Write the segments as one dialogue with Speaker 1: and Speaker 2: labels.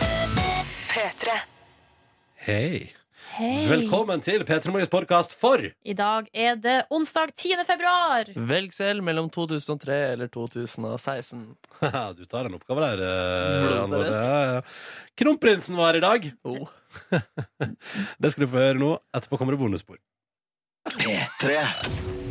Speaker 1: P3.
Speaker 2: Hei.
Speaker 3: Hei.
Speaker 2: Velkommen til P3 Morgens podkast for
Speaker 3: I dag er det onsdag 10. februar.
Speaker 4: Velg selv mellom 2003 eller 2016.
Speaker 2: Haha, Du tar en oppgave der. eh,
Speaker 4: Blodseriøst.
Speaker 2: Anne Lode. Ja, ja. Kronprinsen var her i dag.
Speaker 4: Oh.
Speaker 2: Det skal du få høre nå. Etterpå kommer det bonusspor.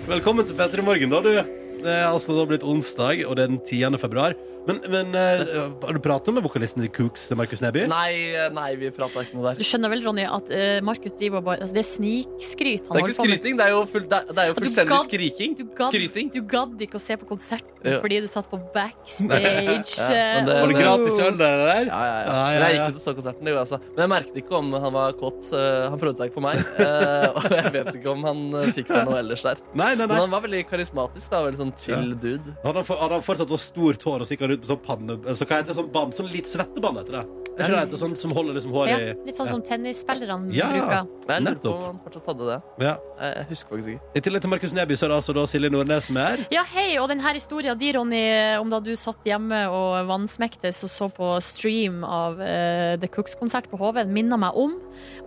Speaker 2: Velkommen til P3 Morgen, da, du. Det er altså da blitt onsdag, og det er den 10. februar. Men, men eh, har du pratet med vokalisten i Kooks, Markus Neby?
Speaker 4: Nei, nei, vi prata ikke noe
Speaker 3: Du
Speaker 4: der.
Speaker 3: skjønner vel, Ronny, at eh, Markus driver og bare altså, Det er snikskryt han
Speaker 4: Det
Speaker 3: holder på
Speaker 4: er ikke
Speaker 3: med.
Speaker 4: skryting, det er jo, full, det er- det er jo
Speaker 3: Og du
Speaker 4: fullstendig
Speaker 3: gadd-
Speaker 4: skriking.
Speaker 3: Du gadd,
Speaker 4: Skryting.
Speaker 3: du gadd ikke å se på konserten
Speaker 4: Ja.
Speaker 3: fordi du satt på backstage.
Speaker 4: Ja, men det-
Speaker 3: eh,
Speaker 2: Var det
Speaker 3: og-
Speaker 2: gratis øl, det der?
Speaker 4: Ja, ja, ja.
Speaker 2: Ja, ja,
Speaker 4: Men Jeg
Speaker 2: ja.
Speaker 4: gikk ut og så konserten, det gjorde jeg altså. Men jeg merket ikke om han var kåt. eh, Han prøvde seg ikke på meg. eh, Og jeg vet ikke om han eh, fikk seg noe ellers der.
Speaker 2: Nei, nei,
Speaker 4: Men
Speaker 2: nei.
Speaker 4: han var veldig karismatisk. da, Veldig sånn chill dude.
Speaker 2: Hadde han, for, hadde han fortsatt å ha stort hår og så gikk han rundt med sånn panne... Så hva heter det? Sånn, band, sånn litt svettebånd heter det. Er ikke det heter sånn som holder liksom
Speaker 3: ja,
Speaker 2: håret i
Speaker 3: litt sånn som tennisspillerne
Speaker 2: Ja.
Speaker 3: bruker.
Speaker 4: Men Jeg lurer på
Speaker 2: Nettopp.
Speaker 4: om han fortsatt hadde det. Eh,
Speaker 2: Ja.
Speaker 4: Jeg jeg husker faktisk ikke.
Speaker 2: I tillegg til Markus Neby så er det altså da Silje Nordnes som er her.
Speaker 3: Ja, hei, og denne historia di, Ronny, om da du satt hjemme og vansmektes og så på stream av eh, The Cooks-konsert på HV, minner meg om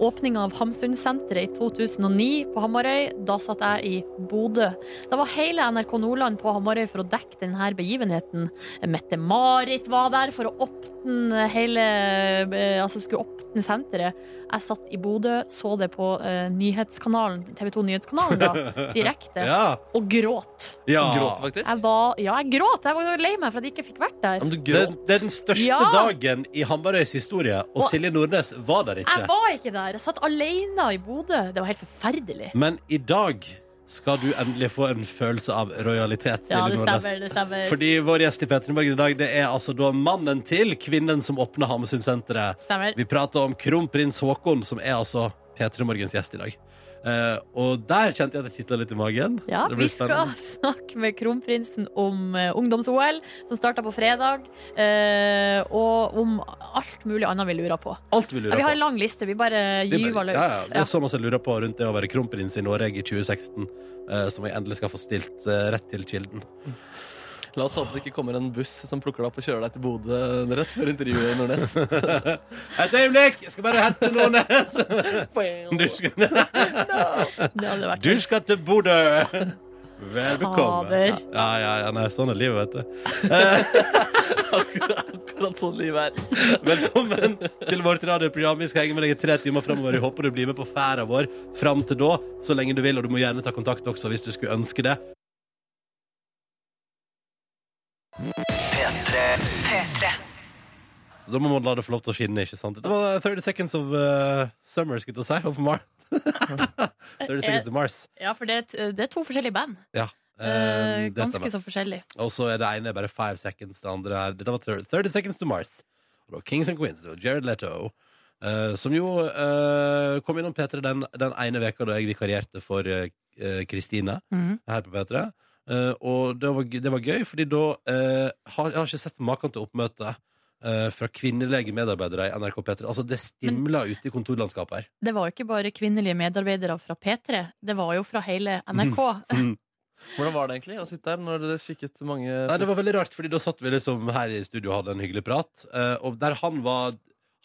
Speaker 3: åpninga av Hamsunsenteret i 2009 på Hamarøy. Da satt jeg i Bodø. Da var hele NRK Nordland på Hamarøy for å dekke denne begivenheten. Mette-Marit var der for å åpne hele eh, Altså skulle åpne senteret. Jeg satt i Bodø, så det på eh, nyhetskanalen, TV 2 Nyhetskanalen, da, direkte,
Speaker 2: Ja.
Speaker 3: og gråt.
Speaker 2: ja.
Speaker 4: Han gråt faktisk.
Speaker 3: Jeg var, ja, jeg gråt. Jeg var jo lei meg for at jeg ikke fikk vært
Speaker 4: Ja,
Speaker 3: der.
Speaker 4: men du
Speaker 2: Det,
Speaker 4: gråt.
Speaker 2: det er den største
Speaker 3: Ja.
Speaker 2: dagen i Hamarøys historie, og
Speaker 3: Og-
Speaker 2: Silje Nordnes var der
Speaker 3: Jeg
Speaker 2: ikke.
Speaker 3: var ikke der. Jeg satt alene i Bodø. Det var helt forferdelig.
Speaker 2: Men i dag skal du endelig få en følelse av rojalitet, Silje
Speaker 3: Ja, det
Speaker 2: Nordnes.
Speaker 3: stemmer. det stemmer.
Speaker 2: Fordi vår gjest i P3 Morgen i dag, det er altså da mannen til kvinnen som åpna Hammesundsenteret.
Speaker 3: stemmer.
Speaker 2: Vi prater om kronprins Haakon, som er altså P3 Morgens gjest i dag. Eh, og der kjente jeg at det kitla litt i magen.
Speaker 3: Ja,
Speaker 2: Det blir
Speaker 3: vi skal
Speaker 2: spennende.
Speaker 3: snakke med kronprinsen om eh, ungdoms-OL, som starta på fredag, eh, og om alt mulig annet vi lurer på.
Speaker 2: Alt vi
Speaker 3: Ja,
Speaker 2: lurer
Speaker 3: vi har
Speaker 2: på.
Speaker 3: en lang liste. Vi bare
Speaker 2: Det er
Speaker 3: gyver
Speaker 2: bare- ja, ja.
Speaker 3: løs.
Speaker 2: Det er så masse jeg lurer på rundt det å være kronprins i Norge i 2016, eh, som jeg endelig skal få stilt eh, rett til kilden.
Speaker 4: La oss håpe det ikke kommer en buss som plukker deg opp og kjører deg til Bodø rett før intervjuet. Nordnes
Speaker 2: Et øyeblikk! Jeg skal bare hente noen Du skal,
Speaker 3: Ja. Det hadde vært
Speaker 2: du skal til Bodø! Vel bekomme.
Speaker 3: Fader.
Speaker 2: Ja, ja, ja, nei, sånn er livet, vet du.
Speaker 4: akkurat, akkurat sånn livet er.
Speaker 2: Velkommen til vårt radioprogram. Vi skal henge med deg i tre timer framover. Jeg håper du blir med på ferda vår fram til da, så lenge du vil. Og du må gjerne ta kontakt også hvis du skulle ønske det. Så da må man la det få lov til å skinne, ikke sant? Det var 30 seconds of eh, summer, skulle jeg til å si. Of Mar
Speaker 3: Eh,
Speaker 2: 30 seconds to Mars.
Speaker 3: Ja, for det er, t- det er to forskjellige band.
Speaker 2: Ja.
Speaker 3: Eh,
Speaker 2: eh, det
Speaker 3: ganske
Speaker 2: stemmer.
Speaker 3: så forskjellig.
Speaker 2: Og så er det ene bare 5 seconds, det andre er Dette var 30 30 seconds to Mars. Og det var Kings and Queens, det var Jared Leto. eh, som jo eh, kom innom P3 den, den ene veka da jeg vikarierte for eh, eh, Kristine
Speaker 3: Mhm.
Speaker 2: her på P3. Eh, og det var, g- det var gøy, fordi da eh, har Jeg har ikke sett maken til oppmøte eh, fra kvinnelige medarbeidere i NRK P3. Altså, det stimla ute i kontorlandskapet her.
Speaker 3: Det var jo ikke bare kvinnelige medarbeidere fra P3, det var jo fra hele NRK.
Speaker 2: Mhm.
Speaker 4: Hvordan var det egentlig å sitte her når det kikket mange
Speaker 2: Nei, det var veldig rart, fordi da satt vi liksom her i studio og hadde en hyggelig prat. eh, og der han var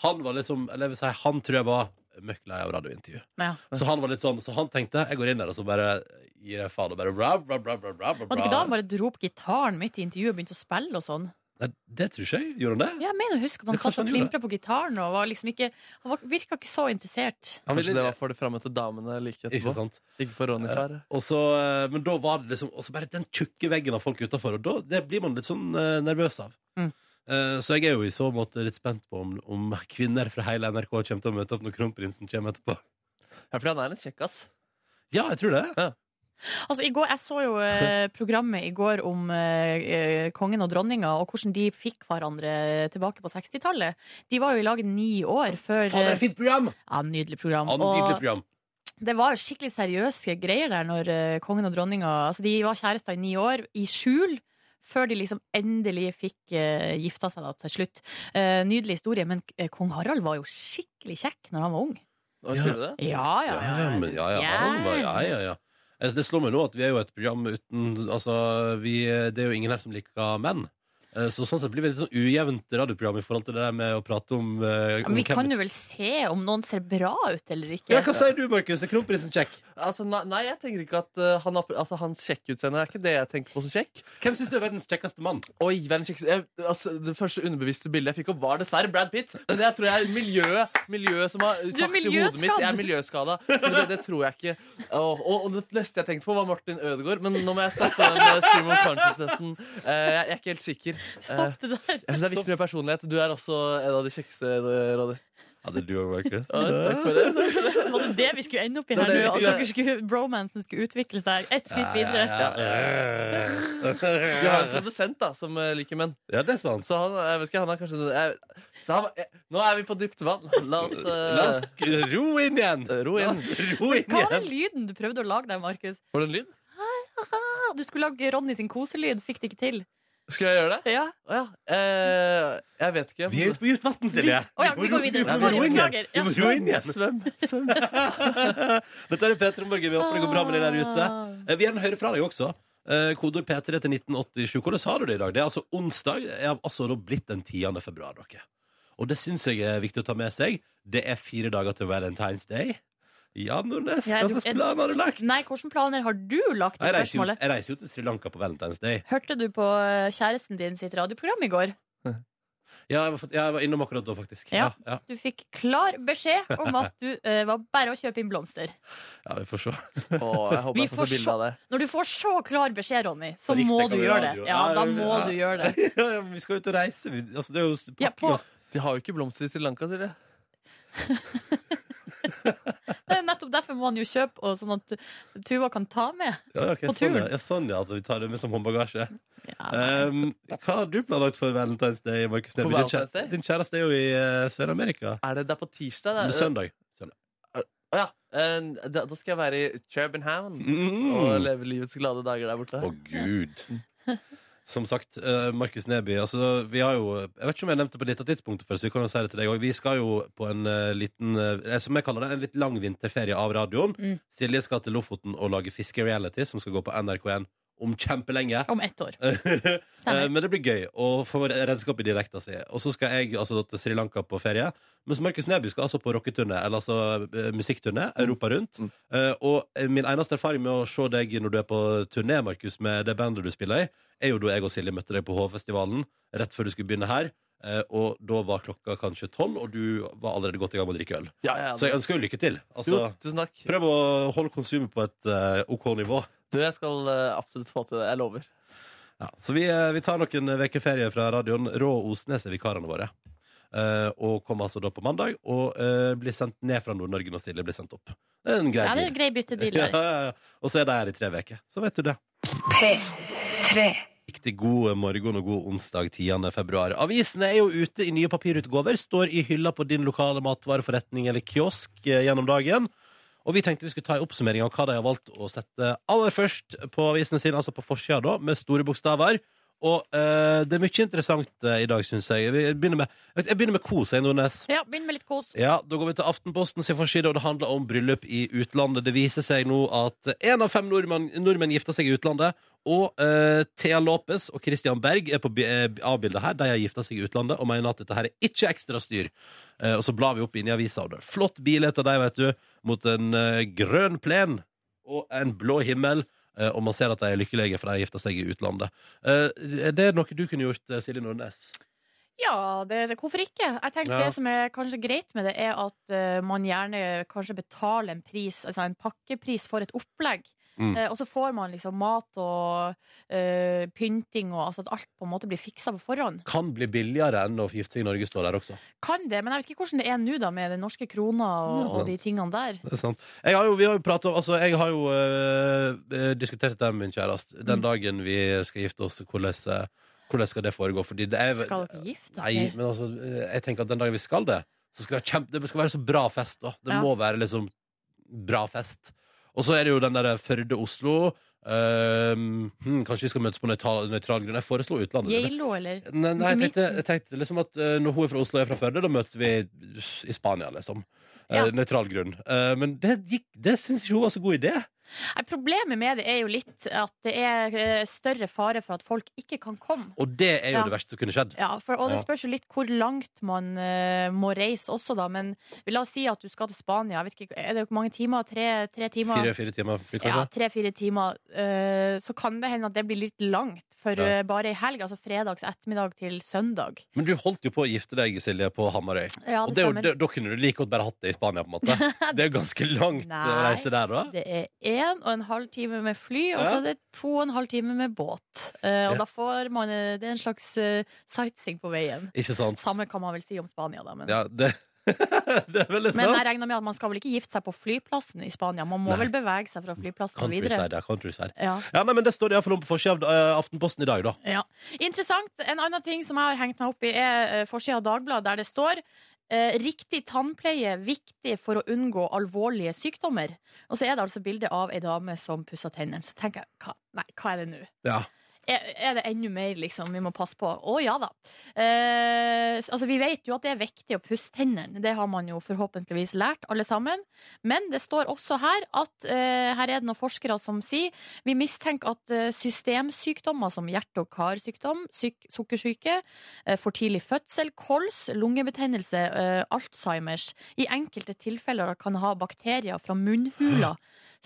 Speaker 2: Han var liksom Eller jeg vil si, han tror jeg var møkk lei av radiointervju.
Speaker 3: Ja.
Speaker 2: Så han var litt sånn Så han tenkte jeg går inn der og så bare gir jeg faen og bare bra, bra, bra, bra, bra, bra,
Speaker 3: Var det ikke da han
Speaker 2: bra.
Speaker 3: bare dro opp gitaren midt i intervjuet og begynte å spille og sånn?
Speaker 2: Nei, det tror ikke jeg. Gjorde han det?
Speaker 3: Ja, Jeg mener å huske at han
Speaker 2: Det kanskje
Speaker 3: satt og
Speaker 2: han gjorde.
Speaker 3: klimpra på gitaren og var liksom ikke Han var- virka ikke så interessert.
Speaker 2: Han ville-
Speaker 4: Kanskje det var for de frammøtte damene like
Speaker 2: Ikke
Speaker 4: etterpå.
Speaker 2: sant?
Speaker 4: Ikke for Ronny her.
Speaker 2: Og så, eh, men da var det liksom Og så bare den tjukke veggen av folk utafor, og da det blir man litt sånn eh, nervøs av.
Speaker 3: Mm.
Speaker 2: Eh, Så jeg er jo i så måte litt spent på om, om kvinner fra hele NRK kommer til å møte opp når kronprinsen kommer etterpå.
Speaker 4: Ja, fordi han er en kjekkas.
Speaker 2: Ja, jeg tror det.
Speaker 3: Altså, i går, Jeg så jo eh, programmet i går om eh, eh, kongen og dronninga og hvordan de fikk hverandre tilbake på 60-tallet. De var jo i lag ni år før
Speaker 2: Faen, det er
Speaker 3: eh,
Speaker 2: et fint program!
Speaker 3: Ja, Nydelig program.
Speaker 2: Ja, nydelig
Speaker 3: Og
Speaker 2: program.
Speaker 3: det var jo skikkelig seriøse greier der når eh, kongen og dronninga Altså, de var kjærester i ni år, i skjul. Før de liksom endelig fikk eh, gifta seg da til slutt. Eh, nydelig historie, men eh, kong Harald var jo skikkelig kjekk når han var ung.
Speaker 4: Hva
Speaker 2: Ja.
Speaker 4: sier du det?
Speaker 3: Ja, ja, ja.
Speaker 2: Ja, men ja, ja, han var- ja, ja, ja. Altså, Det slår meg nå at vi er jo et program uten Altså, vi, det er jo ingen her som liker menn. Eh, Eh, Så sånn sett blir det litt sånn ujevnt radioprogram i forhold til det der med å prate om eh,
Speaker 3: Men
Speaker 2: om
Speaker 3: vi
Speaker 2: hvem-
Speaker 3: kan jo vel se om noen ser bra ut eller
Speaker 2: ja,
Speaker 3: ikke.
Speaker 2: Hva sier du, Markus? Er kronprinsen kjekk?
Speaker 4: Altså, nei, nei, jeg tenker ikke at eh, han, har- altså, hans kjekkutseende er ikke det jeg tenker på som kjekk.
Speaker 2: Hvem syns du er verdens kjekkeste mann?
Speaker 4: Oi, verdens kjekkeste jeg, altså, Det første underbevisste bildet jeg fikk opp, var dessverre Brad Pitt. Men jeg tror jeg er miljøet miljøet som har
Speaker 3: Du er
Speaker 4: sagt i hodet mitt. Jeg
Speaker 3: miljøskadd.
Speaker 4: er miljøskada. For Det, det tror jeg ikke. Og, og, og det neste jeg tenkte på, var Martin Ødegaard. Men nå må jeg stoppe den eh, stream of consciousnessen. Eh, jeg, jeg er ikke helt sikker. Eh,
Speaker 3: Stopp det der.
Speaker 4: jeg synes Det er viktig med personlighet. Du er også en av de kjekkeste, eh, Ronny.
Speaker 2: Ja, det er du òg, Markus.
Speaker 4: Ja, takk for det.
Speaker 3: Var det det vi skulle ende opp i
Speaker 4: Det
Speaker 3: her nå?
Speaker 4: var det vi
Speaker 3: At
Speaker 4: skulle
Speaker 3: dere skulle, bromansen skulle utvikle seg ett skritt videre?
Speaker 2: Ja, ja,
Speaker 4: Vi har en produsent da, som eh, liker menn.
Speaker 2: ja, det er sant.
Speaker 4: Så han, jeg vet ikke, han er kanskje jeg, så han, jeg, Nå er vi på dypt vann. La oss, eh,
Speaker 2: La oss ro inn igjen.
Speaker 4: eh, ro inn.
Speaker 2: Ro inn
Speaker 3: Hva var
Speaker 2: igjen.
Speaker 3: den lyden du prøvde å lage der, Markus?
Speaker 4: Var det en lyd?
Speaker 3: Ah, Du skulle lage Ronny sin koselyd, fikk det ikke til.
Speaker 4: Skulle jeg gjøre det?
Speaker 3: Ja.
Speaker 4: Å ja. Eh, jeg vet ikke.
Speaker 2: Vi er ute på dypt vann, Silje.
Speaker 3: Å ja, vi går videre.
Speaker 2: Vi må
Speaker 3: Sorry,
Speaker 2: ro inn igjen.
Speaker 3: beklager.
Speaker 2: Vi
Speaker 3: Ja,
Speaker 2: må ro inn igjen.
Speaker 4: Svøm. svøm.
Speaker 2: Dette er Peter og Morgen. Vi håper det går bra med deg der ute.
Speaker 3: Ah.
Speaker 2: Eh, Vi gjerne hører fra deg også. Eh, Kodord P3 til 1987. Hvordan sa du det i dag? Det er altså onsdag. Det er altså da blitt den 10. februar, dere. Og det syns jeg er viktig å ta med seg. Det er fire dager til Valentine's Day. Ja, Nordnes,
Speaker 3: Ja,
Speaker 2: hva
Speaker 3: du-
Speaker 2: slags plan har du lagt?
Speaker 3: Nei, hvilke planer har du lagt? i
Speaker 2: Jeg reiser, jo,
Speaker 3: spørsmålet?
Speaker 2: jeg reiser jo til Sri Lanka på Valentine's Day.
Speaker 3: Hørte du på eh, kjæresten din sitt radioprogram i går?
Speaker 2: Ja, jeg var, fått- ja, jeg var innom akkurat da, faktisk.
Speaker 3: Ja.
Speaker 2: Ja,
Speaker 3: Du fikk klar beskjed om at du eh, var bare å kjøpe inn blomster.
Speaker 2: ja, ja, vi får se.
Speaker 4: Å, jeg håper
Speaker 3: Vi
Speaker 4: jeg får
Speaker 3: får
Speaker 4: se bilde av det.
Speaker 3: Når du får så klar beskjed, Ronny, så
Speaker 2: På
Speaker 3: må
Speaker 2: Riksdekken
Speaker 3: du gjøre det.
Speaker 2: radio.
Speaker 3: Ja, da må
Speaker 2: ja.
Speaker 3: du gjøre det.
Speaker 2: Ja, ja, men vi skal ut og reise. Vi, altså, det er jo
Speaker 3: Ja, på-
Speaker 2: pakking,
Speaker 4: De har jo ikke blomster i Sri Lanka, sier de.
Speaker 3: Det er nettopp derfor må han jo kjøpe, og sånn at Tuva kan ta med.
Speaker 2: Ja, ok,
Speaker 3: På
Speaker 2: sånn,
Speaker 3: turen.
Speaker 2: ja. ja, sånn ja, at vi tar det med som håndbagasje.
Speaker 3: Ja.
Speaker 2: Um, hva har du planlagt for Valentine's Day, Markus Neby?
Speaker 4: For
Speaker 2: Din,
Speaker 4: Valentine's
Speaker 2: kjæ-
Speaker 4: Day?
Speaker 2: din kjæreste er jo i eh, Sør-Amerika.
Speaker 4: Er det, det er på
Speaker 2: Men
Speaker 4: tirsdag?
Speaker 3: eh,
Speaker 4: Det er,
Speaker 2: Søndag. Søndag.
Speaker 4: Å ja. Eh, da, da skal jeg være i Cherbenhavn
Speaker 2: Mm.
Speaker 4: og leve livets glade dager der borte.
Speaker 2: Å, gud. Som sagt, eh, Markus Neby, altså, vi har jo Jeg vet ikke om jeg nevnte på dette tidspunktet først, vi kan jo si det til deg òg. Vi skal jo på en eh, liten eh, Som jeg kaller det, en litt lang vinterferie av radioen.
Speaker 3: Mm.
Speaker 2: Silje skal til Lofoten og lage fiskereality, som skal gå på NRK1 om kjempelenge.
Speaker 3: Om ett år.
Speaker 2: Eh, Men det blir gøy å få redskap i dialekta si. Og så skal jeg altså, til Sri Lanka på ferie. Mens Markus Neby skal altså på rocketurné, eller altså eh, musikkturné, Europa rundt.
Speaker 4: Mm.
Speaker 2: Eh, og eh, min eneste erfaring med å se deg når du er på turné, Markus, med det bandet du spiller i, er jo da jeg og Silje møtte deg på Hovfestivalen rett før du skulle begynne her. Eh, og da var klokka kanskje tolv, og du var allerede godt i gang med å drikke øl.
Speaker 4: Ja, ja, ja.
Speaker 2: Så jeg ønsker jo lykke til.
Speaker 4: jo,
Speaker 2: Altså,
Speaker 4: tusen takk.
Speaker 2: prøv å holde konsumet på et eh, OK nivå.
Speaker 4: Du, jeg skal eh, absolutt få til det. Jeg lover.
Speaker 2: Ja, så vi, eh, vi tar noen uker ferie fra radioen. Rå og Osnes er vikarene våre. Eh, og kommer altså da på mandag og eh, blir sendt ned fra Nord-Norge når Silje blir sendt opp. Det er en grei
Speaker 3: Ja, det er en grei
Speaker 2: deal.
Speaker 3: byttedeal
Speaker 2: Ja,
Speaker 3: der.
Speaker 2: ja, ja. og så er de her i tre uker. Så vet du det.
Speaker 1: P3.
Speaker 2: Riktig god morgen og god onsdag 10. februar. Avisene er jo ute i nye papirutgaver. Står i hylla på din lokale matvareforretning eller kiosk eh, gjennom dagen. Og vi tenkte vi skulle ta en oppsummering av hva de har valgt å sette aller først på avisene sine, altså på forsida, da, med store bokstaver. Og eh, det er mye interessant eh, i dag, syns jeg. Vi begynner med, vet du, jeg begynner med kos, jeg, Nordnes.
Speaker 3: Ja, begynn med litt kos.
Speaker 2: Ja, Da går vi til Aftenposten sin forside, og det handler om bryllup i utlandet. Det viser seg nå at én av fem nordmenn, nordmenn gifter seg i utlandet. Og eh, Thea Lopez og Christian Berg er på bi- eh, avbildet her. De har gifta seg i utlandet og mener at dette her er ikke ekstra styr. Eh, og så blar vi opp inn i avisa, og det er flott bilde av dem, vet du, mot en eh, grønn plen og en blå himmel. eh, og man ser at de er lykkelige, for de har gifta seg i utlandet. Eh, er det noe du kunne gjort, eh, Silje Nordnes?
Speaker 3: Ja, det, det, hvorfor ikke? Jeg tenker
Speaker 2: Ja.
Speaker 3: Det som er kanskje greit med det, er at eh, man gjerne kanskje betaler en pris, altså en pakkepris for et opplegg.
Speaker 2: Mm.
Speaker 3: Eh, og så får man liksom mat og eh, pynting og altså at alt på en måte blir fiksa på forhånd.
Speaker 2: Kan bli billigere enn å gifte seg i Norge, står der også.
Speaker 3: Kan det, men jeg vet ikke hvordan det er nå da med den norske krona og,
Speaker 2: Ja, sant.
Speaker 3: og de tingene der.
Speaker 2: Det er sant. Jeg har jo, vi har jo pratet om altså, Jeg har jo eh, eh, diskutert dette med min kjæreste.
Speaker 3: Mm.
Speaker 2: Den dagen vi skal gifte oss, hvordan, eh, hvordan skal det foregå? Fordi det er,
Speaker 3: Skal dere gifte
Speaker 2: Nei,
Speaker 3: dere?
Speaker 2: men altså, eh, jeg tenker at den dagen vi skal det, så skal det, kjempe, det skal være så bra fest. Da. Det
Speaker 3: Ja.
Speaker 2: må være liksom bra fest. Og så er det jo den der Førde-Oslo. Ehm, hm, kanskje vi skal møtes på nøytral, nøytral grunn? Jeg foreslo utlandet. eller?
Speaker 3: Geilo, eller?
Speaker 2: Nei, nei jeg, tenkte,
Speaker 3: Midten.
Speaker 2: jeg tenkte liksom at eh, når hun er fra Oslo og jeg er fra Førde, da møtes vi i Spania, liksom. eh,
Speaker 3: Ja.
Speaker 2: nøytral grunn. Eh, men det, gikk, det syns ikke hun var så god idé.
Speaker 3: Nei, Problemet med det er jo litt at det er eh, større fare for at folk ikke kan komme.
Speaker 2: Og det er jo
Speaker 3: Ja.
Speaker 2: det verste som kunne skjedd.
Speaker 3: Ja, for, og det
Speaker 2: Ja.
Speaker 3: spørs jo litt hvor langt man eh, må reise også, da. Men la oss si at du skal til Spania. Jeg vet ikke, er det hvor mange timer? Tre, tre timer?
Speaker 2: Fire-fire timer fly,
Speaker 3: Ja,
Speaker 2: kanskje.
Speaker 3: tre-fire timer. eh, så kan det hende at det blir litt langt for
Speaker 2: Ja.
Speaker 3: eh, bare ei helg. Altså fredags ettermiddag til søndag.
Speaker 2: Men du holdt jo på å gifte deg, Silje, på Hamarøy.
Speaker 3: Ja,
Speaker 2: og
Speaker 3: det
Speaker 2: det, er jo-
Speaker 3: stemmer.
Speaker 2: da- da kunne du like godt bare hatt det i Spania, på en måte. Det er jo ganske langt å
Speaker 3: Nei.
Speaker 2: reise der, da.
Speaker 3: Det er én og en halv time med fly, og
Speaker 2: Ja.
Speaker 3: så er det to og en halv time med båt. Eh, og
Speaker 2: Ja.
Speaker 3: da får man eh, Det er en slags eh, sightseeing på veien.
Speaker 2: Ikke sant?
Speaker 3: Samme kan man vel si om Spania, da. Men,
Speaker 2: Ja, det, det er veldig
Speaker 3: men
Speaker 2: sant.
Speaker 3: jeg regner med at man skal vel ikke gifte seg på flyplassen i Spania. Man må
Speaker 2: Nei.
Speaker 3: vel bevege seg fra flyplassen og videre.
Speaker 2: Countryside, ja. Countryside.
Speaker 3: Ja.
Speaker 2: Ja, nei, men Det står iallfall om på forsida av eh, Aftenposten i dag, da.
Speaker 3: Ja. Interessant. En annen ting som jeg har hengt meg opp i, er eh, forsida av Dagbladet, der det står eh, riktig tannpleie viktig for å unngå alvorlige sykdommer. Og så er det altså bilde av ei dame som pusser tennene. Så tenker jeg, hva, nei, hva er det nå?
Speaker 2: Ja.
Speaker 3: Er, er det enda mer liksom, vi må passe på? Å ja da. Eh, s- altså, vi vet jo at det er viktig å pusse tennene. Det har man jo forhåpentligvis lært, alle sammen. Men det står også her at eh, her er det noen forskere som sier vi mistenker at eh, systemsykdommer som hjerte- og karsykdom, syk sukkersyke, eh, for tidlig fødsel, kols, lungebetennelse, eh, Alzheimers i enkelte tilfeller kan ha bakterier fra munnhula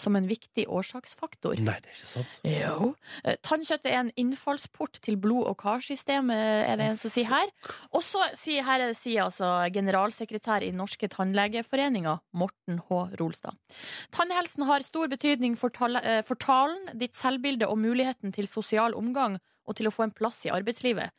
Speaker 3: som en viktig årsaksfaktor.
Speaker 2: Nei, det er ikke sant.
Speaker 3: Jo. Eh, Tannkjøtt er en innfallsport til blod- og karsystemet, er det en som sier her. Og så sier, her er- sier altså generalsekretær i Norske tannlegeforeninger, Morten H. Rolstad. Tannhelsen har stor betydning for, tall- eh, for talen, ditt selvbilde og muligheten til sosial omgang og til å få en plass i arbeidslivet.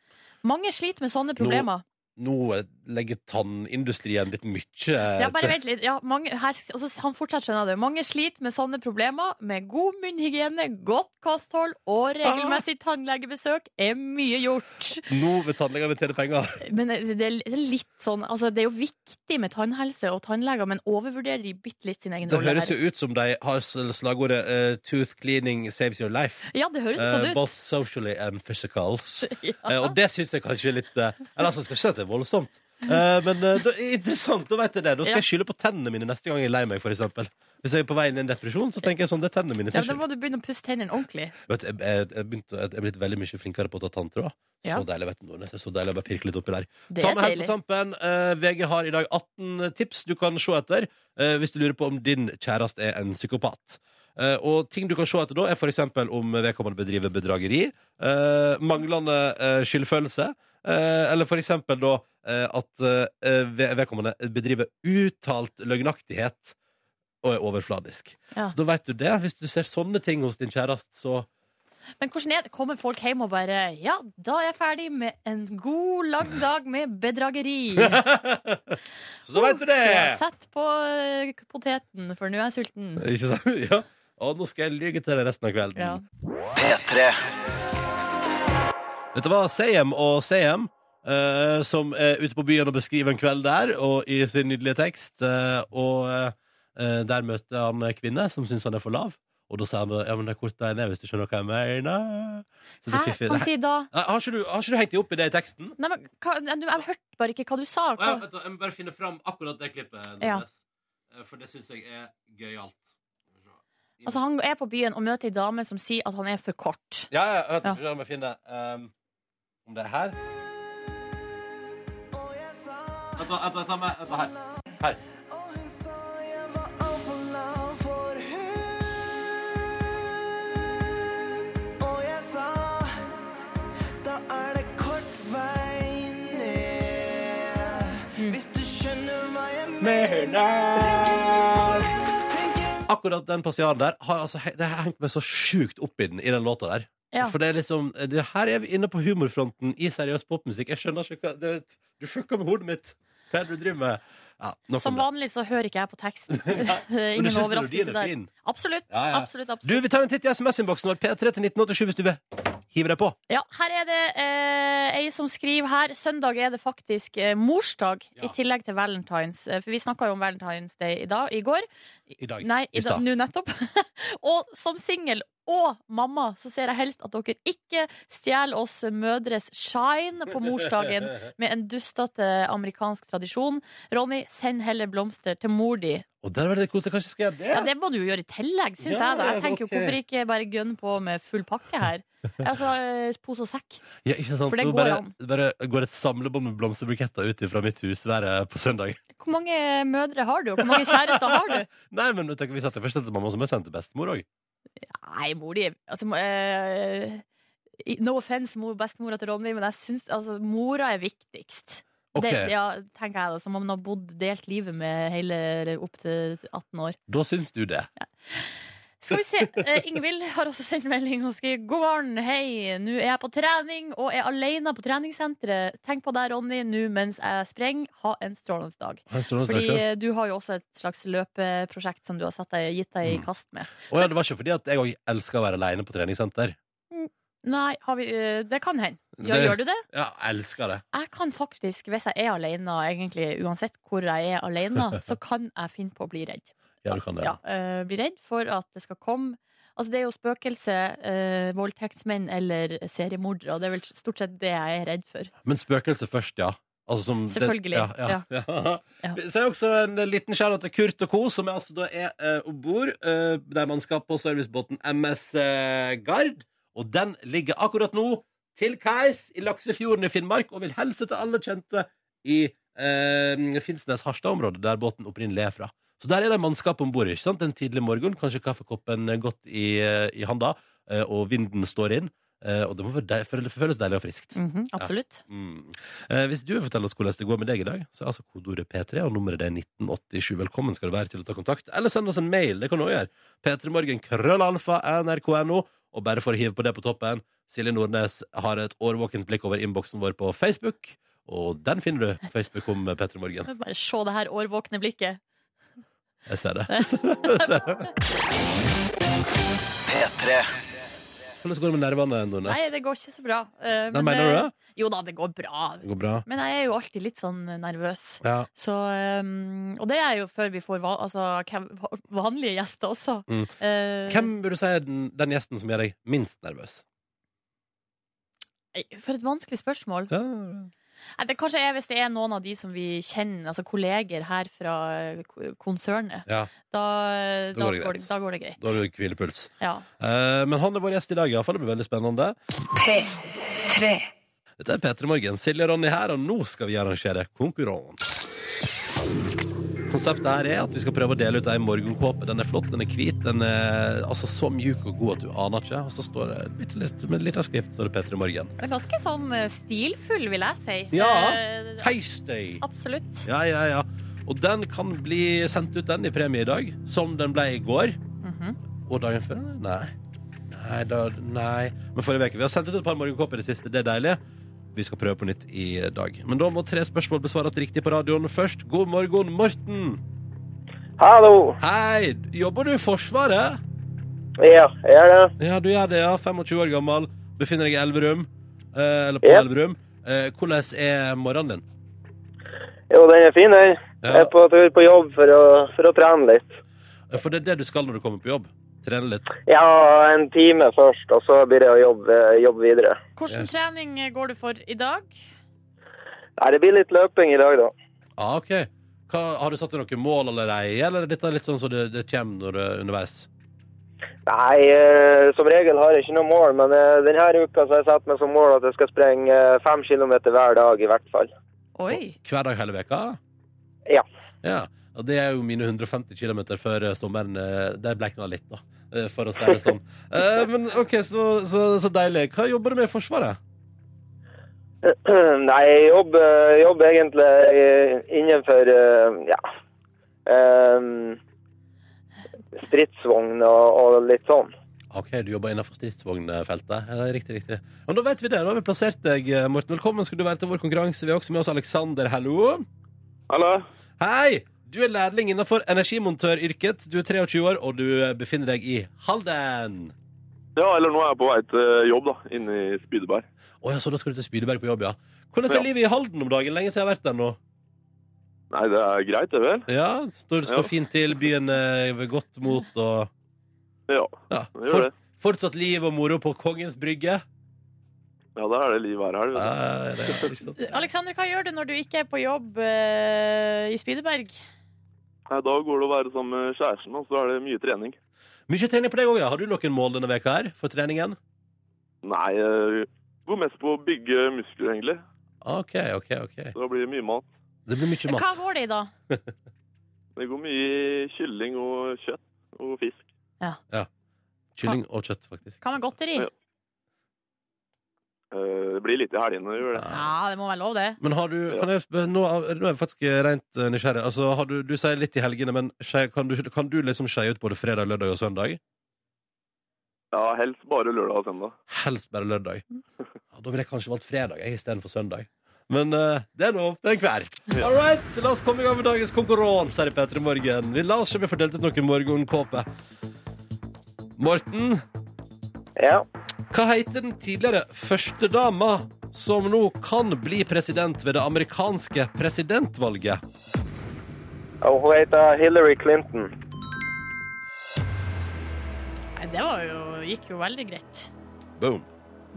Speaker 3: Mange sliter med sånne problemer.
Speaker 2: Nå eh, legger tannindustrien litt mye
Speaker 3: Ja, bare vent litt. Ja, mange, her, altså, han fortsatt skjønner det. Mange sliter med sånne problemer. Med god munnhygiene, godt kosthold og regelmessig
Speaker 2: Ah.
Speaker 3: tannlegebesøk er mye gjort.
Speaker 2: Nå vil tannlegene tjene penger.
Speaker 3: Men det er litt sånn altså, Det er jo viktig med tannhelse og tannleger, men overvurderer de bitte litt sin egen
Speaker 2: Det
Speaker 3: rolle
Speaker 2: høres
Speaker 3: her?
Speaker 2: jo ut som de har s- slagordet eh, 'Tooth cleaning saves your life'.
Speaker 3: Ja, det høres
Speaker 2: Eh,
Speaker 3: sånn ut.
Speaker 2: both socially and physicals.
Speaker 3: Ja.
Speaker 2: Eh, og det syns jeg kanskje er litt eh, Eller altså, jeg skal ikke si at det er voldsomt. Eh, men eh, da, interessant, da vet jeg det. Da skal
Speaker 3: Ja.
Speaker 2: jeg skylde på tennene mine neste gang jeg er lei meg, for eksempel. Hvis jeg er på vei inn i en depresjon, så tenker jeg sånn, det er tennene mine.
Speaker 3: Ja,
Speaker 2: sin
Speaker 3: da
Speaker 2: skyld.
Speaker 3: må du begynne å pusse tennene ordentlig.
Speaker 2: Vet du, jeg, jeg, jeg, begynte, jeg er blitt veldig mye flinkere på å ta tanntråd.
Speaker 3: Ja.
Speaker 2: Så deilig, vet du, Nordnes. Det er Så deilig å bare pirke litt oppi der.
Speaker 3: Det
Speaker 2: Ta
Speaker 3: er
Speaker 2: med helt på
Speaker 3: deilig.
Speaker 2: tampen. Eh, VG har i dag 18 tips du kan se etter eh, hvis du lurer på om din kjæreste er en psykopat. Eh, og ting du kan se etter da, er f.eks. om vedkommende bedriver bedrageri, eh, manglende eh, skyldfølelse, eh, eller f.eks. da eh, at eh, ve- vedkommende bedriver uttalt løgnaktighet og er overfladisk.
Speaker 3: Ja.
Speaker 2: Så da veit du det. Hvis du ser sånne ting hos din kjæreste, så
Speaker 3: Men hvordan er det? Kommer folk hjem og bare Ja, da er jeg ferdig med en god, lang dag med bedrageri.
Speaker 2: Så da veit du det!
Speaker 3: Ja, sett på eh, poteten, for nå er jeg sulten.
Speaker 2: Ikke sant? Ja. Og nå skal jeg lyge til deg resten av kvelden.
Speaker 3: Ja.
Speaker 2: Dette var Seyem og Seyem, eh, som er ute på byen og beskriver en kveld der, og i sin nydelige tekst. eh, og eh, der møter han en kvinne som syns han er for lav. Og da sier han ja, men det er kort der ned, hvis du skjønner hva jeg mener. Så det er
Speaker 3: Hæ?
Speaker 2: fiffig.
Speaker 3: Kan
Speaker 2: Nei,
Speaker 3: si da
Speaker 2: har, ikke du, har ikke du hengt deg opp i det i teksten?
Speaker 3: Nei, men hva, jeg, jeg hørte bare ikke hva du sa.
Speaker 2: Å ja,
Speaker 3: Hva?
Speaker 2: vent da, jeg må bare finne fram akkurat det klippet. Nordnes.
Speaker 3: Ja.
Speaker 2: Eh, For det syns jeg er gøyalt. Skal vi se.
Speaker 3: Altså, han er på byen og møter ei dame som sier at han er for kort.
Speaker 2: Ja, ja, vent,
Speaker 3: Ja.
Speaker 2: jeg skal se om jeg finner ehm, Om det er her Vent, da, vent, da, ta meg vent da, her. her
Speaker 5: Hvis du skjønner hva jeg
Speaker 2: Akkurat den passiaren der har, altså, he- Det har hengt meg så sjukt opp i den I den låta der
Speaker 3: Ja.
Speaker 2: For det er liksom det, Her er vi inne på humorfronten I seriøs popmusikk Jeg skjønner ikke hva det, Du fucker med hodet mitt Hva er det du driver med? Ja, nok om
Speaker 3: Som
Speaker 2: det.
Speaker 3: vanlig så hører ikke jeg på teksten.
Speaker 2: Men du
Speaker 3: Ingen
Speaker 2: synes melodien
Speaker 3: overraskelse
Speaker 2: er
Speaker 3: der.
Speaker 2: fin
Speaker 3: Absolutt.
Speaker 2: Ja, ja.
Speaker 3: absolutt,
Speaker 2: Du,
Speaker 3: absolutt.
Speaker 2: vi tar en titt i sms-inboksen vår P3 til 1987 hvis du vil Hiver deg på
Speaker 3: Ja, her er det eh, ei som skriver her Søndag er det faktisk eh, morsdag, i tillegg til valentines. Eh, For vi snakka jo om valentines day i, dag, i går.
Speaker 2: I dag
Speaker 3: Nei,
Speaker 2: i
Speaker 3: i da-
Speaker 2: stad.
Speaker 3: nå nettopp. og som singel og mamma, så ser jeg helst at dere ikke stjeler oss mødres shine på morsdagen med en dustete amerikansk tradisjon. Ronny, send heller blomster til mor di.
Speaker 2: Og der var det koselig. Kanskje skal jeg det?
Speaker 3: Ja, Det må du jo gjøre i tillegg, syns
Speaker 2: Ja,
Speaker 3: jeg. Da. Jeg tenker jo,
Speaker 2: ok.
Speaker 3: Hvorfor ikke bare gønne på med full pakke her? Altså eh, pose og sekk.
Speaker 2: Ja, ikke sant?
Speaker 3: For det
Speaker 2: Nå
Speaker 3: går
Speaker 2: bare,
Speaker 3: an.
Speaker 2: bare går et samlebånd med blomsterbuketter ut fra mitt husvære på søndag.
Speaker 3: Hvor mange eh, mødre har du, og hvor mange kjærester har du?
Speaker 2: Nei, men vet du hva, vi satte først etter mamma, så må jeg sende til bestemor òg.
Speaker 3: Nei, mor di altså, eh, No offense, mor, bestemora til Ronny, men jeg syns altså, mora er viktigst.
Speaker 2: Ok.
Speaker 3: Det, ja, tenker jeg da, Som om hun har bodd delt livet med hele eller opp til 18 år.
Speaker 2: Da syns du det.
Speaker 3: Skal vi se. Eh, Ingvild har også sendt melding og skriver God morgen, hei. Nå er jeg på trening og er alene på treningssenteret. Tenk på deg, Ronny, nå mens jeg sprenger. Ha en strålende dag.
Speaker 2: Han står og
Speaker 3: Fordi
Speaker 2: snakker.
Speaker 3: eh, du har jo også et slags løpeprosjekt som du har satt deg, gitt deg i
Speaker 2: Mm.
Speaker 3: kast med.
Speaker 2: Å ja, det var ikke fordi at jeg òg elsker å være aleine på treningssenter.
Speaker 3: Nei, har vi, eh, det kan hende. Gjør,
Speaker 2: Det-
Speaker 3: gjør du det?
Speaker 2: Ja, jeg elsker det.
Speaker 3: Jeg kan faktisk, hvis jeg er alene, egentlig, uansett hvor jeg er alene, så kan jeg finne på å bli redd.
Speaker 2: Ja, du kan det.
Speaker 3: ja, eh, blir redd for at det skal komme Altså Det er jo spøkelse, eh, voldtektsmenn eller seriemordere. og Det er vel stort sett det jeg er redd for.
Speaker 2: Men spøkelse først, ja. Altså som det-
Speaker 3: Selvfølgelig,
Speaker 2: ja, ja, ja.
Speaker 3: Ja.
Speaker 2: Så er det også en liten skjæra til Kurt og co., som er, altså da er uh, om bord eh, der man skal på servicebåten MS eh, Gard. Og den ligger akkurat nå til kais i Laksefjorden i Finnmark, og vil hilse til alle kjente i eh, Finnsnes-Harstad-området, der båten opprinnelig er fra. Så der er det mannskap om bord. ikke sant? En tidlig morgen, kanskje kaffekoppen godt i, eh, i handa, eh, og vinden står inn. eh, og det må være deil- føles deilig og friskt.
Speaker 3: Absolutt.
Speaker 2: Mm. Eh, hvis du vil fortelle oss hvordan det går med deg i dag, så er altså kodeordet P3, og nummeret det er 1987. Velkommen skal du være til å ta kontakt, eller send oss en mail. Det kan du også gjøre. P3morgen, krøllalfa, nrk.no. Og bare for å hive på det på toppen, Silje Nordnes har et årvåkent blikk over innboksen vår på Facebook, og den finner du. Facebook om P3morgen.
Speaker 3: Bare se det her årvåkne blikket.
Speaker 2: Jeg ser det. Jeg ser det. Hvordan går det med nervene, Nordnes?
Speaker 3: Nei, det går ikke så bra. eh,
Speaker 2: Nei,
Speaker 3: men
Speaker 2: mener du det?
Speaker 3: Jo da, det går bra.
Speaker 2: Det går bra.
Speaker 3: Men jeg er jo alltid litt sånn nervøs.
Speaker 2: Ja.
Speaker 3: Så, eh, og det er jo før vi får va altså, hvem- vanlige gjester også.
Speaker 2: Mm.
Speaker 3: Eh,
Speaker 2: Hvem burde du si er den, den gjesten som gjør deg minst nervøs?
Speaker 3: For et vanskelig spørsmål.
Speaker 2: Ja.
Speaker 3: Nei, det kanskje er hvis det er noen av de som vi kjenner, altså kolleger her fra eh, ko- konsernet.
Speaker 2: ja.
Speaker 3: Da, da, går, det
Speaker 2: greit.
Speaker 3: da går det greit.
Speaker 2: Da har du hvilepuls.
Speaker 3: Ja.
Speaker 2: Eh, men han er vår gjest i dag, iallfall. Det blir veldig spennende.
Speaker 1: P3.
Speaker 2: Dette er P3 Morgen. Silje og Ronny her, og nå skal vi arrangere konkurranse. Konseptet her er at vi skal prøve å dele ut ei morgenkåpe. Den er flott, den er hvit, den er altså så mjuk og god at du aner ikke. Og så står det bitte litt med lita skrift står det P3 Morgen.
Speaker 3: Det er ganske sånn eh, stilfull, vil jeg si.
Speaker 2: Ja.
Speaker 3: Eh,
Speaker 2: Tasty!
Speaker 3: absolutt.
Speaker 2: Ja, ja, ja. Og den kan bli sendt ut den i premie i dag, som den ble i går. Og dagen før? Nei. Nei, da, nei. Men forrige uke. Vi har sendt ut et par morgenkåper i det siste. Det er deilig. Vi skal prøve på nytt i dag. Men da må tre spørsmål besvares riktig på radioen først. God morgen, Morten.
Speaker 6: Hallo.
Speaker 2: Hei! Jobber du i Forsvaret?
Speaker 6: Ja, jeg er det.
Speaker 2: Ja, du gjør det, ja. 25 år gammel. Befinner deg i Elverum. Eh, eller på
Speaker 6: Ja.
Speaker 2: Elverum. Eh, hvordan er morgenen din?
Speaker 6: Jo, den er fin, den. Jeg
Speaker 2: Ja.
Speaker 6: er på tur på jobb for å, for å trene litt.
Speaker 2: Eh, For det er det du skal når du kommer på jobb. Trene litt.
Speaker 6: Ja, en time først, og så blir det å jobbe, jobbe videre.
Speaker 3: Hvilken trening eh, går du for i dag?
Speaker 6: Nei, det blir litt løping i dag, da.
Speaker 2: Ja, Ah, ok. Hva, har du satt deg noen mål allerede, eller er dette litt sånn som det, det kommer når det er underveis?
Speaker 6: Nei, eh, som regel har jeg ikke noe mål, men eh, denne uka så har jeg satt meg som mål at jeg skal sprenge eh, fem kilometer hver dag, i hvert fall.
Speaker 3: Oi.
Speaker 2: Hver dag hele veka?
Speaker 6: Ja.
Speaker 2: Ja, og det er jo mine 150 km før eh, sommeren. eh, Det blekna litt, da, eh, for å si det sånn. Eh, Men OK, så, så, så deilig. Hva jobber du med i Forsvaret?
Speaker 6: Nei, jeg jobber, jobber egentlig eh, innenfor, eh, ja, eh, stridsvogn og, og litt sånn.
Speaker 2: OK, du jobber innenfor stridsvognfeltet. Ja, det er Riktig, riktig. Men da vet vi det. Da har vi plassert deg, eh, Morten. Velkommen skal du være til vår konkurranse. Vi har også med oss Aleksander. Hallo.
Speaker 7: Hallo.
Speaker 2: Hei! Du er lærling innenfor energimontøryrket. Du er 23 år, og du eh, befinner deg i Halden.
Speaker 7: Ja, eller nå er jeg på vei til eh, jobb, da. Inne i Spydeberg.
Speaker 2: Å ja, så da skal du til Spydeberg på jobb, ja. Hvordan er
Speaker 7: Ja.
Speaker 2: livet i Halden om dagen? Lenge siden jeg har vært der nå.
Speaker 7: Nei, det er greit, det vel?
Speaker 2: Ja, står, står
Speaker 7: Ja.
Speaker 2: fint til, byen eh, ved godt mot og
Speaker 7: Ja.
Speaker 2: ja.
Speaker 7: Det gjør
Speaker 2: For,
Speaker 7: det.
Speaker 2: Fortsatt liv og moro på Kongens Brygge.
Speaker 7: Ja, der er det liv hver helg.
Speaker 2: Ja,
Speaker 7: vet
Speaker 2: det er ikke sant.
Speaker 3: Aleksander, eh, hva gjør du når du ikke er på jobb eh, i Spydeberg?
Speaker 7: du. Nei, Da går det å være sammen med kjæresten, og så er det mye trening.
Speaker 2: Mye trening på deg òg, ja. Har du noen mål denne veka her for treningen?
Speaker 7: Nei, eh, går mest på å bygge muskler, egentlig.
Speaker 2: OK, OK. ok
Speaker 7: Da blir det mye mat.
Speaker 2: Det blir mye
Speaker 3: Hva
Speaker 2: mat.
Speaker 3: går det i da?
Speaker 7: Det går mye i kylling og kjøtt og fisk.
Speaker 2: Kylling og kjøtt, faktisk.
Speaker 3: Hva med godteri?
Speaker 7: Ja. Eh, Det blir litt i helgene, gjør det.
Speaker 3: Ja, det må være lov, det.
Speaker 2: Men har du kan jeg, sp- nå, er- nå er jeg faktisk rent eh, nysgjerrig. Altså, har du, du sier litt i helgene, men skje, kan, du, kan du liksom skeie ut både fredag, lørdag og søndag?
Speaker 7: Ja, helst bare lørdag og søndag.
Speaker 2: Helst bare lørdag. Ja, da ville jeg kanskje valgt fredag jeg, istedenfor søndag. Men eh, det er nå opp til enhver. All right, så la oss komme i gang med dagens konkurranse her i P3 Morgen. Vi la oss se om vi får delt ut noen morgenkåper. Morten,
Speaker 6: Ja.
Speaker 2: hva heter den tidligere førstedama som nå kan bli president ved det amerikanske presidentvalget?
Speaker 6: Og hun heter Hillary Clinton.
Speaker 3: Nei, det var jo, gikk jo veldig greit.
Speaker 2: Boom.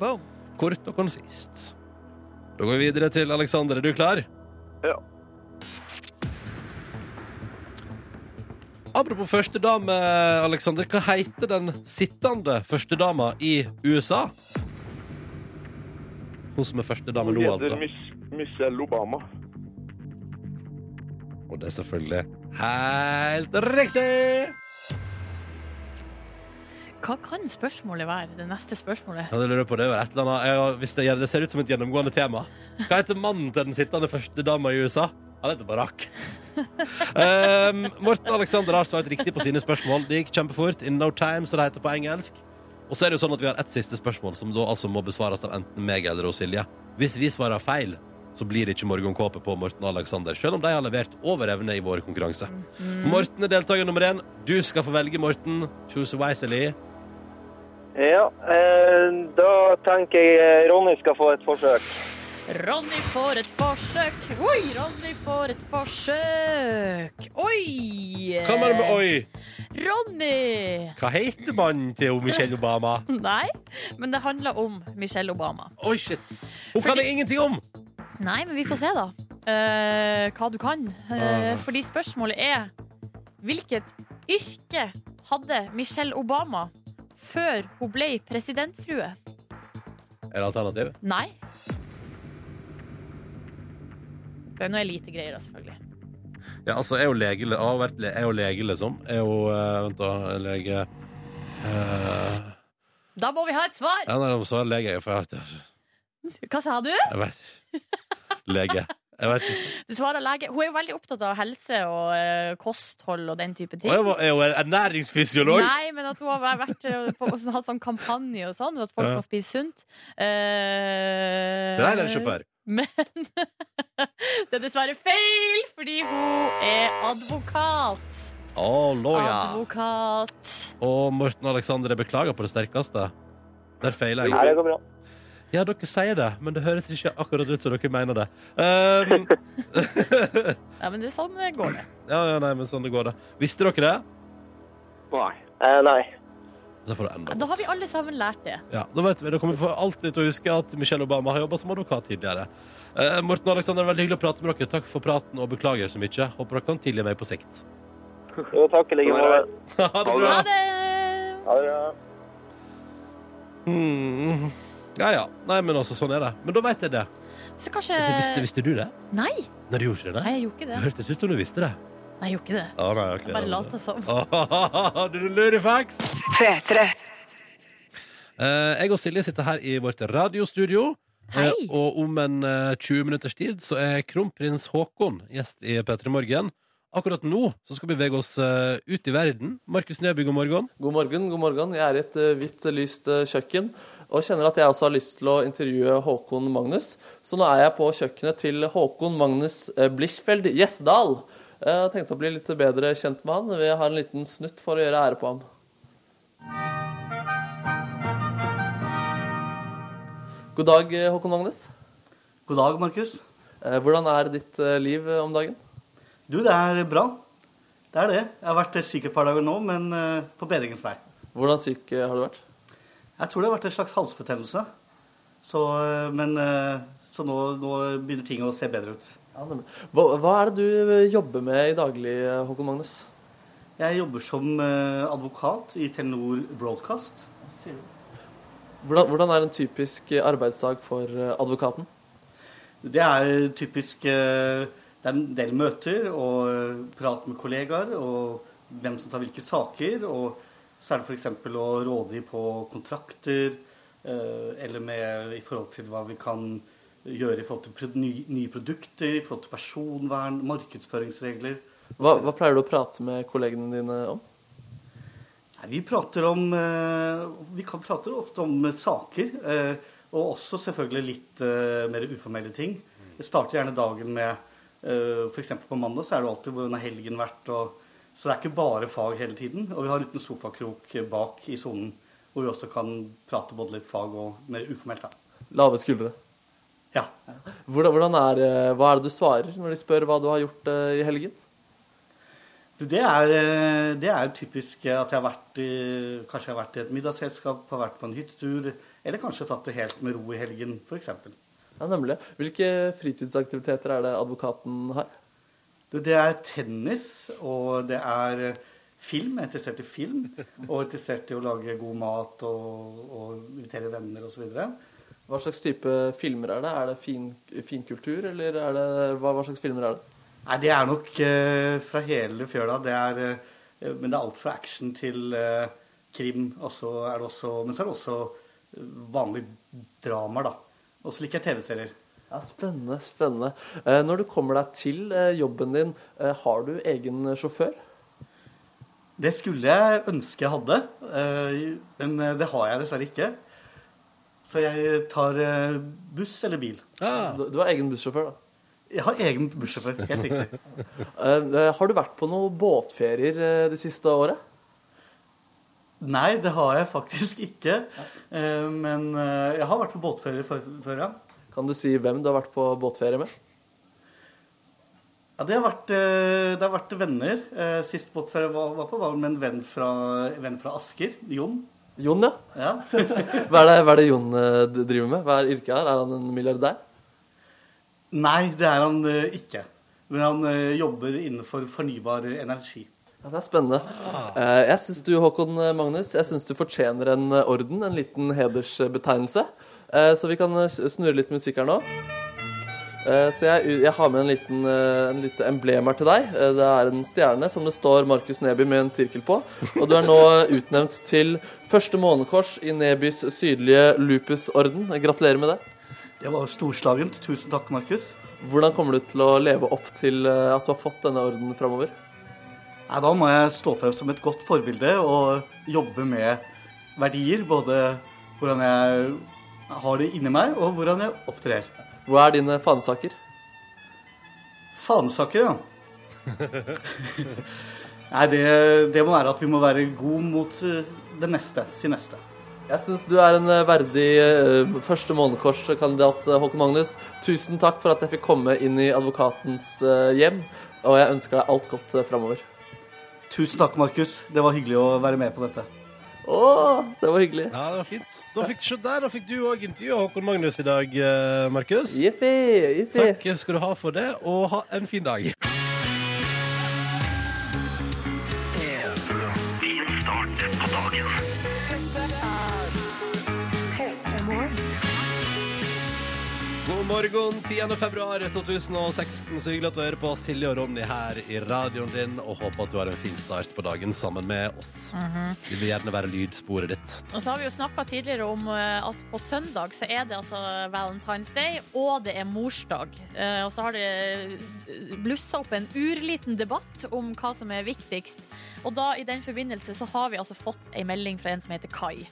Speaker 3: Boom.
Speaker 2: Kort og konsist. Da går vi videre til Aleksander. Er du klar?
Speaker 7: Ja.
Speaker 2: Apropos førstedame, Aleksander. Hva heter den sittende førstedama i USA? Hun som er førstedame
Speaker 7: Hun
Speaker 2: nå,
Speaker 7: heter
Speaker 2: altså.
Speaker 7: Mich- Michelle Obama.
Speaker 2: Og det er selvfølgelig helt riktig!
Speaker 3: Hva kan spørsmålet være? Det neste spørsmålet.
Speaker 2: Ja, det lurer jeg på. Det var et eller annet. Jeg, har- hvis det, gjør- det ser ut som et gjennomgående tema. Hva heter mannen til den sittende førstedama i USA? Han heter Barack. um, Morten Alexander har svart riktig på sine spørsmål. Det gikk kjempefort. In no time, så det heter på engelsk. Og så er det jo sånn at vi har ett siste spørsmål, som da altså må besvares av enten meg eller av Silje. Hvis vi svarer feil, så blir det ikke morgenkåpe på Morten og Alexander, selv om de har levert over evne i vår konkurranse. Morten er deltaker nummer én. Du skal få velge, Morten. Choose wisely.
Speaker 6: Ja, eh, da tenker jeg eh, Ronny skal få et forsøk.
Speaker 3: Ronny får et forsøk. Oi, Ronny får et forsøk. Oi!
Speaker 2: Hva mener du med oi?
Speaker 3: Ronny!
Speaker 2: Hva heter mannen til Michelle Obama?
Speaker 3: Nei, men det handler om Michelle Obama.
Speaker 2: Oi, shit. Hun kan jeg ingenting om!
Speaker 3: Nei, men vi får se, da. eh, hva du kan. Eh,
Speaker 2: Ah.
Speaker 3: Fordi spørsmålet er hvilket yrke hadde Michelle Obama før hun ble presidentfrue?
Speaker 2: Er det alternativ?
Speaker 3: Nei. Det er noe elitegreier, da, selvfølgelig.
Speaker 2: Ja, altså, jeg er jo lege, jeg har vært le jeg er jo lege liksom. Jeg er jo eh, Vent, da. jeg er Lege eh,
Speaker 3: Da må vi ha et svar!
Speaker 2: Ja, nei, nå sa jeg lege, jeg, for jeg,
Speaker 3: Hva sa du?
Speaker 2: jeg vet Lege. Jeg vet ikke.
Speaker 3: Du svarer lege. Hun er jo veldig opptatt av helse og eh, kosthold og den type ting.
Speaker 2: Og jeg var- jeg er jo ernæringsfysiolog!
Speaker 3: Nei, men at hun har vært eh, på, og hatt sånn kampanje og sånn, at folk
Speaker 2: Ja.
Speaker 3: må spise sunt. Eh,
Speaker 2: Så der er det en sjåfør.
Speaker 3: Men det er dessverre feil, fordi hun er advokat.
Speaker 2: Å, loja.
Speaker 3: Advokat.
Speaker 2: Og Morten og Aleksander, jeg beklager på det sterkeste. Der feiler
Speaker 6: Nei,
Speaker 2: jeg.
Speaker 6: det går bra.
Speaker 2: Ja, dere sier det, men det høres ikke akkurat ut som dere mener det. Um,
Speaker 3: Ja, men det er sånn det går det.
Speaker 2: Ja, ja, nei, men sånn det går, da. Visste dere det?
Speaker 7: Nei.
Speaker 6: Eh, nei.
Speaker 2: Da får du enda
Speaker 3: Da har vi alle sammen lært det.
Speaker 2: Ja, da vet vi. Da kommer vi for alltid til å huske at Michelle Obama har jobba som advokat tidligere. Eh, Morten og Alexander, veldig hyggelig å prate med dere. Takk for praten, og beklager så mye. Håper dere kan tilgi meg på sikt.
Speaker 6: Jo, takk i like måte.
Speaker 2: ha det bra!
Speaker 3: Ha det!
Speaker 6: Ha det bra.
Speaker 2: Mm. Ja, ja. Nei, men altså, sånn er det. Men da vet jeg det.
Speaker 3: Så kanskje
Speaker 2: Visste, visste du det?
Speaker 3: Eh, Nei,
Speaker 2: Nei, du gjorde ikke
Speaker 3: nei,
Speaker 2: det?
Speaker 3: jeg gjorde ikke
Speaker 2: Det
Speaker 3: det.
Speaker 2: hørtes ut som du visste det.
Speaker 3: Nei, jeg gjorde ikke det.
Speaker 2: Ja, nei, ok.
Speaker 3: Jeg bare lata som.
Speaker 2: Åh, Du lurefaks!
Speaker 1: P3.
Speaker 2: Eh, jeg og Silje sitter her i vårt radiostudio.
Speaker 3: Hei.
Speaker 2: Eh, og om en eh, 20 minutters tid så er kronprins Haakon gjest i P3 Morgen. Akkurat nå så skal vi bevege oss eh, ut i verden. Markus Neby, god morgen.
Speaker 4: God morgen, god morgen. Jeg er i et eh, hvitt, lyst eh, kjøkken. Og kjenner at jeg også har lyst til å intervjue Håkon Magnus. Så nå er jeg på kjøkkenet til Håkon Magnus eh, Blichfeld Gjesdal. Eh, Jeg tenkte å bli litt bedre kjent med han. Vi har en liten snutt for å gjøre ære på ham. God dag, eh, Håkon Magnus.
Speaker 8: God dag, Markus.
Speaker 4: Eh, Hvordan er ditt eh, liv eh, om dagen?
Speaker 8: Du, det er bra. Det er det. Jeg har vært syk et par dager nå, men eh, på bedringens vei.
Speaker 4: Hvordan syk eh, har du vært?
Speaker 8: Jeg tror det har vært en slags halsbetennelse. Så, eh, men, eh, så nå, nå begynner ting å se bedre ut.
Speaker 4: Ja, nemlig. hva, hva er det du eh, jobber med i daglig, eh, Håkon Magnus?
Speaker 8: Jeg jobber som eh, advokat i Telenor Broadcast.
Speaker 4: Hvordan, hvordan er en typisk arbeidsdag for eh, advokaten?
Speaker 8: Det er typisk eh, Det er en del møter og eh, prat med kollegaer og hvem som tar hvilke saker. Og så er det f.eks. å rådgi på kontrakter eh, eller med, i forhold til hva vi kan gjøre i forhold til pro- ny- nye produkter, i forhold til personvern, markedsføringsregler.
Speaker 4: Hva, hva pleier du å prate med kollegene dine om?
Speaker 8: Nei, Vi prater om eh, Vi kan prate ofte om eh, saker, eh, og også selvfølgelig litt eh, mer uformelle ting. Jeg starter gjerne dagen med F.eks. på mandag så er det jo alltid hvordan har helgen vært, og så det er ikke bare fag hele tiden. Og vi har en liten sofakrok eh, bak i sonen hvor vi også kan prate både litt fag og mer uformelt. da.
Speaker 4: Lave skuldre.
Speaker 8: Ja.
Speaker 4: Hvordan, hvordan er, eh, hva er det du svarer når de spør hva du har gjort eh, i helgen?
Speaker 8: Du, Det er, eh, det er jo typisk eh, at jeg har vært i, kanskje jeg har vært i et middagsselskap, har vært på en hyttetur, eller kanskje tatt det helt med ro i helgen, f.eks.
Speaker 4: Ja, nemlig. Hvilke fritidsaktiviteter er det advokaten har?
Speaker 8: Du, det er tennis, og det er eh, film. Jeg er interessert i film. Og interessert i å lage god mat og, og invitere venner osv.
Speaker 4: Hva slags type filmer er det? Er det fin, finkultur, eller er det, hva, hva slags filmer er det?
Speaker 8: Nei, det er nok eh, fra hele fjøla. Det er, eh, men det er alt fra action til eh, krim. og så er det også, men så er det også eh, vanlige dramaer, da. Og så liker jeg TV-serier.
Speaker 4: Ja, Spennende, spennende. Eh, Når du kommer deg til eh, jobben din, eh, har du egen sjåfør?
Speaker 8: Det skulle jeg ønske jeg hadde, eh, men eh, det har jeg dessverre ikke. Så jeg tar eh, buss eller bil.
Speaker 2: Ah,
Speaker 4: Du, du har egen bussjåfør, da.
Speaker 8: Jeg har egen bussjåfør, helt riktig.
Speaker 4: Eh, eh, Har du vært på noen båtferier eh, det siste året?
Speaker 8: Nei, det har jeg faktisk ikke. Eh, Men eh, jeg har vært på båtfører før, før, ja.
Speaker 4: Kan du si hvem du har vært på båtferie med?
Speaker 8: ja det, har vært, eh, det har vært venner. Eh, Sist båtfører jeg var, var på, var med en venn fra, en venn fra Asker. Jon.
Speaker 4: Jon, ja.
Speaker 8: Ja.
Speaker 4: Hva er det, hva er det Jon eh, d- driver med? Hva er yrket her? Er han en milliardær?
Speaker 8: Nei, det er han eh, ikke. Men han eh, jobber innenfor fornybar energi.
Speaker 4: Ja, det er spennende. Eh, Jeg syns du, Håkon eh, Magnus, jeg synes du fortjener en eh, orden, en liten hedersbetegnelse. Eh, Så vi kan eh, s- snurre litt musikk her nå. Eh, Så jeg, jeg har med en liten, eh, en lite emblem her til deg. Eh, Det er en stjerne som det står Markus Neby med en sirkel på. Og du er nå utnevnt til første månekors i Nebys sydlige lupusorden. Eh, Gratulerer med det.
Speaker 8: Det var storslagent. Tusen takk, Markus.
Speaker 4: Hvordan kommer du til å leve opp til eh, at du har fått denne ordenen framover?
Speaker 8: Nei, da må jeg stå frem som et godt forbilde og jobbe med verdier. Både hvordan jeg har det inni meg, og hvordan jeg opptrer.
Speaker 4: Hva er dine fanesaker?
Speaker 8: Fanesaker, ja. Nei, det, det må være at vi må være god mot eh, det neste. Si neste.
Speaker 4: Jeg syns du er en eh, verdig eh, første månekorskandidat, eh, Håkon Magnus. Tusen takk for at jeg fikk komme inn i advokatens eh, hjem, og jeg ønsker deg alt godt eh, framover.
Speaker 8: Tusen takk, Markus. Det var hyggelig å være med på dette.
Speaker 4: Å, det var hyggelig.
Speaker 2: ja, det var fint. Da fikk, se der, da fikk du òg intervjue Håkon Magnus i dag, eh, Markus.
Speaker 4: Jippi, jippi.
Speaker 2: Takk skal du ha for det, og ha en fin dag. God morgen, 10. februar 2016. Så hyggelig at du hører på Silje og Ronny her i radioen din, og håper at du har en fin start på dagen sammen med oss. Vi vil gjerne være lydsporet ditt.
Speaker 3: Og så har vi jo snakka tidligere om eh, at på søndag så er det altså Valentine's Day, og det er morsdag. Eh, Og så har det blussa opp en urliten debatt om hva som er viktigst. Og da i den forbindelse så har vi altså fått ei melding fra en som heter Kai.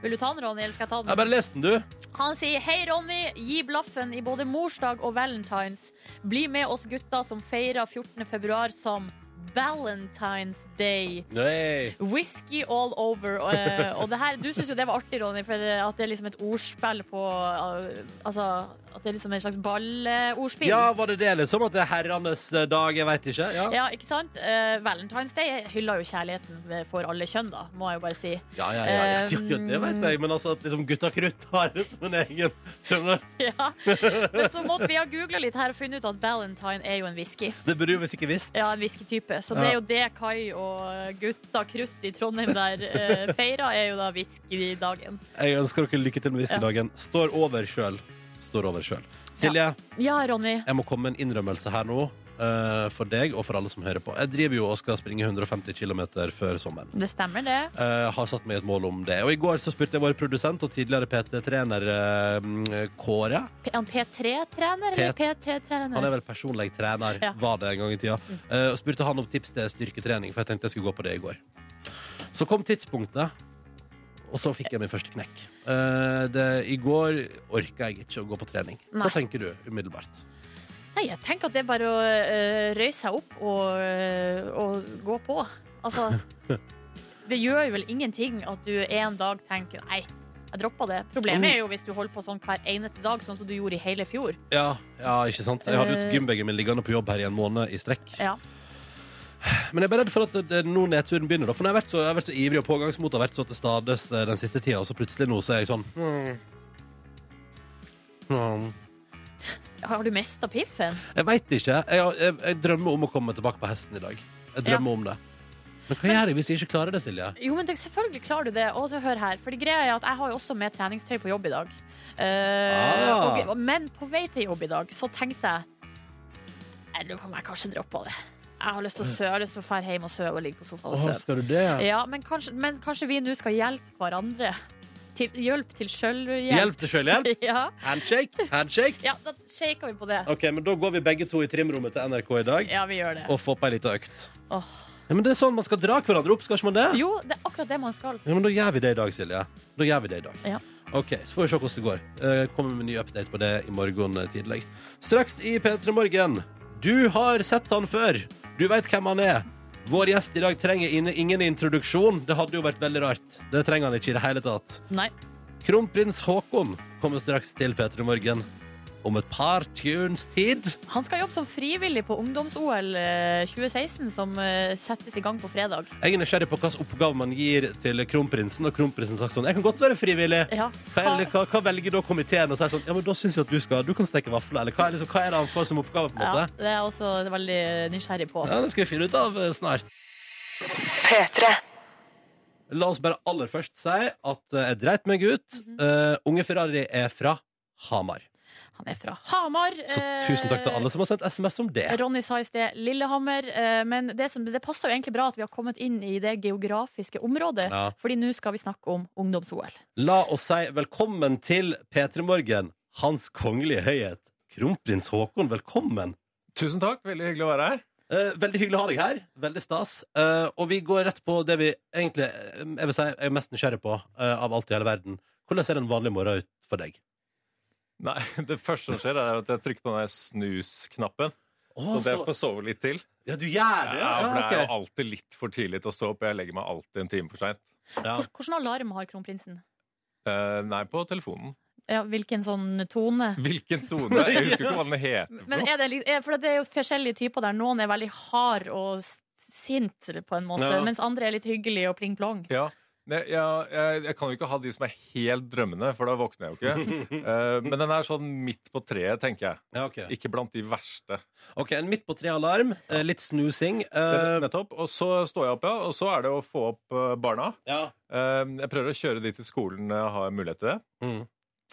Speaker 3: Vil du ta den, Ronny, eller skal jeg ta den?
Speaker 2: Jeg bare les den, du.
Speaker 3: Han sier Hei Ronny, gi blaffen i både morsdag og valentines Bli med oss gutta som feirer 14. februar som Valentine's Day
Speaker 2: Nei.
Speaker 3: Whisky all over Og, eh, og det her, du synes jo det var artig Ronny For at det er liksom et ordspill på eh, Altså At det er liksom en slags ballordspill.
Speaker 2: Ja, var det det, liksom? At det er herrenes dag? Jeg veit ikke. Ja.
Speaker 3: Ja, ikke sant? Eh, Valentine's Day hyller jo kjærligheten for alle kjønn, da, må jeg jo bare si.
Speaker 2: Ja, ja, ja, ja, ja, ja, det vet jeg, men altså at liksom gutta krutt har det som en egen Skjønner du?
Speaker 3: Ja. Men så måtte vi ha googla litt her og funnet ut at Valentine er jo en whisky.
Speaker 2: Det burde du visst ikke visst.
Speaker 3: Ja, en whiskytype. Så det er jo det Kai og gutta krutt i Trondheim der eh, feirer, er jo da whiskydagen.
Speaker 2: Jeg ønsker dere lykke til med whiskydagen. Står over sjøl. Står over sjøl. Silje,
Speaker 3: Ja, Ronny.
Speaker 2: jeg må komme med en innrømmelse her nå. eh, for deg og for alle som hører på. Jeg driver jo og skal springe 150 km før sommeren.
Speaker 3: Det stemmer, det.
Speaker 2: Eh, har satt meg et mål om det. Og i går så spurte jeg vår produsent og tidligere PT-trener eh, Kåre.
Speaker 3: P- Han P3-trener eller
Speaker 2: P- Han er
Speaker 3: PT-trener?
Speaker 2: vel personlig trener,
Speaker 3: Ja.
Speaker 2: var det en gang i tida. Eh, og spurte han om tips til styrketrening, for jeg tenkte jeg skulle gå på det i går. Så kom tidspunktet, og så fikk jeg min første knekk. Eh, det, I går orka jeg ikke å gå på trening.
Speaker 3: Nei.
Speaker 2: Hva tenker du umiddelbart?
Speaker 3: Nei, jeg tenker at det er bare å eh, røyse seg opp og, eh, og gå på. Altså, det gjør jo vel ingenting at du en dag tenker nei, jeg droppa det. Problemet er jo hvis du holder på sånn hver eneste dag, sånn som du gjorde i hele fjor.
Speaker 2: Ja, ja ikke sant? Jeg hadde jo
Speaker 3: Eh.
Speaker 2: gymbagen min liggende på jobb her i en måned i strekk.
Speaker 3: Ja.
Speaker 2: Men jeg er bare redd for at det- det, nå nedturen begynner. Da. For når jeg har, vært så, jeg har vært så ivrig og pågangsmot og vært så til stades eh, den siste tida, og så plutselig nå så er jeg sånn hmm. Hmm.
Speaker 3: Har du mista piffen?
Speaker 2: Jeg veit ikke. Jeg, jeg, jeg drømmer om å komme tilbake på hesten i dag. Jeg drømmer om det. Men hva gjør jeg hvis jeg ikke klarer det, Silje?
Speaker 3: Jo, men det, selvfølgelig klarer du det. Og så hør her, for greia er at jeg har jo også med treningstøy på jobb i dag. Eh,
Speaker 2: Ah.
Speaker 3: og- men på vei til jobb i dag så tenkte jeg Jeg lurer på om jeg kanskje droppa det. Jeg har lyst til å sø, jeg har lyst til å dra hjem og søve og ligge på sofaen og
Speaker 2: Åh,
Speaker 3: søve.
Speaker 2: skal du det?
Speaker 3: Ja, men kanskje, men kanskje vi nå skal hjelpe hverandre. Til, hjelp til sjølhjelp.
Speaker 2: Hjelp til sjølhjelp?
Speaker 3: Ja.
Speaker 2: Handshake? Handshake?
Speaker 3: ja, da shaker vi på det.
Speaker 2: OK, men da går vi begge to i trimrommet til NRK i dag
Speaker 3: Ja, vi gjør det.
Speaker 2: og får på ei lita økt.
Speaker 3: Åh.
Speaker 2: Ja, men det er sånn man skal dra hverandre opp, skal ikke man det?
Speaker 3: Jo, det er akkurat det man skal.
Speaker 2: Ja, men da gjør vi det i dag, Silje. Da gjør vi det i dag.
Speaker 3: Ja.
Speaker 2: OK, så får vi se hvordan det går. Eh, Kommer med en ny update på det i morgen eh, tidlig. Straks i P3 Morgen. Du har sett han før. Du veit hvem han er. Vår gjest i dag trenger inn- ingen introduksjon. Det hadde jo vært veldig rart. Det trenger han ikke i det hele tatt.
Speaker 3: Nei.
Speaker 2: Kronprins Haakon kommer straks til P3 Morgen om et par tunes tid.
Speaker 3: Han skal jobbe som frivillig på ungdoms-OL eh, 2016, som eh, settes i gang på fredag.
Speaker 2: Jeg er nysgjerrig på hvilken oppgave man gir til kronprinsen. Og kronprinsen har sagt sånn Jeg kan godt være frivillig.
Speaker 3: Ja.
Speaker 2: Hva, eller, hva, hva velger da komiteen å si sånn Ja, men da syns jeg at du skal Du kan steke vafler. Eller hva, er liksom, hva er det han får som oppgave, på en
Speaker 3: Ja,
Speaker 2: måte?
Speaker 3: det er jeg også veldig nysgjerrig på.
Speaker 2: Ja, det skal vi finne ut av eh, snart.
Speaker 1: P3.
Speaker 2: La oss bare aller først si at eh, jeg dreit meg ut. Eh, unge Ferrari er fra Hamar.
Speaker 3: Han er fra Hamar.
Speaker 2: Så tusen takk til alle som har sendt SMS om det.
Speaker 3: Eh, Ronny sa i sted Lillehammer, eh, men det, som, det passer jo egentlig bra at vi har kommet inn i det geografiske området,
Speaker 2: Ja.
Speaker 3: fordi nå skal vi snakke om ungdoms-OL.
Speaker 2: La oss si velkommen til P3 Morgen, Hans Kongelige Høyhet, kronprins Haakon. Velkommen.
Speaker 9: Tusen takk, veldig hyggelig å være her.
Speaker 2: Eh, veldig hyggelig å ha deg her. Veldig stas. Eh, og vi går rett på det vi egentlig eh, jeg vil si, jeg er mest nysgjerrig på eh, av alt i hele verden. Hvordan ser en vanlig morgen ut for deg?
Speaker 9: Nei, Det første som skjer, er at jeg trykker på den der snus-knappen.
Speaker 2: Oh,
Speaker 9: Så jeg får sove litt til.
Speaker 2: Ja, du gjør det?
Speaker 9: Ja, for det er
Speaker 2: ok.
Speaker 9: jo alltid litt for tidlig til å stå opp. Jeg legger meg alltid en time for seint.
Speaker 2: ja.
Speaker 3: Hvor- Hvordan alarm har kronprinsen?
Speaker 9: Eh, nei, på telefonen.
Speaker 3: Ja, hvilken sånn tone?
Speaker 9: Hvilken tone? Jeg husker ikke hva den heter. for
Speaker 3: Men
Speaker 9: noe.
Speaker 3: er det, litt- eh, for det er jo forskjellige typer der. Noen er veldig hard og s- sint, på en måte,
Speaker 2: Ja.
Speaker 3: mens andre er litt hyggelige og pling-plong.
Speaker 9: Ja, ne, ja jeg, jeg kan jo ikke ha de som er helt drømmende, for da våkner jeg jo ikke. Eh, men den er sånn midt på treet, tenker jeg.
Speaker 2: Ja, ok.
Speaker 9: Ikke blant de verste.
Speaker 2: ok, en midt på tre-alarm. eh, litt snusing. eh,
Speaker 9: Nettopp. Og så står jeg opp, ja. Og så er det å få opp eh, barna.
Speaker 2: ja.
Speaker 9: Eh, Jeg prøver å kjøre de til skolen når jeg har mulighet til det.
Speaker 2: Mm.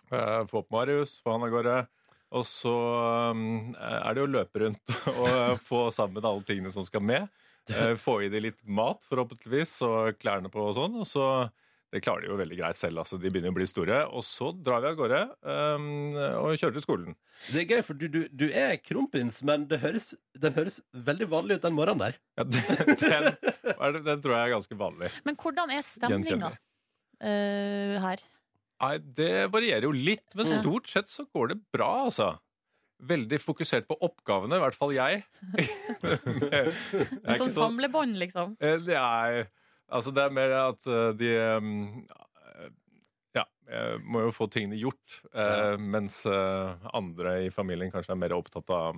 Speaker 9: Eh, Få opp Marius, få han av gårde. Og så um, er det jo å løpe rundt og eh, få sammen alle tingene som skal med. Eh, Få i de litt mat, forhåpentligvis, og klærne på og sånn. Og så Det klarer de jo veldig greit selv, altså. De begynner å bli store. Og så drar vi av gårde um, og kjører til skolen.
Speaker 2: Det er gøy, for du, du, du er kronprins, men det høres, den høres veldig vanlig ut den morgenen der.
Speaker 9: Ja, den, den, er det- den tror jeg er ganske vanlig.
Speaker 3: Men hvordan er stemninga
Speaker 9: Gjenkjennelig.
Speaker 3: eh, her?
Speaker 9: Nei, det varierer jo litt, men stort sett så går det bra, altså. Veldig fokusert på oppgavene, i hvert fall jeg. Det er
Speaker 3: En
Speaker 9: ikke
Speaker 3: sånn
Speaker 9: sånn-
Speaker 3: samlebånd, liksom?
Speaker 9: Eh, Det er, altså det er mer at eh, de eh, Ja, jeg må jo få tingene gjort, eh, mens eh, andre i familien kanskje er mer opptatt av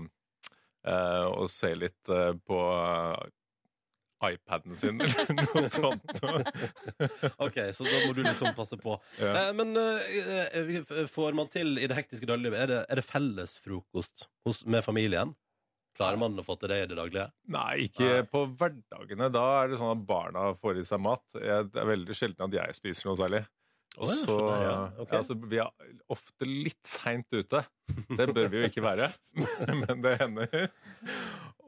Speaker 9: eh, å se litt eh, på eh, iPaden sin eller noe sånt.
Speaker 2: Ok, så da må du liksom passe på.
Speaker 9: Ja.
Speaker 2: Eh, men eh, eh, vi f- får man til i det hektiske dagliglivet? Er det, er det felles frokost hos, med familien? Klarer man å få til det i det daglige?
Speaker 9: Nei, ikke på hverdagene. Da er det sånn at barna får i seg mat. Jeg, det er veldig sjelden at jeg spiser noe særlig. Og
Speaker 2: Å, ja,
Speaker 9: så,
Speaker 2: sånn,
Speaker 9: ja,
Speaker 2: ja. Ok.
Speaker 9: altså, Vi er ofte litt seint ute. Det bør vi jo ikke være, men det hender.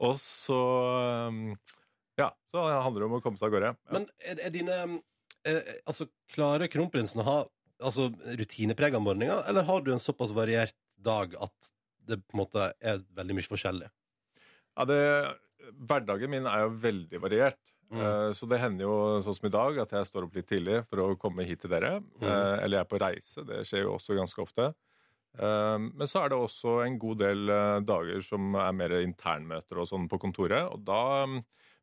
Speaker 9: Og så um, Ja, så handler det om å komme seg av gårde.
Speaker 2: Men er, er dine eh, Altså, klarer kronprinsen å ha altså, rutinepreg av morgenen, eller har du en såpass variert dag at det på en måte er veldig mye forskjellig?
Speaker 9: Ja, det, hverdagen min er jo veldig variert.
Speaker 2: Mm.
Speaker 9: Eh, Så det hender jo sånn som i dag at jeg står opp litt tidlig for å komme hit til dere. Eh, Eller jeg er på reise. Det skjer jo også ganske ofte. Eh, Men så er det også en god del eh, dager som er mer internmøter og sånn på kontoret. Og da mm,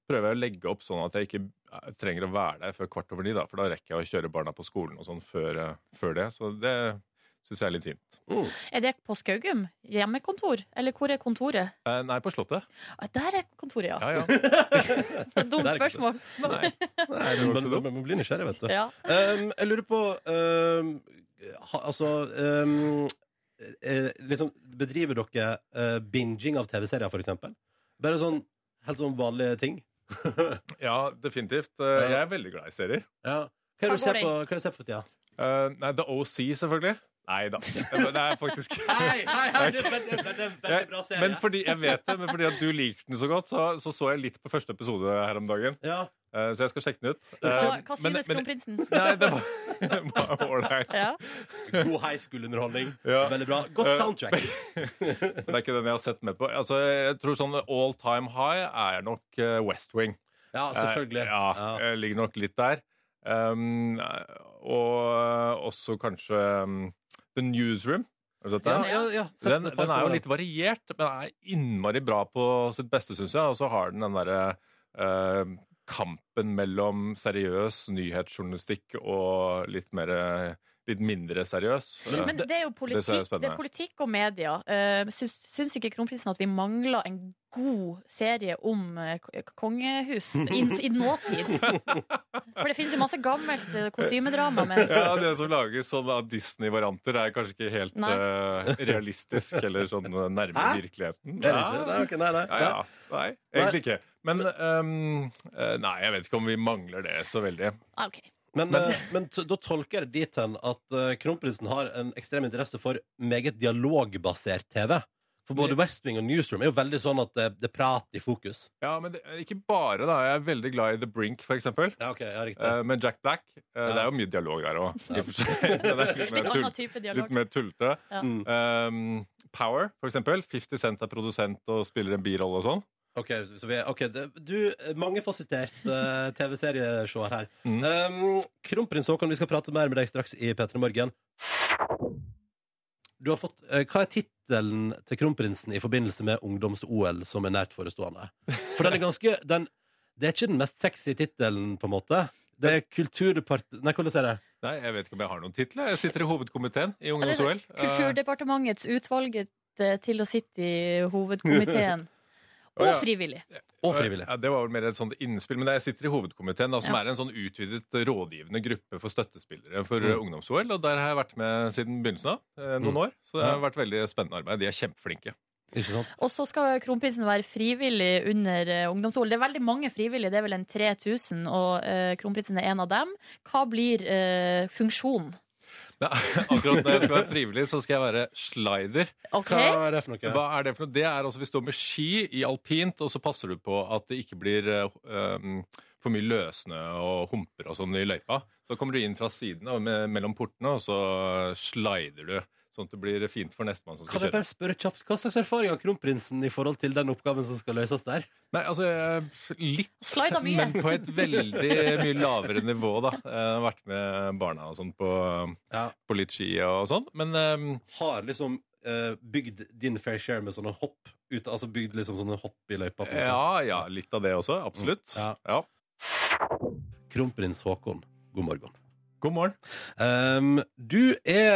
Speaker 9: prøver jeg å legge opp sånn at jeg ikke eh, trenger å være der før kvart over ni. Da, for da rekker jeg å kjøre barna på skolen og sånn før, eh, før det. Så det syns jeg er litt fint.
Speaker 3: Er det på Skaugum? Hjemmekontor? Eller hvor er kontoret?
Speaker 9: Eh, Nei, på Slottet.
Speaker 3: Ah, Der er kontoret, ja.
Speaker 9: Ja, ja.
Speaker 3: Dumt
Speaker 2: Der er
Speaker 3: spørsmål.
Speaker 9: Nei.
Speaker 2: Nei,
Speaker 9: det var
Speaker 2: men,
Speaker 9: ikke så
Speaker 2: men,
Speaker 9: dumt.
Speaker 2: men man blir nysgjerrig, vet du.
Speaker 3: Ja.
Speaker 2: Um, jeg lurer på um, ha, Altså um, eh, liksom, Bedriver dere eh, binging av TV-serier, for eksempel? Bare sånn helt sånn vanlige ting?
Speaker 9: ja, definitivt. Eh, Jeg er veldig glad i serier.
Speaker 2: Ja. Hva er det du
Speaker 3: Hva går
Speaker 2: ser
Speaker 3: det i?
Speaker 2: på, hva er det du ser på for tida?
Speaker 9: Eh, nei, The OC, selvfølgelig. Nei da. Det er faktisk
Speaker 2: Nei, nei,
Speaker 9: nei,
Speaker 2: det er en veldig bra serie.
Speaker 9: Men fordi jeg vet det, men fordi at du liker den så godt, så så, så jeg litt på første episode her om dagen.
Speaker 2: ja.
Speaker 9: Eh, så jeg skal sjekke den ut.
Speaker 3: Hva,
Speaker 9: Eh,
Speaker 3: hva
Speaker 9: men-
Speaker 3: synes
Speaker 9: men-
Speaker 3: kronprinsen?
Speaker 9: Nei, det var- det var ålreit.
Speaker 3: Ja.
Speaker 2: God high school-underholdning.
Speaker 9: Ja.
Speaker 2: Veldig bra. Godt
Speaker 9: Eh,
Speaker 2: soundtrack.
Speaker 9: Men Det er ikke den jeg har sett med på. Altså, jeg tror sånn all time high er nok eh, West Wing.
Speaker 2: Ja, selvfølgelig.
Speaker 9: Eh, Ja,
Speaker 2: Ja.
Speaker 9: jeg ligger nok litt der. Um, og også kanskje um, The Newsroom. Har du sett den?
Speaker 2: Ja, ja, ja. Sett
Speaker 9: Den,
Speaker 2: et par
Speaker 9: den er jo
Speaker 2: sånne.
Speaker 9: litt variert, men er innmari bra på sitt beste, syns jeg. Og så har den den derre eh, kampen mellom seriøs nyhetsjournalistikk og litt mer eh, Litt mindre seriøs. Eh,
Speaker 3: Men det er jo
Speaker 9: det
Speaker 3: politikk,
Speaker 9: ser jeg
Speaker 3: det
Speaker 9: spennende.
Speaker 3: er politikk og media. Eh, Syns, syns ikke kronprinsen at vi mangler en god serie om eh, k- kongehus i, i nåtid? For det finnes jo masse gammelt eh, kostymedrama, men
Speaker 9: ja, det som lages sånn av Disney-varianter, er kanskje ikke helt
Speaker 3: Nei.
Speaker 9: eh, realistisk eller sånn eh, nærme
Speaker 2: Hæ?
Speaker 9: virkeligheten.
Speaker 2: Er det ikke? Nei, ok, nei, nei.
Speaker 9: Ja, ja. Nei, egentlig ikke. Men ehm, eh, Nei, jeg vet ikke om vi mangler det så veldig.
Speaker 3: ah, OK.
Speaker 2: Men, eh, men t da tolker jeg det dit hen at eh, kronprinsen har en ekstrem interesse for meget dialogbasert TV. For både West Wing og Newsroom er jo veldig sånn at det, det er prat i fokus.
Speaker 9: Ja, men det, ikke bare, da. Jeg er veldig glad i The Brink, for eksempel.
Speaker 2: Ja, ok, ja, riktig.
Speaker 9: Eh, Men Jack Black eh, Det er jo mye dialog der òg, i og for seg. Men det er Litt
Speaker 3: Litt
Speaker 9: mer
Speaker 3: annen
Speaker 9: tull-
Speaker 3: type dialog.
Speaker 9: litt mer tullete.
Speaker 3: Ja.
Speaker 9: Um, Power, for eksempel. 50 Cent er produsent og spiller en birolle og sånn.
Speaker 2: Ok, så vi er, ok, det, du, mangefasettert uh, TV-seriesjåer her. Um, Kronprins Haakon, vi skal prate mer med deg straks i P3 Morgen. Du har fått, eh, hva er tittelen til kronprinsen i forbindelse med ungdoms-OL som er nært forestående? For den er ganske den, Det er ikke den mest sexy tittelen, på en måte. Det er kulturdepart... Nei, hvordan er det?
Speaker 9: Nei, jeg vet ikke om jeg har noen titler. Jeg sitter i hovedkomiteen i
Speaker 3: Ja, det er
Speaker 9: Ungdoms-OL. Eh,
Speaker 3: Kulturdepartementets utvalget eh, til å sitte i hovedkomiteen.
Speaker 9: Å,
Speaker 3: Og
Speaker 9: ja.
Speaker 3: frivillig.
Speaker 2: Og frivillig.
Speaker 9: Eh, Ja, det var vel mer et sånt innspill. Men jeg sitter i hovedkomiteen, da, som
Speaker 3: Ja.
Speaker 9: er en sånn utvidet rådgivende gruppe for støttespillere for eh, ungdoms-OL. Og der har jeg vært med siden begynnelsen av, eh, noen år. Så det har vært veldig spennende arbeid. De er kjempeflinke.
Speaker 2: Ikke sant?
Speaker 3: Og så skal kronprinsen være frivillig under eh, ungdoms-OL. Det er veldig mange frivillige, det er vel en 3000, og eh, kronprinsen er en av dem. Hva blir eh, funksjonen?
Speaker 9: Nei, akkurat når jeg skal være frivillig, så skal jeg være slider.
Speaker 3: OK?
Speaker 2: Hva er det for noe?
Speaker 9: Hva er det for noe? Det er altså vi står med ski i alpint, og så passer du på at det ikke blir eh, um, for mye løssnø og humper og sånn i løypa. Så kommer du inn fra sidene og me- mellom portene, og så slider du. Sånn at det blir fint for nestemann som
Speaker 2: Kan
Speaker 9: skal
Speaker 2: jeg
Speaker 9: kjøre.
Speaker 2: bare spørre kjapt, Hva slags erfaring har kronprinsen i forhold til den oppgaven som skal løses der?
Speaker 9: Nei, altså eh, litt,
Speaker 3: Slida mye.
Speaker 9: men på et veldig mye lavere nivå, da. Jeg har vært med barna og sånn på,
Speaker 2: Ja.
Speaker 9: på litt ski og sånn. Men eh,
Speaker 2: har liksom eh, bygd din fair share med sånne hopp ut, Altså bygd liksom sånne hopp i løypa. på en måte.
Speaker 9: ja, ja, litt av det også. Absolutt.
Speaker 2: Ja.
Speaker 9: Ja.
Speaker 2: Kronprins Haakon, god morgen.
Speaker 9: God morgen.
Speaker 2: Um, du er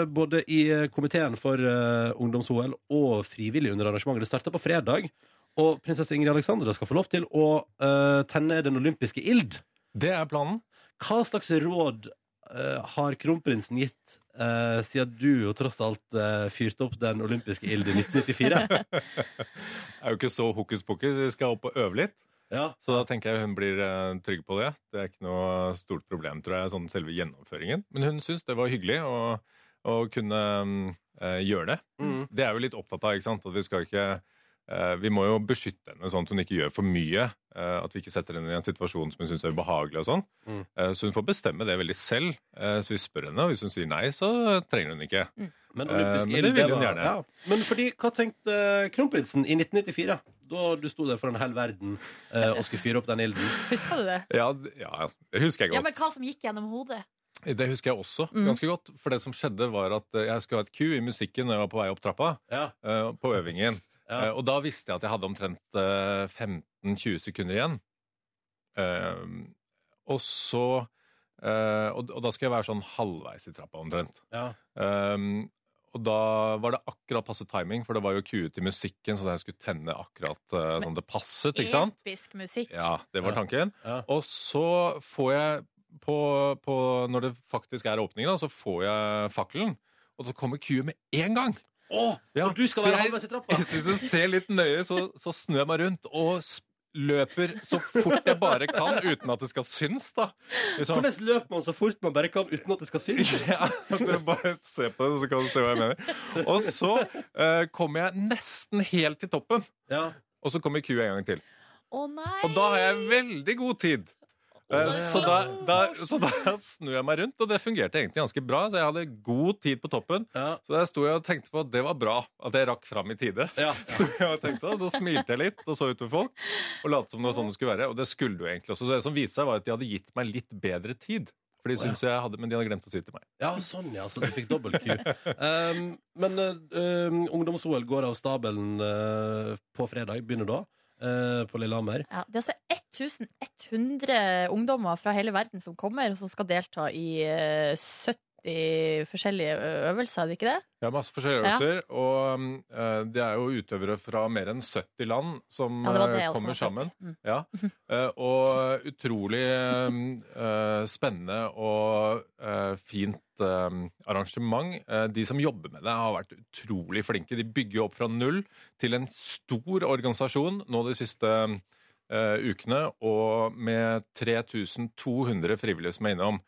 Speaker 2: eh, både i komiteen for eh, ungdoms-OL og frivillig under arrangementet. Det starter på fredag, og prinsesse Ingrid Alexandra skal få lov til å eh, tenne den olympiske ild.
Speaker 9: Det er planen.
Speaker 2: Hva slags råd eh, har kronprinsen gitt eh, siden du jo tross alt eh, fyrte opp den olympiske ild i 1994?
Speaker 9: Det er jo ikke så hokus pokus. Vi skal opp og øve litt.
Speaker 2: ja.
Speaker 9: Så da tenker jeg hun blir eh, trygg på det. Det er ikke noe stort problem, tror jeg, sånn selve gjennomføringen. Men hun syns det var hyggelig å, å kunne mm, eh, gjøre det.
Speaker 2: Mm.
Speaker 9: Det er vi litt opptatt av, ikke sant? At vi skal ikke eh, Vi må jo beskytte henne sånn at hun ikke gjør for mye. eh, at vi ikke setter henne i en situasjon som hun syns er ubehagelig og sånn.
Speaker 2: Mm.
Speaker 9: Eh, så hun får bestemme det veldig selv. Eh, så vi spør henne, og hvis hun sier nei, så trenger hun ikke.
Speaker 2: Men
Speaker 9: Eh,
Speaker 2: olympisk
Speaker 9: men
Speaker 2: ild,
Speaker 9: det vil hun
Speaker 2: var-
Speaker 9: gjerne.
Speaker 2: Ja. Men fordi, hva tenkte eh, kronprinsen i 1994? Da du sto der foran hele verden eh, og skulle fyre opp den ilden.
Speaker 3: Husker du det?
Speaker 9: Ja, d- ja det husker jeg godt.
Speaker 3: Ja, men hva som gikk gjennom hodet?
Speaker 9: Det husker jeg også
Speaker 3: Mm.
Speaker 9: ganske godt. For det som skjedde, var at eh, jeg skulle ha et Q i musikken når jeg var på vei opp trappa.
Speaker 2: Ja.
Speaker 9: eh, På øvingen.
Speaker 2: Ja.
Speaker 9: Eh, Og da visste jeg at jeg hadde omtrent eh, 15-20 sekunder igjen. Eh, Og så eh, Og og da skulle jeg være sånn halvveis i trappa omtrent.
Speaker 2: Ja.
Speaker 9: Um, og da var det akkurat passe timing, for det var jo cuet til musikken, så jeg skulle tenne akkurat uh, sånn det passet, ikke sant?
Speaker 3: Episk musikk.
Speaker 9: Ja, det var
Speaker 2: Ja.
Speaker 9: tanken.
Speaker 2: Ja.
Speaker 9: Og så får jeg på, på Når det faktisk er åpningen, da, så får jeg fakkelen. Og så kommer cuet med én gang!
Speaker 2: Åh,
Speaker 9: Ja,
Speaker 2: og du skal
Speaker 9: så
Speaker 2: være
Speaker 9: jeg-
Speaker 2: halvveis i trappa!
Speaker 9: Hvis du ser litt nøye, så, så snur jeg meg rundt og sp- løper så fort jeg bare kan, uten at det skal synes, da. Liksom-
Speaker 2: Hvordan løper man så fort man bare kan uten at det skal synes?
Speaker 9: Ja, du bare se på det, så kan du se hva jeg mener. Og så eh, kom jeg nesten helt til toppen,
Speaker 2: Ja.
Speaker 9: og så kommer Q en gang til.
Speaker 3: Å nei!
Speaker 9: Og da har jeg veldig god tid. Eh, Så da, da, så da snur jeg meg rundt, og det fungerte egentlig ganske bra. Så jeg hadde god tid på toppen.
Speaker 2: Ja.
Speaker 9: Så der sto jeg og tenkte på at det var bra at jeg rakk fram i tide.
Speaker 2: Ja.
Speaker 9: Sto jeg og tenkte, og så smilte jeg litt og så ut på folk og lot som det var sånn det skulle være. Og det skulle det jo egentlig også. Så det som viste seg, var at de hadde gitt meg litt bedre tid. For de syntes jeg hadde, Men de hadde glemt å si det til meg.
Speaker 2: ja, sånn, ja. Så du fikk dobbel Q. Um, men eh, um, ungdoms-OL går av stabelen eh, på fredag. Begynner da. eh, på Lillehammer.
Speaker 3: Ja, det er altså 1100 ungdommer fra hele verden som kommer, og som skal delta i eh, 70 forskjellige ø- øvelser, er det ikke det?
Speaker 9: Ja, masse forskjellige
Speaker 3: Ja.
Speaker 9: øvelser. Og um, eh, det er jo utøvere fra mer enn 70 land som
Speaker 3: Ja, det var
Speaker 9: eh,
Speaker 3: det jeg også
Speaker 9: kommer
Speaker 3: var
Speaker 9: sammen.
Speaker 3: 70. Mm.
Speaker 9: Ja. Eh, og utrolig um, eh, spennende og eh, fint um, arrangement. Eh, de som jobber med det, har vært utrolig flinke. De bygger jo opp fra null til en stor organisasjon nå de siste eh, ukene, og med 3200 frivillige som er innom.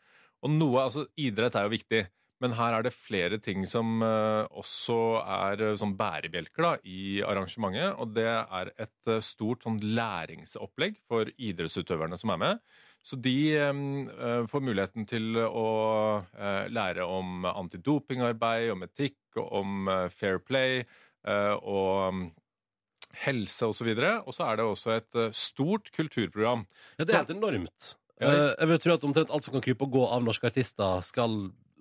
Speaker 9: Og noe, altså Idrett er jo viktig, men her er det flere ting som eh, også er eh, sånn bærebjelker da, i arrangementet. Og det er et eh, stort sånn læringsopplegg for idrettsutøverne som er med. Så de eh, eh, får muligheten til å eh, lære om antidopingarbeid, om etikk, og om eh, fair play eh, og um, helse osv. Og så er det også et eh, stort kulturprogram.
Speaker 2: Ja, det er helt enormt.
Speaker 9: Ja.
Speaker 2: Eh, jeg vil tro at omtrent alt som kan krype og gå av norske artister, skal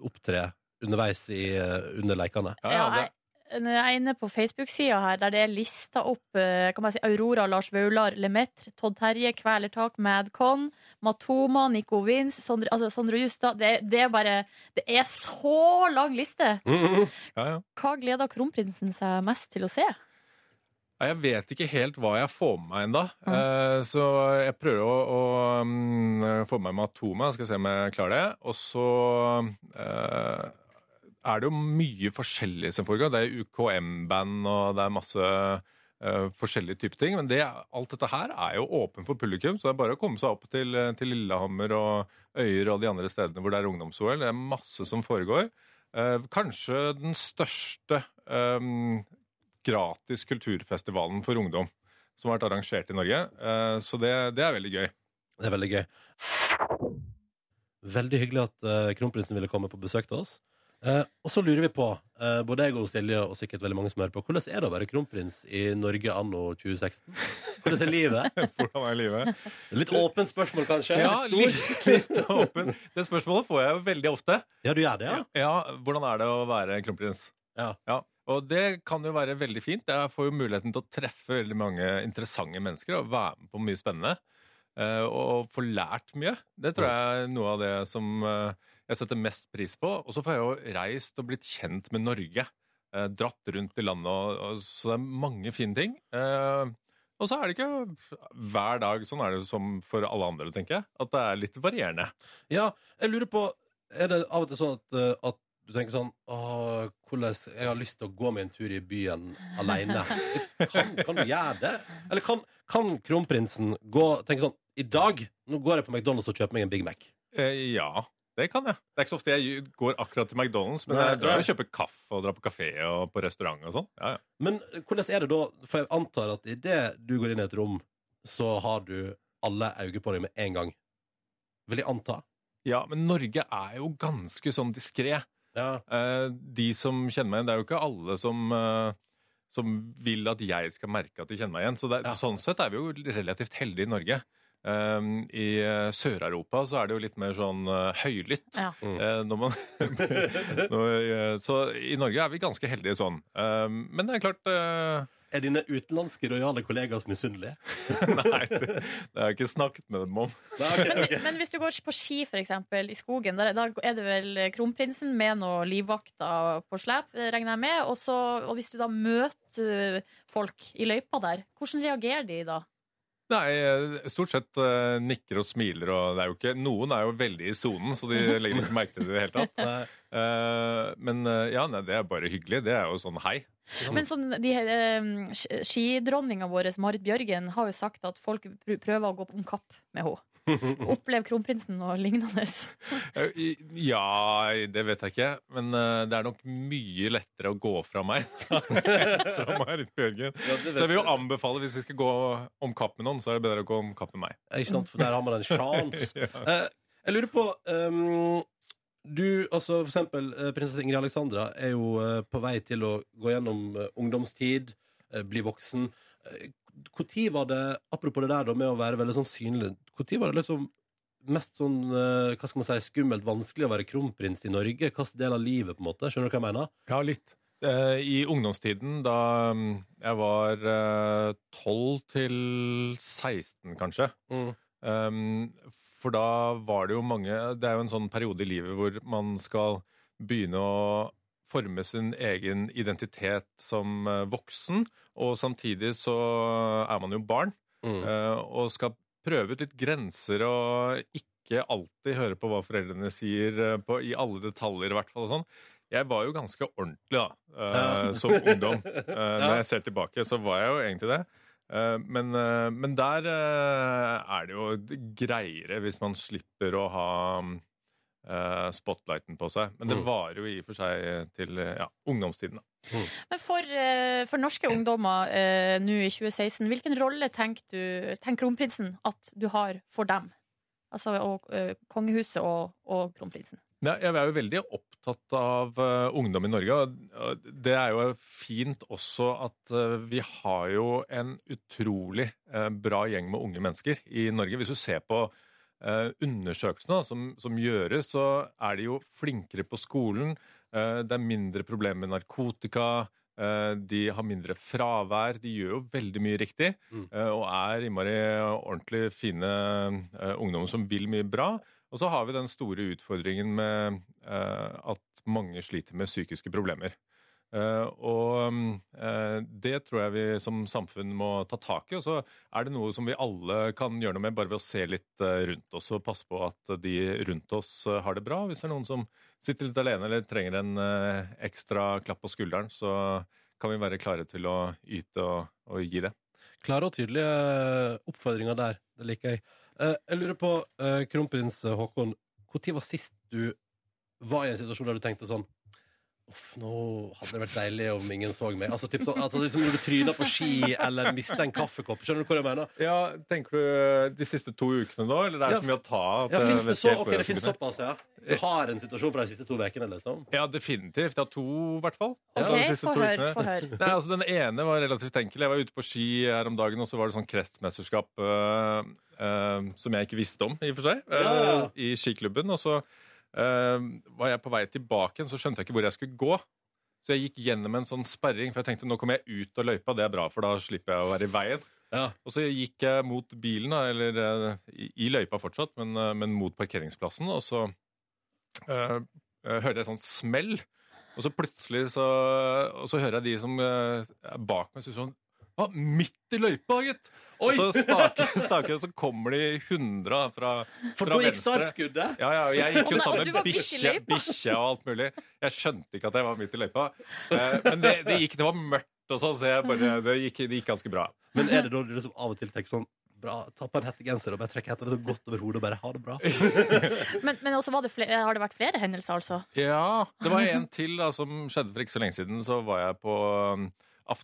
Speaker 2: opptre underveis i, eh, under leikene.
Speaker 9: Ja, ja, det,
Speaker 3: jeg, jeg er inne på Facebook-sida her, der det er lista opp eh, kan man si, Aurora, Lars Vaular, Lemaitre, Todd Terje, Kvelertak, Madcon, Matoma, Nico Wins, Sondre, altså Sondre Justad. Det, det er bare Det er så lang liste!
Speaker 9: ja, ja.
Speaker 3: Hva gleder kronprinsen seg mest til å se?
Speaker 9: Nei, Jeg vet ikke helt hva jeg får med meg ennå. Så jeg prøver å, å mm, få med meg Matoma. Skal se om jeg klarer det. Og så eh, er det jo mye forskjellig som foregår. Det er UKM-band, og det er masse eh, forskjellige typer ting. Men det, alt dette her er jo åpen for publikum, så det er bare å komme seg opp til, eh, til Lillehammer og Øyer og de andre stedene hvor det er ungdoms-OL. Det er masse som foregår. Eh, kanskje den største eh, gratis kulturfestivalen for ungdom som har vært arrangert i Norge. Eh, Så det, det er veldig gøy.
Speaker 2: Det er veldig gøy. Veldig hyggelig at eh, kronprinsen ville komme på besøk til oss. Eh, og så lurer vi på, eh, både jeg og Silje, og sikkert veldig mange som hører på, hvordan er det å være kronprins i Norge anno 2016? Hvordan er livet?
Speaker 9: Hvordan er livet?
Speaker 2: Litt åpent spørsmål, kanskje?
Speaker 9: Ja,
Speaker 2: Litt
Speaker 9: litt,
Speaker 2: stor?
Speaker 9: litt åpen. Det spørsmålet får jeg jo veldig ofte.
Speaker 2: ja, du gjør det, ja?
Speaker 9: Ja, Hvordan er det å være kronprins?
Speaker 2: Ja.
Speaker 9: Og det kan jo være veldig fint. Jeg får jo muligheten til å treffe veldig mange interessante mennesker og være med på mye spennende. eh, og får lært mye. Det
Speaker 2: Mm.
Speaker 9: tror jeg er noe av det som eh, jeg setter mest pris på. Og så får jeg jo reist og blitt kjent med Norge. Eh, Dratt rundt i landet, og, og, så det er mange fine ting. Eh, Og så er det ikke hver dag. Sånn er det jo som for alle andre, tenker jeg. At det er litt varierende.
Speaker 2: Ja, jeg lurer på Er det av og til sånn at, eh, at du tenker sånn Åh, hvordan Jeg har lyst til å gå meg en tur i byen alene. Kan, kan du gjøre det? Eller kan, kan kronprinsen gå tenke sånn I dag nå går jeg på McDonald's og kjøper meg en Big Mac.
Speaker 9: Eh, ja, det kan jeg. Det er ikke så ofte jeg går akkurat til McDonald's, men
Speaker 2: Nei,
Speaker 9: jeg drar
Speaker 2: nei.
Speaker 9: og kjøper kaffe og drar på kafé og på restaurant og sånn. Ja, ja.
Speaker 2: Men hvordan er det da? For jeg antar at idet du går inn i et rom, så har du alle øyne på deg med en gang. Vil jeg anta.
Speaker 9: ja, men Norge er jo ganske sånn diskré.
Speaker 2: Ja.
Speaker 9: Eh, de som kjenner meg igjen, det er jo ikke alle som, eh, som vil at jeg skal merke at de kjenner meg igjen. Så det, er-
Speaker 2: Ja.
Speaker 9: Sånn sett er vi jo relativt heldige i Norge. Um, I eh, Sør-Europa så er det jo litt mer sånn eh, høylytt.
Speaker 3: Ja.
Speaker 2: Mm.
Speaker 9: Eh, når man, når, eh, så i Norge er vi ganske heldige sånn. Um, men det er klart eh,
Speaker 2: Er dine utenlandske rojale kollegaer som misunnelige?
Speaker 9: Nei, det, det har jeg ikke snakket med dem om.
Speaker 2: Nei, ok,
Speaker 3: Men,
Speaker 2: ok.
Speaker 3: men hvis du går på ski for eksempel, i skogen, der, da er det vel kronprinsen med noen livvakter på slep, regner jeg med. Og, så, og hvis du da møter folk i løypa der, hvordan reagerer de da?
Speaker 9: Nei, eh, stort sett eh, nikker og smiler, og det er jo ikke Noen er jo veldig i sonen, så de legger ikke merke til det i det hele tatt.
Speaker 2: Nei.
Speaker 9: Eh, men eh, ja, nei, det er bare hyggelig. Det er jo sånn hei.
Speaker 3: Men sånn, de, eh, sk- skidronninga vår, Marit Bjørgen, har jo sagt at folk pr- prøver å gå om kapp med henne. Opplev kronprinsen og lignende.
Speaker 9: Eh, i- Ja, det vet jeg ikke, men eh, det er nok mye lettere å gå fra meg. fra Marit Bjørgen.
Speaker 2: Ja, det
Speaker 9: Så
Speaker 2: vet
Speaker 9: jeg vil jo
Speaker 2: jeg.
Speaker 9: anbefale, hvis vi skal gå om kapp med noen, så er det bedre å gå om kapp med meg.
Speaker 2: Ikke sant, for der har man en sjans. Eh, jeg lurer på ehm, Du, altså for eksempel eh, prinsesse Ingrid Alexandra er jo eh, på vei til å gå gjennom eh, ungdomstid, eh, bli voksen. Når var det, apropos det der da, med å være veldig sånn synlig, når var det liksom mest sånn eh, hva skal man si, skummelt vanskelig å være kronprins i Norge? Hvilken del av livet, på en måte? Skjønner du hva jeg mener?
Speaker 9: Ja, litt. Eh, I ungdomstiden, da mm, jeg var eh, 12 til 16, kanskje um, For da var det jo mange Det er jo en sånn periode i livet hvor man skal begynne å forme sin egen identitet som eh, voksen, og samtidig så eh, er man jo barn
Speaker 2: Mm.
Speaker 9: eh, og skal prøve ut litt grenser og ikke alltid høre på hva foreldrene sier eh, på, i alle detaljer, i hvert fall. og Sånn. Jeg var jo ganske ordentlig da, eh,
Speaker 2: Ja.
Speaker 9: som ungdom. Eh, Når
Speaker 2: Ja.
Speaker 9: jeg ser tilbake, så var jeg jo egentlig det. Eh, Men, eh, men der eh, er det jo greiere hvis man slipper å ha eh, spotlighten på seg. Men det
Speaker 2: Mm.
Speaker 9: varer jo i og for seg til eh, ja, ungdomstiden. da.
Speaker 3: Men for, eh, for norske ungdommer eh, nå i 2016, hvilken rolle tenker, du, tenker kronprinsen at du har for dem? Altså og, eh, kongehuset og, og kronprinsen.
Speaker 9: Nei, jeg er jo veldig opptatt av eh, ungdom i Norge. og- og Det er jo fint også at eh, vi har jo en utrolig eh, bra gjeng med unge mennesker i Norge. Hvis du ser på eh, undersøkelsene da, som, som gjøres, så er de jo flinkere på skolen. eh, det er mindre problemer med narkotika. eh, de har mindre fravær. De gjør jo veldig mye riktig.
Speaker 2: Mm.
Speaker 9: eh, og er innmari ordentlig fine eh, ungdommer som vil mye bra. Og så har vi den store utfordringen med eh, at mange sliter med psykiske problemer. Eh, og mm, eh, det tror jeg vi som samfunn må ta tak i. Og så er det noe som vi alle kan gjøre noe med, bare ved å se litt eh, rundt oss og passe på at de rundt oss eh, har det bra. Hvis det er noen som sitter litt alene eller trenger en eh, ekstra klapp på skulderen, så kan vi være klare til å yte og, og gi det.
Speaker 2: Klare og tydelige eh, oppfordringer der. Det liker jeg. Eh, Jeg lurer på, eh, kronprins Håkon, når var sist du var i en situasjon der du tenkte sånn Uff, nå hadde det vært deilig om ingen så meg. Altså, typ sånn, altså liksom Når du tryner på ski eller mister en kaffekopp. Skjønner du hva jeg mener?
Speaker 9: Ja, Tenker du de siste to ukene nå, eller det
Speaker 2: er
Speaker 9: er
Speaker 2: Ja,
Speaker 9: så mye å ta? eh,
Speaker 2: Ja, finnes det så, ok, det finnes såpass, ja. Du har en situasjon fra de siste to ukene, liksom?
Speaker 9: Ja, definitivt. Jeg har to, i hvert fall.
Speaker 2: Ja,
Speaker 3: Ok,
Speaker 9: de siste
Speaker 3: få
Speaker 9: to
Speaker 3: høre.
Speaker 9: ukene.
Speaker 3: Få høre.
Speaker 9: Nei, altså Den ene var relativt enkel. Jeg var ute på ski her om dagen, og så var det sånn kretsmesterskap øh, øh, som jeg ikke visste om, i og for seg, øh,
Speaker 2: Ja, ja.
Speaker 9: i skiklubben. Og så øh, var jeg på vei tilbake igjen, så skjønte jeg ikke hvor jeg skulle gå. Så jeg gikk gjennom en sånn sperring, for jeg tenkte nå kommer jeg ut av løypa, det er bra, for da slipper jeg å være i veien.
Speaker 2: Ja.
Speaker 9: Og så gikk jeg mot bilen, da, eller eh, i, i løypa fortsatt, men, eh, men mot parkeringsplassen. Og så eh, eh, hørte jeg sånn smell, og så plutselig så, og så hører jeg de som eh, er bak meg, så sånn «Å, midt i løypa, gitt! Og så staker staker jeg, og så kommer de hundra fra,
Speaker 2: For
Speaker 9: fra
Speaker 2: da gikk
Speaker 9: venstre.
Speaker 2: startskuddet.
Speaker 9: Ja, ja, jeg gikk jo
Speaker 3: Å, nei,
Speaker 9: sammen
Speaker 3: du
Speaker 9: med
Speaker 3: var midt i
Speaker 9: bikkje
Speaker 3: løypa.
Speaker 9: bikkje og alt mulig. Jeg skjønte ikke at jeg var midt i løypa. Eh, Men det, det gikk, det var mørkt og sånn, så jeg bare, det, gikk, det gikk ganske bra.
Speaker 2: Men er det da du liksom av og til tenker sånn Bra, Ta på en hettegenser og bare trekke hetta godt over hodet og bare ha det bra?
Speaker 3: Men, men også var det fle- har det vært flere hendelser, altså?
Speaker 9: Ja, det var en til da, som skjedde for ikke så lenge siden. Så var jeg på um,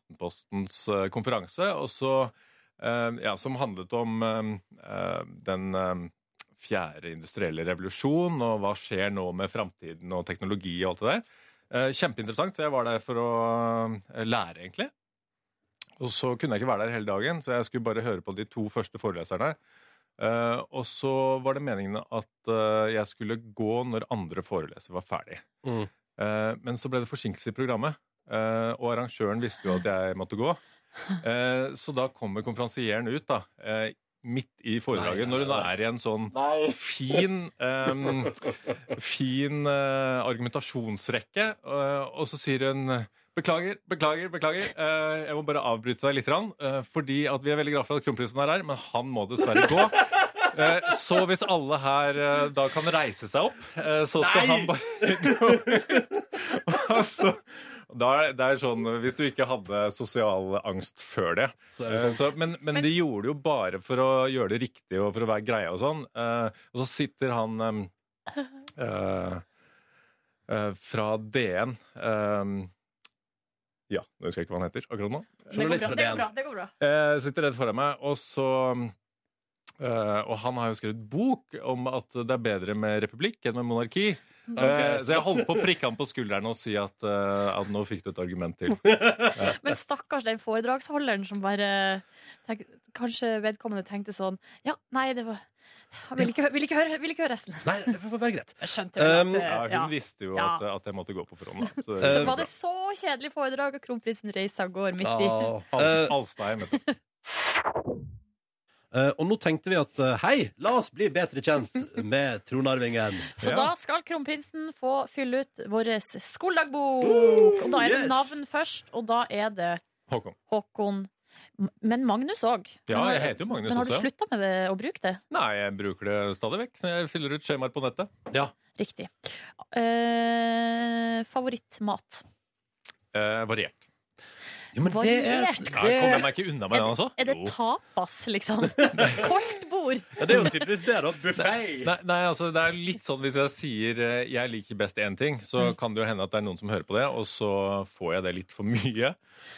Speaker 9: Aftenpostens eh, konferanse, og så, eh, ja, som handlet om eh, eh, den eh, fjerde industrielle revolusjon, og hva skjer nå med framtiden og teknologi og alt det der. Eh, Kjempeinteressant, for jeg var der for å eh, lære, egentlig. Og så kunne jeg ikke være der hele dagen, så jeg skulle bare høre på de to første foreleserne. Eh, og så var det meningen at eh, jeg skulle gå når andre foreleser var ferdig.
Speaker 2: Mm.
Speaker 9: Eh, men så ble det forsinkelse i programmet, eh, og arrangøren visste jo at jeg måtte gå. Eh, så da kommer konferansieren ut, da. eh, midt i foredraget,
Speaker 2: Nei, nei,
Speaker 9: når hun
Speaker 2: nei.
Speaker 9: er i en sånn fin eh, Fin eh, argumentasjonsrekke, eh, og så sier hun Beklager, beklager, beklager. Eh, jeg må bare avbryte deg litt. grann, eh, fordi at vi er veldig glad for at kronprinsen er her, men han må dessverre gå. Eh, så hvis alle her eh, da kan reise seg opp, eh, så skal han bare gå ut. Og så, da er, det er sånn, Hvis du ikke hadde sosial angst før det
Speaker 2: Så er det
Speaker 9: Eh,
Speaker 2: sånn
Speaker 9: så, men, men
Speaker 3: Men-
Speaker 9: de gjorde det jo bare for å gjøre det riktig og for å være greie og sånn. Eh, og så sitter han eh, eh, eh, fra DN eh, Ja, nå husker jeg ikke hva han heter akkurat nå.
Speaker 3: Det går
Speaker 2: Journalist
Speaker 3: bra.
Speaker 2: fra
Speaker 3: Det går
Speaker 2: DN.
Speaker 3: bra. Det går bra.
Speaker 9: Eh, sitter rett foran meg, og så eh, Og han har jo skrevet bok om at det er bedre med republikk enn med monarki. Eh, så jeg holdt på å prikke han på skulderen og si at, eh, at nå fikk du et argument til.
Speaker 3: Men stakkars den foredragsholderen som bare eh, tenk, Kanskje vedkommende tenkte sånn Ja, nei, det var jeg vil ikke, hø- vil, ikke høre, vil ikke høre resten.
Speaker 2: Nei, det får være greit.
Speaker 3: Jeg skjønte vel
Speaker 2: Um,
Speaker 3: at det,
Speaker 9: Ja, hun
Speaker 3: ja.
Speaker 9: visste jo
Speaker 3: Ja.
Speaker 9: at, at jeg måtte gå på forhånd. Da. Så, eh,
Speaker 2: Så
Speaker 3: Så var det så kjedelig foredrag, og kronprinsen Reisa går midt i.
Speaker 2: Ja. Eh,
Speaker 9: Al- Alstheim, vet du.
Speaker 2: Eh, og nå tenkte vi at eh, hei, la oss bli bedre kjent med tronarvingen.
Speaker 3: Så
Speaker 9: Ja.
Speaker 3: da skal kronprinsen få fylle ut vår skoledagbok. Og da er det
Speaker 2: yes.
Speaker 3: navn først, og da er det
Speaker 9: Håkon.
Speaker 3: Håkon. Men Magnus òg.
Speaker 9: Ja, jeg heter jo Magnus
Speaker 3: Men har du
Speaker 9: også. ja.
Speaker 3: slutta med det å bruke det?
Speaker 9: Nei, jeg bruker det stadig vekk når jeg fyller ut skjemaer på nettet.
Speaker 3: Riktig. Eh, favorittmat.
Speaker 9: Eh, variert.
Speaker 2: Jo, men det er,
Speaker 3: Variert.
Speaker 9: Ja, jeg
Speaker 2: det,
Speaker 9: kommer meg ikke unna med den, altså.
Speaker 3: Er det
Speaker 9: Jo.
Speaker 3: tapas, liksom? Kortbord.
Speaker 2: ja, det er jo tydeligvis det, da. Buffé.
Speaker 9: Nei, nei, altså det er litt sånn Hvis jeg sier eh, jeg liker best én ting, så
Speaker 2: Mm.
Speaker 9: kan det jo hende at det er noen som hører på det, og så får jeg det litt for mye.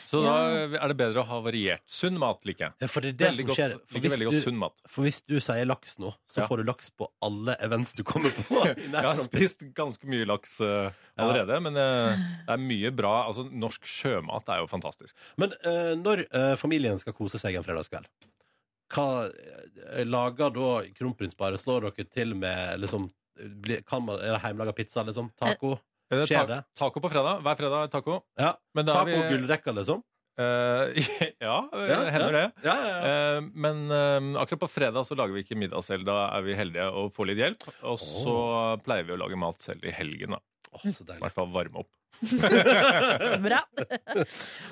Speaker 9: Så da er det bedre å ha variert. Sunn mat liker jeg.
Speaker 2: Ja, for det er det
Speaker 9: Veldig
Speaker 2: som
Speaker 9: godt,
Speaker 2: skjer. For
Speaker 9: liker veldig godt
Speaker 2: hvis, du,
Speaker 9: sunn mat.
Speaker 2: for hvis du sier laks nå, så
Speaker 9: Ja.
Speaker 2: får du laks på alle events du kommer på. i nær
Speaker 9: Jeg har
Speaker 2: fremtid.
Speaker 9: spist ganske mye laks eh, allerede, men eh, det er mye bra. Altså, norsk sjømat er jo fantastisk.
Speaker 2: Men eh, når eh, familien skal kose seg en fredagskveld, hva eh, lager da kronprinsparet? Slår dere til med liksom blir- kan man, Er det hjemmelaga pizza, liksom? Taco?
Speaker 9: Er det
Speaker 2: Skjer
Speaker 9: Eh, ta-
Speaker 2: det?
Speaker 9: Taco på fredag. Hver fredag er taco.
Speaker 2: Ja.
Speaker 9: Men da er
Speaker 2: Taco og
Speaker 9: vi-
Speaker 2: gullrekka, liksom?
Speaker 9: Eh, ja,
Speaker 2: Ja,
Speaker 9: hender det.
Speaker 2: Ja, ja, ja.
Speaker 9: Eh, men eh, akkurat på fredag så lager vi ikke middag selv. Da er vi heldige og får litt hjelp. Og så pleier vi å lage mat selv i helgen. da
Speaker 2: Åh, så
Speaker 9: I
Speaker 2: deilig.
Speaker 9: hvert fall varme opp.
Speaker 3: Bra.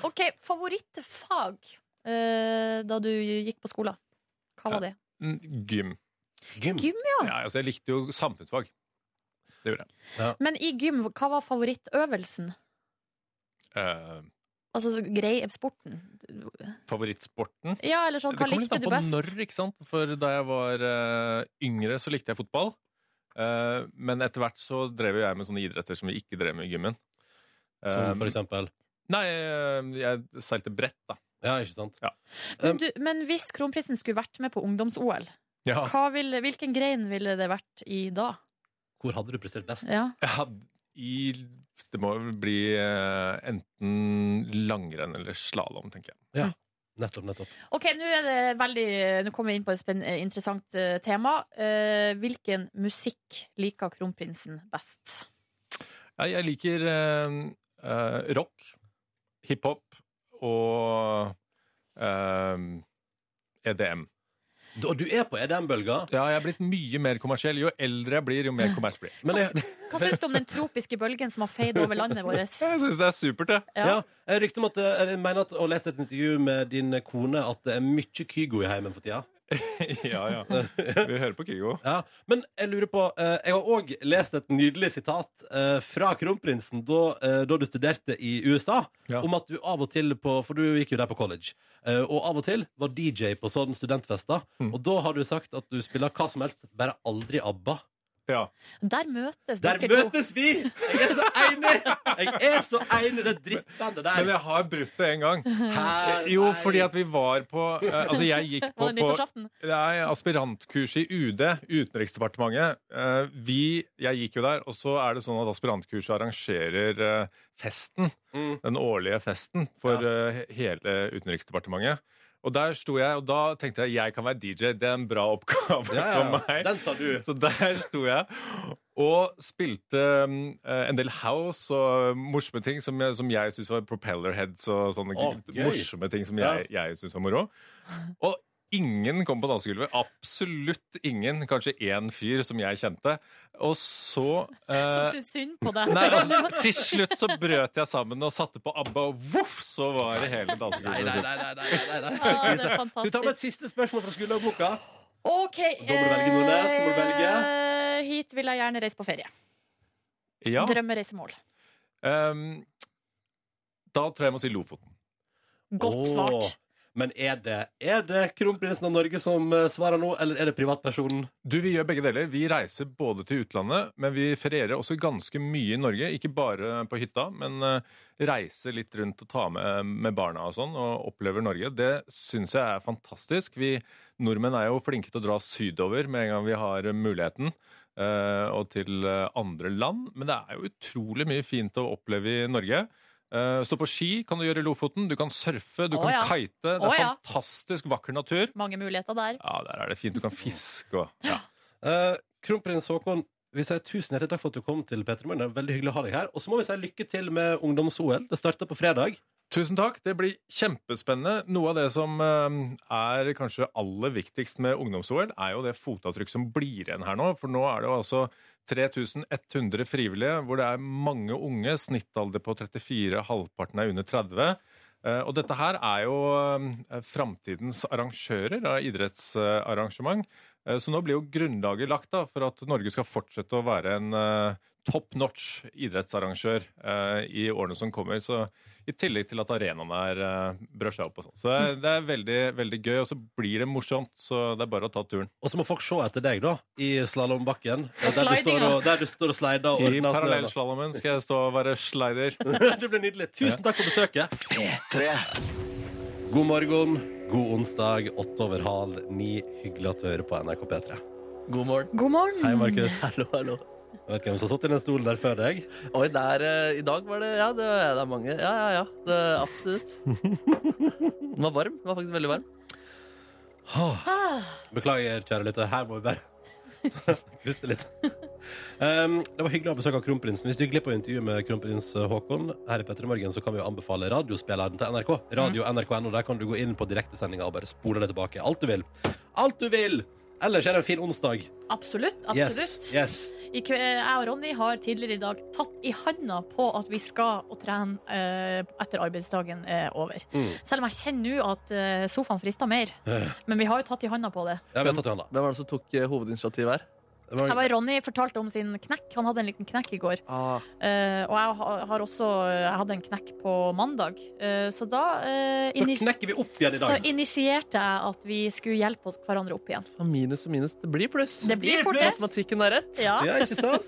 Speaker 3: OK, favorittfag eh, da du gikk på skolen. Hva var det?
Speaker 9: Mm, Gym.
Speaker 2: Gym.
Speaker 3: Gym, ja.
Speaker 9: Ja, altså, jeg likte jo samfunnsfag. Det gjorde jeg.
Speaker 3: Men i gym, hva var favorittøvelsen?
Speaker 9: Eh,
Speaker 3: Altså så grei sporten?
Speaker 9: favorittsporten
Speaker 3: Ja, eller sånn, hva
Speaker 9: Det kommer litt
Speaker 3: likte
Speaker 9: an
Speaker 3: du
Speaker 9: på
Speaker 3: best?
Speaker 9: når, ikke sant? For da jeg var eh, yngre, så likte jeg fotball. Eh, men etter hvert så drev jo jeg med sånne idretter som vi ikke drev med i gymmen.
Speaker 2: Som for
Speaker 9: Eh,
Speaker 2: eksempel
Speaker 9: Nei, eh, jeg seilte brett, da.
Speaker 2: Ja, ikke sant?
Speaker 3: Men, du, men hvis kronprinsen skulle vært med på ungdoms-OL,
Speaker 9: Ja.
Speaker 3: hva ville- hvilken grein ville det vært i da?
Speaker 2: Hvor hadde du prestert best?
Speaker 3: Ja.
Speaker 9: Ja, i, det må vel bli eh, enten langrenn eller slalåm, tenker jeg.
Speaker 2: Nettopp, nettopp.
Speaker 3: Ok, nå er det veldig Nå kommer vi inn på et spenn- interessant eh, tema. Eh, hvilken musikk liker kronprinsen best?
Speaker 9: Ja, jeg liker eh, eh, rock, hiphop og eh, EDM.
Speaker 2: Og du er på E EDM-bølga.
Speaker 9: Ja, jeg er blitt mye mer kommersiell. Jo eldre jeg blir, jo mer kommers blir jeg.
Speaker 2: Men jeg,
Speaker 3: Hva syns du om den tropiske bølgen som har feid over landet vårt?
Speaker 9: Jeg syns det er supert, jeg.
Speaker 2: ja. jeg rykte om at eh, Jeg mener at, og leste et intervju med din kone at det er mye Kygo i heimen for tida.
Speaker 9: Ja, ja. Vi hører på Kygo.
Speaker 2: Ja, Men jeg lurer på eh, Jeg har òg lest et nydelig sitat eh, fra kronprinsen da, eh, da du studerte i USA,
Speaker 9: Ja.
Speaker 2: om at du av og til på For du gikk jo der på college. eh, og av og til var DJ på sånne studentfester. Og da har du sagt at du spiller hva som helst, bare aldri ABBA.
Speaker 9: Ja.
Speaker 3: Der møtes
Speaker 2: Der
Speaker 3: dere to.
Speaker 2: møtes vi! Jeg er så enig! Jeg er så enig i det drittbandet
Speaker 9: Men
Speaker 2: der.
Speaker 9: jeg har brutt det en gang.
Speaker 2: Her,
Speaker 9: Jo,
Speaker 2: nei.
Speaker 9: fordi at vi var på eh, Altså, jeg gikk på,
Speaker 3: Var det
Speaker 9: på
Speaker 3: nyttårsaften?
Speaker 9: Nei, aspirantkurs i UD, Utenriksdepartementet. Eh, Vi, jeg gikk jo der, og så er det sånn at aspirantkurset arrangerer eh, festen.
Speaker 2: Mm.
Speaker 9: Den årlige festen for eh, hele Utenriksdepartementet. Og der sto jeg, og da tenkte jeg jeg kan være DJ. Det er en bra oppgave
Speaker 2: ja,
Speaker 9: for
Speaker 2: ja, ja.
Speaker 9: meg.
Speaker 2: Den tar du.
Speaker 9: Så der sto jeg og spilte mm, eh, en del house og morsomme ting som jeg, som jeg syntes var propellerheads og sånne
Speaker 2: Å,
Speaker 9: gud-
Speaker 2: gøy.
Speaker 9: morsomme ting som jeg, jeg syntes var moro. Og ingen kom på dansegulvet. Absolutt ingen. Kanskje én fyr som jeg kjente. Og så
Speaker 3: Som
Speaker 9: eh,
Speaker 3: syns synd på deg.
Speaker 9: Nei, altså, til slutt så brøt jeg sammen og satte på ABBA, og voff, så var det hele
Speaker 2: Nei, nei,
Speaker 9: dansegulvet.
Speaker 2: nei. nei, nei, nei, nei.
Speaker 3: Ja, Ah,
Speaker 2: Skal vi
Speaker 3: det er
Speaker 2: ta med
Speaker 3: fantastisk.
Speaker 2: et siste spørsmål fra skoleboka?
Speaker 3: OK.
Speaker 2: må du velge Nordnes, må du velge.
Speaker 3: eh, Hit vil jeg gjerne reise på ferie.
Speaker 9: Ja,
Speaker 3: Drømmereisemål.
Speaker 9: ehm, da tror jeg jeg må si Lofoten.
Speaker 3: Godt
Speaker 2: Åh.
Speaker 3: svart.
Speaker 2: Men er det, er det kronprinsen av Norge som eh, svarer nå, eller er det privatpersonen?
Speaker 9: Du, Vi gjør begge deler. Vi reiser både til utlandet, men vi ferierer også ganske mye i Norge. Ikke bare på hytta, men eh, reiser litt rundt og tar med, med barna og sånn, og opplever Norge. Det syns jeg er fantastisk. Vi nordmenn er jo flinke til å dra sydover med en gang vi har eh, muligheten, eh, og til eh, andre land. Men det er jo utrolig mye fint å oppleve i Norge. Eh, Stå på ski kan du gjøre i Lofoten. Du kan surfe, du
Speaker 3: Å,
Speaker 9: kan
Speaker 3: ja.
Speaker 9: kite.
Speaker 3: Å,
Speaker 9: Det er
Speaker 3: ja.
Speaker 9: fantastisk vakker natur.
Speaker 3: Mange muligheter der.
Speaker 9: Ja, der er det fint. Du kan fiske og ja.
Speaker 2: Eh, kronprins Haakon, vi sier tusen hjertelig takk for at du kom til Petter Morgen. Det er Veldig hyggelig å ha deg her. Og så må vi si lykke til med ungdoms-OL. Det starter på fredag.
Speaker 9: Tusen takk. Det blir kjempespennende. Noe av det som eh, er kanskje aller viktigst med ungdoms-OL, er jo det fotavtrykk som blir igjen her nå. For nå er det jo altså 3100 frivillige, hvor det er mange unge. Snittalder på 34, halvparten er under 30. Eh, Og dette her er jo eh, framtidens arrangører av idrettsarrangement. Eh, Så nå blir jo grunnlaget lagt da, for at Norge skal fortsette å være en eh, top notch idrettsarrangør eh, i årene som kommer. Så i tillegg til at arenaen er uh, brør seg opp og sånn. Så det er, det er veldig, veldig gøy, og så blir det morsomt. Så det er bare å ta turen.
Speaker 2: Og så må folk se etter deg, da, i slalåmbakken. Der,
Speaker 3: Og
Speaker 2: du står
Speaker 3: slidinga.
Speaker 2: og- der du står og slider og
Speaker 9: I
Speaker 2: ordner snøen.
Speaker 9: parallellslalåmen skal jeg stå og være slider.
Speaker 2: Det ble nydelig. Tusen takk for besøket. God morgen, god onsdag, åtte over halv ni. Hyggelig at du hører på NRK P3.
Speaker 4: God morgen.
Speaker 3: God morgen.
Speaker 2: Hei, Markus.
Speaker 4: Hallo, hallo.
Speaker 2: Jeg vet ikke hvem som har satt i den stolen der før deg.
Speaker 4: Oi, der, eh, i dag var det Ja, det, det er mange. Ja, ja, ja. Det, absolutt. Den var varm. Den var faktisk veldig varm.
Speaker 2: Beklager, kjære lytter. Her må vi bare puste litt. Um, det var hyggelig å ha besøk av kronprinsen. Hvis du gikk glipp av intervjuet med kronprins Haakon, her i Petter i morgen, så kan vi jo anbefale radiospilleren til NRK. Radio NRK.no. Der kan du gå inn på direktesendinga og bare spole det tilbake. Alt du vil. Alt du vil! Ellers er det en fin onsdag.
Speaker 3: Absolutt.
Speaker 2: Yes,
Speaker 3: absolutt.
Speaker 2: Yes.
Speaker 3: I kve, jeg og Ronny har tidligere i dag tatt i handa på at vi skal å trene eh, etter arbeidsdagen er over.
Speaker 2: Mm. Eh.
Speaker 3: Selv om jeg kjenner nå at eh, sofaen frister mer. Men vi har jo tatt i handa på det.
Speaker 2: Ja, vi har tatt i hånda.
Speaker 4: Hvem var det som tok eh, hovedinitiativet her?
Speaker 3: Jeg var Ronny fortalte om sin knekk. Han hadde en liten knekk i går.
Speaker 2: Ah.
Speaker 3: Eh, og jeg har- har også eh, Jeg hadde en knekk på mandag. Eh, så da eh,
Speaker 2: Så
Speaker 3: ini-
Speaker 2: knekker vi opp igjen i
Speaker 3: så
Speaker 2: dag.
Speaker 3: initierte jeg at vi skulle hjelpe oss hverandre opp igjen.
Speaker 4: Faen, minus og minus. Det blir pluss.
Speaker 3: Det blir fort det.
Speaker 4: Matematikken er rett.
Speaker 3: Ja.
Speaker 2: Ja, ikke sant?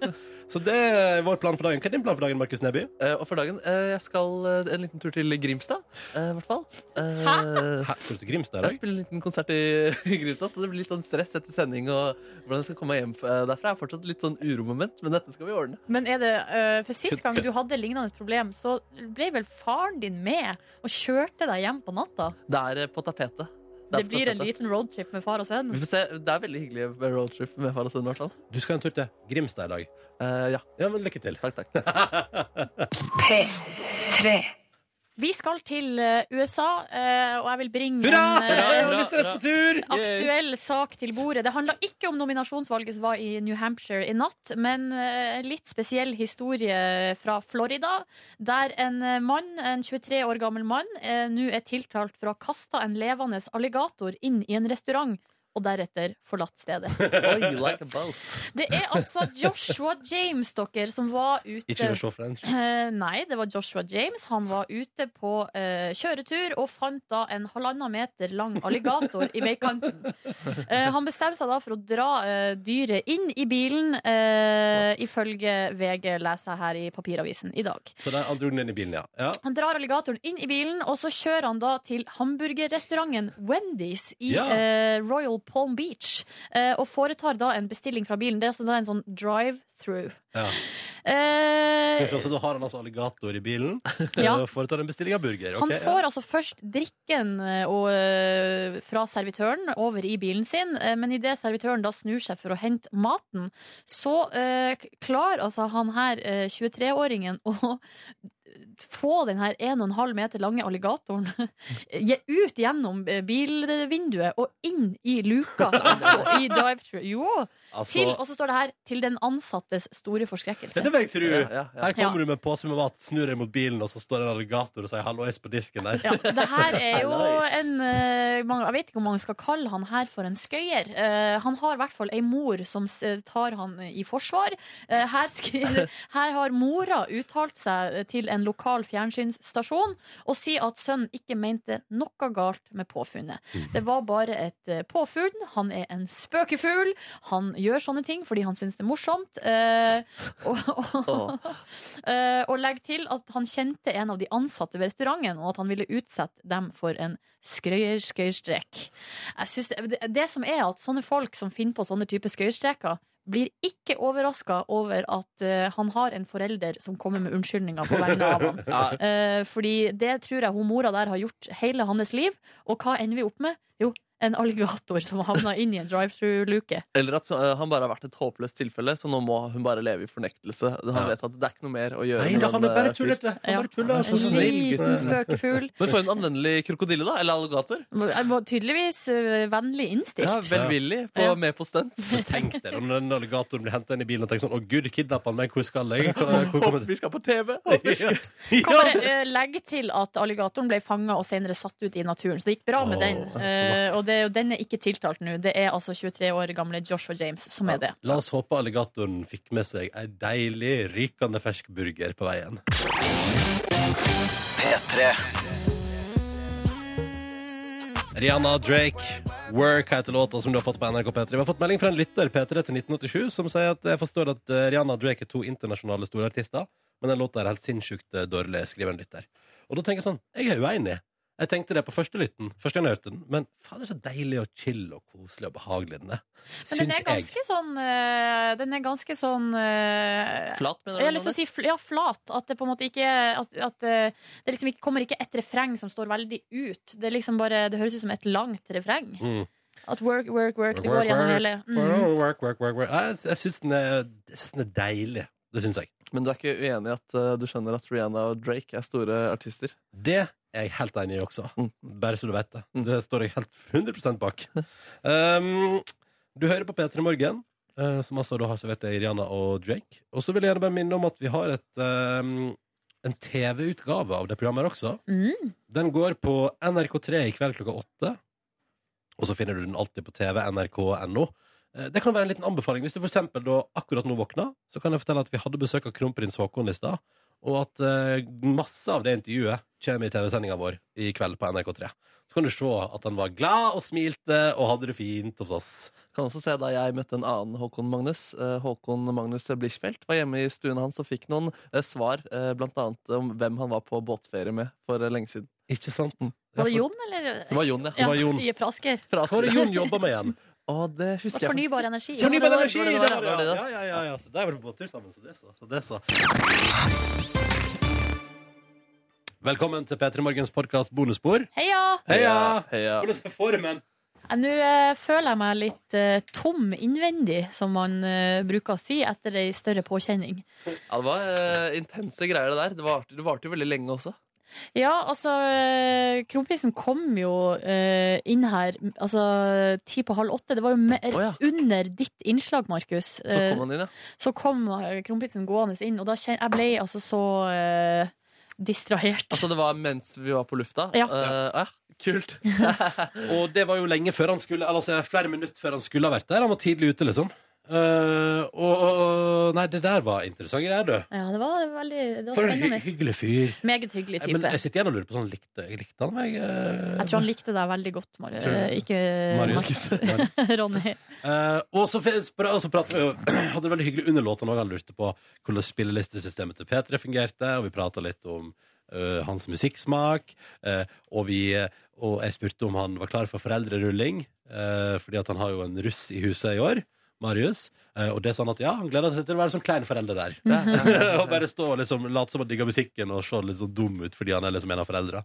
Speaker 2: Så det er vår plan for dagen. Hva er din plan for dagen, Markus Neby?
Speaker 4: Eh, og for dagen, eh, jeg skal eh, en liten tur til Grimstad, eh, i hvert fall. Eh,
Speaker 2: Hæ? Skal du til Grimstad i
Speaker 4: Jeg
Speaker 2: dag?
Speaker 4: spiller en liten konsert i, i Grimstad, så det blir litt sånn stress etter sending. Og hvordan jeg skal komme meg hjem eh, derfra er fortsatt litt sånn uromoment, men dette skal vi ordne.
Speaker 3: Men er det, eh, for sist gang du hadde lignende problem, så ble vel faren din med og kjørte deg hjem på natta?
Speaker 4: Det er eh, på tapetet. er
Speaker 3: Det
Speaker 4: på
Speaker 3: blir en
Speaker 4: tapetet.
Speaker 3: liten roadtrip med far og sønn.
Speaker 4: Vi får se. Det er veldig hyggelig med roadtrip med far og sønn, i hvert fall.
Speaker 2: Du skal en tur til Grimstad i dag.
Speaker 4: Eh, ja,
Speaker 2: Ja, men lykke til.
Speaker 4: takk, takk.
Speaker 1: P3.
Speaker 3: Vi skal til eh, USA, eh, og jeg vil bringe
Speaker 2: Hurra!
Speaker 3: en
Speaker 2: Hurra!
Speaker 3: eh,
Speaker 2: Jeg har lyst til å reise på tur!
Speaker 3: aktuell sak til bordet. Det handla ikke om nominasjonsvalget som var i New Hampshire i natt, men eh, en litt spesiell historie fra Florida, der en eh, mann, en 23 år gammel mann, eh, nå er tiltalt for å ha kasta en levende alligator inn i en restaurant. Og deretter forlatt stedet.
Speaker 4: Oi, like a boss.
Speaker 3: Det er altså Joshua James, dere, som var ute
Speaker 2: Ikke Joshua French.
Speaker 3: Eh, nei, det var Joshua James. Han var ute på eh, kjøretur og fant da en halvannen meter lang alligator i veikanten. Eh, han bestemte seg da for å dra eh, dyret inn i bilen, eh, ifølge VG leser jeg her i papiravisen i dag.
Speaker 2: Så der han dro den inn i bilen, ja. ja.
Speaker 3: Han drar alligatoren inn i bilen, og så kjører han da til hamburgerrestauranten Wendy's i
Speaker 2: Ja.
Speaker 3: eh, Royal Palm Beach. eh, og foretar da en bestilling fra bilen. Det er altså da en sånn drive-through.
Speaker 2: Ja.
Speaker 3: Eh,
Speaker 2: Skal vi se, Så da har han altså alligator i bilen.
Speaker 3: Ja.
Speaker 2: eh, Foretar en bestilling av burger.
Speaker 3: Han
Speaker 2: ok, ja.
Speaker 3: får altså først drikken eh, og, eh, fra servitøren over i bilen sin, eh, men idet servitøren da snur seg for å hente maten, så eh, k- klarer altså han her, eh, 23-åringen, å få den her 1,5 meter lange alligatoren ge- ut gjennom eh, bilvinduet og inn i luka og i drive-thru. Jo!
Speaker 2: Altså-
Speaker 3: Til, og så står det her 'til den ansattes store
Speaker 2: Det er
Speaker 3: forskrekkelse'.
Speaker 2: det vil jeg tro.
Speaker 4: Ja, ja, ja.
Speaker 2: Her kommer du med en pose med mat, snur deg mot bilen, og så står det en alligator og sier 'hallois' på disken der.
Speaker 3: Ja, det her er jo
Speaker 4: Nice.
Speaker 3: en eh, man- Jeg vet ikke om man skal kalle han her for en skøyer. Eh, han har i hvert fall ei mor som s- eh, tar han i forsvar. Eh, her, skriver, her har mora uttalt seg eh, til en lokal fjernsynsstasjon og sier at sønnen ikke mente noe galt med påfunnet. Det var bare et eh, påfunn. Han er en spøkefugl. Han gjør sånne ting fordi han syns det er morsomt. Eh, og, og, Eh, og legg til at han kjente en av de ansatte ved restauranten, og at han ville utsette dem for en skrøyer-skøyerstrek. Jeg synes- Det det som er at sånne folk som finner på sånne typer skøyerstreker, blir ikke overraska over at eh, han har en forelder som kommer med unnskyldninger på vegne av han. Eh, fordi det tror jeg hun mora der har gjort hele hans liv. Og hva ender vi opp med? Jo, en alligator som havna inn i en drive-through-luke.
Speaker 4: Eller at eh, han bare har vært et håpløst tilfelle, så nå må hun bare leve i fornektelse. Han
Speaker 2: Ja.
Speaker 4: vet at det er ikke noe mer å gjøre.
Speaker 2: Nei,
Speaker 4: med
Speaker 2: da, han
Speaker 4: den,
Speaker 2: er
Speaker 4: eh,
Speaker 2: bare
Speaker 4: fyren.
Speaker 2: tullete. Han
Speaker 3: Ja.
Speaker 2: bare tuller.
Speaker 3: En
Speaker 2: altså.
Speaker 4: så snill gutt.
Speaker 3: liten spøkefugl.
Speaker 4: Men for en anvendelig krokodille, da. Eller alligator.
Speaker 3: Jeg må Tydeligvis eh, vennlig innstilt.
Speaker 4: Ja, Velvillig, på,
Speaker 3: Ja.
Speaker 4: med på stunt.
Speaker 2: Tenk deg om den alligatoren blir henta inn i bilen og tenker sånn 'Å gud, kidnappa han meg, hvor skal jeg?' Hvor, hvor kommer
Speaker 4: Håper
Speaker 2: det?
Speaker 4: vi skal på TV! Håper vi skal.
Speaker 3: Kan bare eh, legge til at alligatoren ble fanga og senere satt ut i naturen. Så det gikk bra med
Speaker 2: Åh,
Speaker 3: den.
Speaker 2: så bra.
Speaker 3: Eh, og det, er jo- den er ikke tiltalt nå. Det er altså 23 år gamle Joshua James som er det.
Speaker 2: La oss håpe alligatoren fikk med seg ei deilig, rykende fersk burger på veien. Rihanna Drake, Work heter låta som du har fått på NRK P3. Vi har fått melding fra en lytter P3 til 1987 som sier at jeg forstår at eh, Rihanna og Drake er to internasjonale store artister, men den låta er helt sinnssykt eh, dårlig, skriver en lytter. Og da tenker jeg sånn, jeg er uenig. Jeg tenkte det på første lytten, første gang jeg hørte den, men faen, det er så deilig og chill og koselig og behagelig den er.
Speaker 3: Men den er
Speaker 2: Syns jeg.
Speaker 3: ganske sånn eh, Den er ganske sånn eh,
Speaker 4: Flat, mener
Speaker 3: jeg
Speaker 4: du?
Speaker 3: har lyst til å si fl ja, flat. At det på en måte ikke At, at eh, det liksom ikke, kommer ikke et refreng som står veldig ut. Det er liksom bare Det høres ut som et langt refreng.
Speaker 2: Mm.
Speaker 3: At work, work, work, det
Speaker 2: Work,
Speaker 3: går gjennom
Speaker 2: work,
Speaker 3: hele mm.
Speaker 2: Work, work, work, work. Jeg, jeg syns den, er- jeg synes den er deilig. Det syns jeg.
Speaker 4: Men du er ikke uenig i at eh, du skjønner at Rihanna og Drake er store artister?
Speaker 2: Det er jeg helt enig i også.
Speaker 4: Mm.
Speaker 2: Bare så du vet det.
Speaker 4: Mm.
Speaker 2: Det står jeg helt 100 bak. Um, du hører på P3 Morgen, eh, som altså da har servert deg Rihanna og Drake. Og så vil jeg gjerne bare minne om at vi har et, um, en TV-utgave av det programmet her også.
Speaker 3: Mm.
Speaker 2: Den går på NRK3 i kveld klokka åtte. Og så finner du den alltid på TV, nrk.no. Eh, Det kan være en liten anbefaling. Hvis du for eksempel da akkurat nå våkna, så kan jeg fortelle at vi hadde besøk av kronprins Haakon i stad, og at eh, masse av det intervjuet kommer i TV-sendinga vår i kveld på NRK3. Så kan du se at han var glad og smilte og hadde det fint hos oss.
Speaker 4: Kan også se da jeg møtte en annen Håkon Magnus. eh, Håkon Magnus Blichfeldt var hjemme i stuen hans og fikk noen eh, svar, eh, blant annet om hvem han var på båtferie med for eh, lenge siden. Mm.
Speaker 2: Ikke sant?
Speaker 3: Var det Jon, eller?
Speaker 4: Det var Jon,
Speaker 3: Ja,
Speaker 4: ja.
Speaker 2: var Jon.
Speaker 3: i- Fra Asker.
Speaker 4: Fra
Speaker 2: Hva var det
Speaker 4: Asker.
Speaker 2: Jon jobba med igjen?
Speaker 4: Å, det husker jeg. faktisk.
Speaker 3: Fornybar energi.
Speaker 2: Fornybar
Speaker 4: Altså, det var-
Speaker 2: energi!
Speaker 4: det
Speaker 2: Det
Speaker 4: var-
Speaker 2: var det,
Speaker 4: var
Speaker 2: ja.
Speaker 4: det det?
Speaker 2: Ja, ja, ja, ja. Så der var det båttur sammen, så det så. Så det så. Velkommen til P3 Morgens podkast Bonusspor.
Speaker 3: Heia!
Speaker 2: Heia!
Speaker 4: Heia.
Speaker 2: Hvordan er formen?
Speaker 3: Ja, Nå eh, føler jeg meg litt eh, tom innvendig, som man eh, bruker å si etter ei større påkjenning.
Speaker 4: Ja, det var eh, intense greier, det der. Det varte, det varte jo veldig lenge også.
Speaker 3: Ja, altså eh, Kronprinsen kom jo eh, inn her altså ti på halv åtte. Det var jo mer,
Speaker 4: Å,
Speaker 3: under ditt innslag, Markus.
Speaker 4: Så
Speaker 3: Eh,
Speaker 4: kom han inn, ja.
Speaker 3: så kom eh, kronprinsen gående inn, og da kjen, jeg ble altså så eh, distrahert.
Speaker 4: Altså det var mens vi var på lufta?
Speaker 3: Ja.
Speaker 4: Eh, ja. Kult.
Speaker 2: Og det var jo lenge før han skulle eller, altså, Flere minutter før han skulle ha vært der Han var tidlig ute liksom Eh, og, og Nei, det der var interessant greier du
Speaker 3: ja, det var veldig det var
Speaker 2: For en hy
Speaker 3: spennende.
Speaker 2: hyggelig fyr
Speaker 3: Meget hyggelig
Speaker 2: Eh, Men
Speaker 3: type.
Speaker 2: jeg sitter igjen og lurer på sånn Likte, likte han meg? eh,
Speaker 3: Jeg tror han likte deg veldig godt, Mar
Speaker 2: Tror du det?
Speaker 3: eh, ikke
Speaker 2: Marius.
Speaker 3: Marius. Ronny.
Speaker 2: Eh, og så, f- spra- og så pratet vi jo Hadde det veldig hyggelig under låten òg. Han lurte på hvordan spillelistesystemet til P3 fungerte, og vi prata litt om eh, hans musikksmak. eh, og, vi, og jeg spurte om han var klar for foreldrerulling, eh, fordi at han har jo en russ i huset i år. Marius. Eh, og det sa han at ja, han gleder seg til å være som klein forelder der. og bare stå og liksom late som han digger musikken og se litt sånn dum ut fordi han er liksom en av foreldra.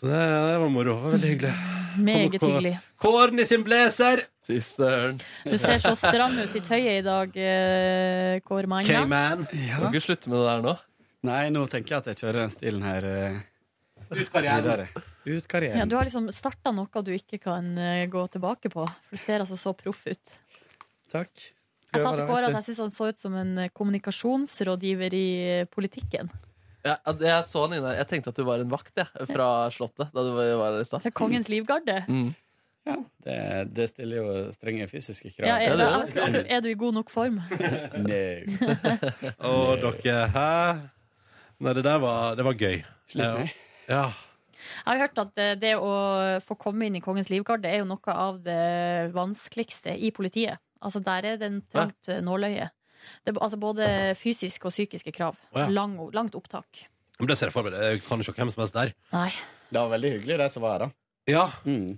Speaker 2: Så det, det var moro. Det var Veldig hyggelig.
Speaker 3: Meget hyggelig.
Speaker 2: Kåren i sin blazer!
Speaker 4: Fy søren.
Speaker 3: Du ser så stram ut i tøyet i dag, eh, Kåre Magna.
Speaker 2: K-man.
Speaker 4: Kan
Speaker 10: Ja.
Speaker 4: ikke slutte med det der nå.
Speaker 10: Nei, nå tenker jeg at jeg kjører den stilen her eh,
Speaker 2: Ut karrieren.
Speaker 10: videre. Ut
Speaker 3: Ja,
Speaker 10: karrieren.
Speaker 3: du har liksom starta noe du ikke kan eh, gå tilbake på. For Du ser altså så proff ut.
Speaker 10: Takk.
Speaker 3: Jeg sa
Speaker 10: Prøver
Speaker 3: til
Speaker 10: det,
Speaker 3: Kåre
Speaker 10: vet
Speaker 3: at jeg syns han så ut som en eh, kommunikasjonsrådgiver i eh, politikken.
Speaker 4: Ja, at jeg så han inne her. Jeg tenkte at du var en vakt jeg, fra Slottet. Da du var her i stad.
Speaker 3: Fra Kongens livgarde.
Speaker 4: Mm.
Speaker 10: du. Ja, det, det stiller jo strenge fysiske
Speaker 3: Ja,
Speaker 10: krav.
Speaker 3: er,
Speaker 4: det er
Speaker 3: jeg skulle akkurat- er du i god nok form?
Speaker 10: No.
Speaker 2: Å, dere, hæ? Nei, det der var, det var gøy.
Speaker 10: Slutt med.
Speaker 2: Ja.
Speaker 3: Jeg har hørt at eh, det å få komme inn i Kongens livgarde er jo noe av det vanskeligste i politiet. Altså Der er det en trangt eh, nåløye. Det er b- altså både fysiske og psykiske krav.
Speaker 2: Å ja.
Speaker 3: Lang, langt opptak.
Speaker 2: Men det ser jeg for meg. Jeg kan ikke hvem som helst der.
Speaker 3: Nei.
Speaker 10: Det var veldig hyggelig, de som var her. da.
Speaker 2: Ja,
Speaker 10: Mm.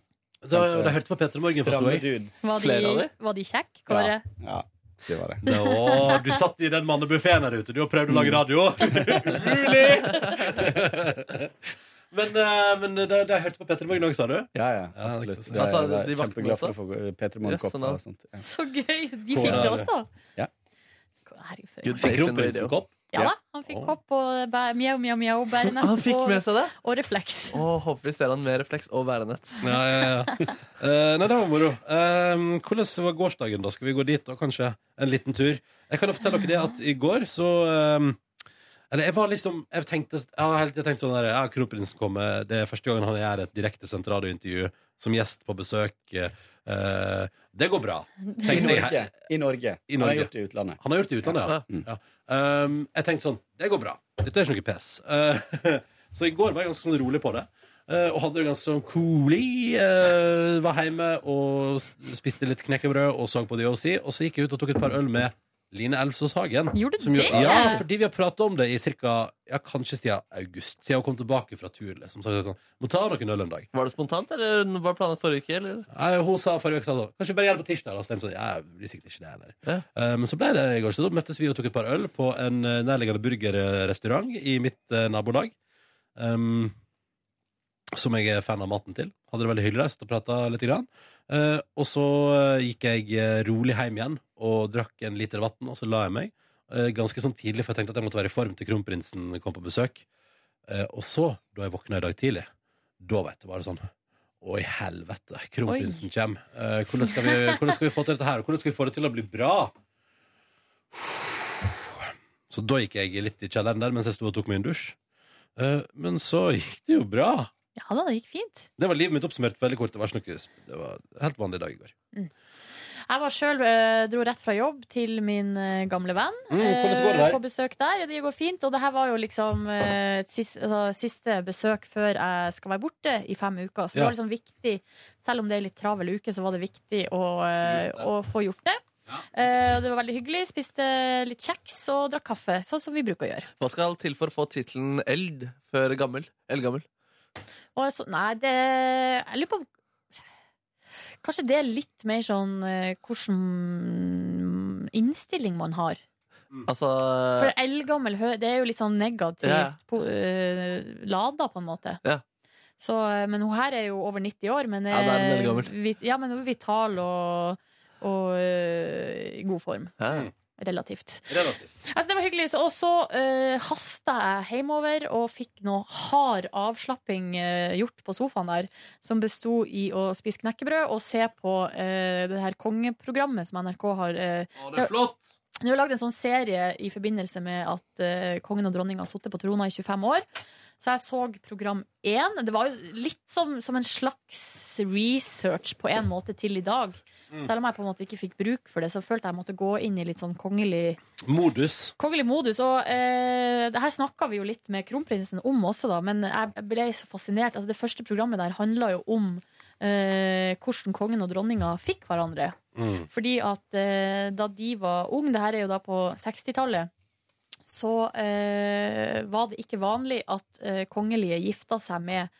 Speaker 2: Da, da hørte på Peter Morgen, forsto
Speaker 10: Stramme
Speaker 2: jeg.
Speaker 10: dudes.
Speaker 3: Var
Speaker 10: Flere av
Speaker 3: de,
Speaker 10: de?
Speaker 3: var de kjekke, Kåre?
Speaker 10: Ja, det var det.
Speaker 2: Nå, du satt i den mannebuffeen her ute. Du har prøvd å lage radio. Umulig! Men, eh, men da, da jeg hørte på Peter Morgen òg, sa du?
Speaker 10: Ja, ja,
Speaker 2: Ja, det kan
Speaker 10: absolutt.
Speaker 2: jeg si.
Speaker 10: Det,
Speaker 4: Altså,
Speaker 10: jeg var
Speaker 4: de vaktene
Speaker 10: kjempeglad for å
Speaker 4: også?
Speaker 10: få Peter Morgenkopp
Speaker 4: Jøss,
Speaker 7: altså.
Speaker 10: og sånt. Ja.
Speaker 3: Så gøy! De fikk
Speaker 2: Kåre er
Speaker 3: det
Speaker 2: det.
Speaker 3: også.
Speaker 10: Ja.
Speaker 3: Herregud, for-
Speaker 4: Good
Speaker 2: Fikk
Speaker 4: face in
Speaker 2: kronprinsen
Speaker 4: radio.
Speaker 2: kopp?
Speaker 3: Ja da, han fikk
Speaker 2: Å.
Speaker 3: kopp og bæ- mjau, mjau, mjau, bærenett
Speaker 4: Han fikk
Speaker 3: og,
Speaker 4: med seg det?
Speaker 3: og refleks.
Speaker 4: Å, håper vi ser han med refleks og bærenett.
Speaker 2: Ja, ja, ja. Eh, nei, det var moro. Eh, hvordan var gårsdagen, da? Skal vi gå dit, da, kanskje? En liten tur? Jeg kan jo fortelle dere det at i går så eh, Eller jeg var liksom Jeg tenkte, jeg har hele tiden tenkt sånn der, ja, Kronprinsen kommer. Det er første gangen han gjør et direktesendt radiointervju som gjest på besøk. Eh, det går bra,
Speaker 10: I
Speaker 2: tenkte jeg.
Speaker 10: Norge. I Norge.
Speaker 2: I
Speaker 10: Han
Speaker 2: Norge.
Speaker 10: har gjort det i utlandet.
Speaker 2: Han har gjort det i utlandet, ja. ja. Um, jeg tenkte sånn, det går bra. Dette er ikke noe pes. Uh, så i går var jeg ganske sånn rolig på det. Uh, og hadde det ganske sånn coolly. Uh, var hjemme og s- spiste litt knekkebrød og så på DOC. Og så gikk jeg ut og tok et par øl med Line Elfsås Hagen.
Speaker 3: Gjorde du
Speaker 2: Som jo-
Speaker 3: det?
Speaker 2: Ja, fordi vi har pratet om det i cirka, ja, kanskje siden august. Siden hun kom tilbake fra tur, liksom. Så jeg sa sånn, må ta noen øl en dag.
Speaker 4: Var det spontant, eller var det planlagt forrige uke? Eller?
Speaker 2: Nei, hun sa forrige uke sa hun, Kanskje vi bare gjør det på tirsdag. da?" Så tenkte jeg sånn, ja, det blir sikkert ikke det heller.
Speaker 4: Ja.
Speaker 2: Eh, Men så ble det i går. Så da møttes vi og tok et par øl på en eh, nærliggende burgerrestaurant i mitt eh, nabolag. Ehm, em, som jeg er fan av maten til. Hadde det veldig hyggelig der. Satt og prata litt. Grann. Eh, og så eh, gikk jeg eh, rolig hjem igjen og drakk en liter vann, og så la jeg meg. Eh, ganske sånn tidlig, for jeg tenkte at jeg måtte være i form til kronprinsen kom på besøk. Eh, og så, da jeg våkna i dag tidlig, da vet du, var det sånn Å, i helvete, kronprinsen kommer. Eh, hvordan, skal vi, hvordan skal vi få til dette her? og Hvordan skal vi få det til å bli bra? Så da gikk jeg litt i kjelleren der mens jeg sto og tok meg en dusj. Eh, men så gikk det jo bra.
Speaker 3: Ja da, det gikk fint.
Speaker 2: Det var livet mitt oppsummert veldig kort. Det var, ikke noe, det var en helt vanlig dag i går.
Speaker 3: Jeg var sjøl, eh, dro rett fra jobb til min eh, gamle venn.
Speaker 2: Mm, hvordan går det
Speaker 3: eh,
Speaker 2: der?
Speaker 3: på besøk der. Ja, det går fint. Og det her var jo liksom eh, et siste, altså, siste besøk før jeg skal være borte i fem uker.
Speaker 2: Ja.
Speaker 3: Så det var liksom viktig, selv om det er litt travel uke, så var det viktig å, eh, å få gjort det. Eh, det var veldig hyggelig. Spiste litt kjeks og drakk kaffe, sånn som vi bruker å gjøre.
Speaker 4: Hva skal til for å få tittelen eld før gammel? Eldgammel?
Speaker 3: Og så, nei, det Jeg lurer på om Kanskje det er litt mer sånn eh, hvilken innstilling man har.
Speaker 4: Altså
Speaker 3: For eldgammel hø- det er jo litt sånn negativt
Speaker 4: Ja.
Speaker 3: po eh, lada, på en måte.
Speaker 4: Ja.
Speaker 3: Så, eh, men hun her er jo over 90 år, men,
Speaker 4: Ja, da er hun
Speaker 3: eh,
Speaker 4: eldgammel.
Speaker 3: vit, ja, men hun er vital og, og eh, i god form.
Speaker 4: ja.
Speaker 3: Relativt.
Speaker 2: Relativt.
Speaker 3: Altså, det var hyggelig. Så, og så uh, hasta jeg hjemover og fikk noe hard avslapping eh, gjort på sofaen der, som besto i å spise knekkebrød og se på eh, det her kongeprogrammet som NRK har eh,
Speaker 2: Å, det er flott!
Speaker 3: de har lagd en sånn serie i forbindelse med at eh, kongen og dronninga har sittet på trona i 25 år. Så jeg så program én. Det var jo litt som, som en slags research på en måte til i dag.
Speaker 2: Mm.
Speaker 3: Selv om jeg på en måte ikke fikk bruk for det, så følte jeg måtte gå inn i litt sånn kongelig
Speaker 2: Modus.
Speaker 3: Kongelig modus, og eh, det her snakka vi jo litt med kronprinsen om også, da, men jeg ble så fascinert. Altså, det første programmet der handla jo om eh, hvordan kongen og dronninga fikk hverandre.
Speaker 11: Mm.
Speaker 3: Fordi at eh, da de var ung, det her er jo da på 60-tallet, så eh, var det ikke vanlig at eh, kongelige gifta seg med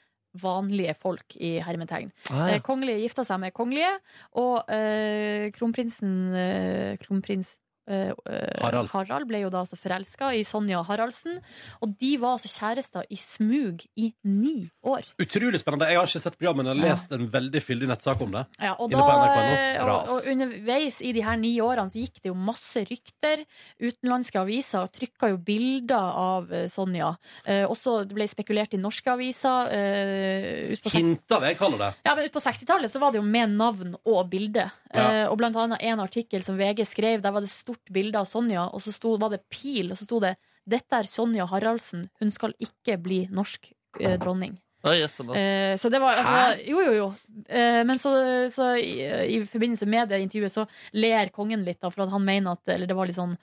Speaker 3: vanlige folk i hermetegn.
Speaker 11: Ah, ja.
Speaker 3: eh, kongelige gifta seg med kongelige, og eh, kronprinsen eh, Kronprins eh, eh,
Speaker 11: Harald.
Speaker 3: Harald ble jo da altså forelska i Sonja Haraldsen, og de var altså kjærester i smug i ni år.
Speaker 2: Utrolig spennende. Jeg har ikke sett programmet, men jeg har lest en veldig fyldig nettsak om det.
Speaker 3: Ja, og,
Speaker 2: Inne på
Speaker 3: da, eh,
Speaker 2: NRK.no.
Speaker 3: og,
Speaker 2: Ras.
Speaker 3: og underveis i de her ni årene så gikk det jo masse rykter. Utenlandske aviser trykka jo bilder av eh, Sonja. Eh, også det ble spekulert i norske aviser. Eh, ut på sek-
Speaker 2: Hinta, vil jeg kalle det.
Speaker 3: ja, men ut på 60-tallet så var det jo med navn og bilde.
Speaker 2: Ja.
Speaker 3: Eh, og blant annet en artikkel som VG skrev, der var det stort bilde av Sonja, og så sto, var det pil, og så sto det 'Dette er Sonja Haraldsen. Hun skal ikke bli norsk eh, dronning'.
Speaker 4: Ja, yes, eller?
Speaker 3: Eh, så det var altså
Speaker 4: sånn Hæ?
Speaker 3: Jo, jo, jo. Eh, men så, så i, i forbindelse med det intervjuet så ler kongen litt, da, for at han mener at Eller det var litt sånn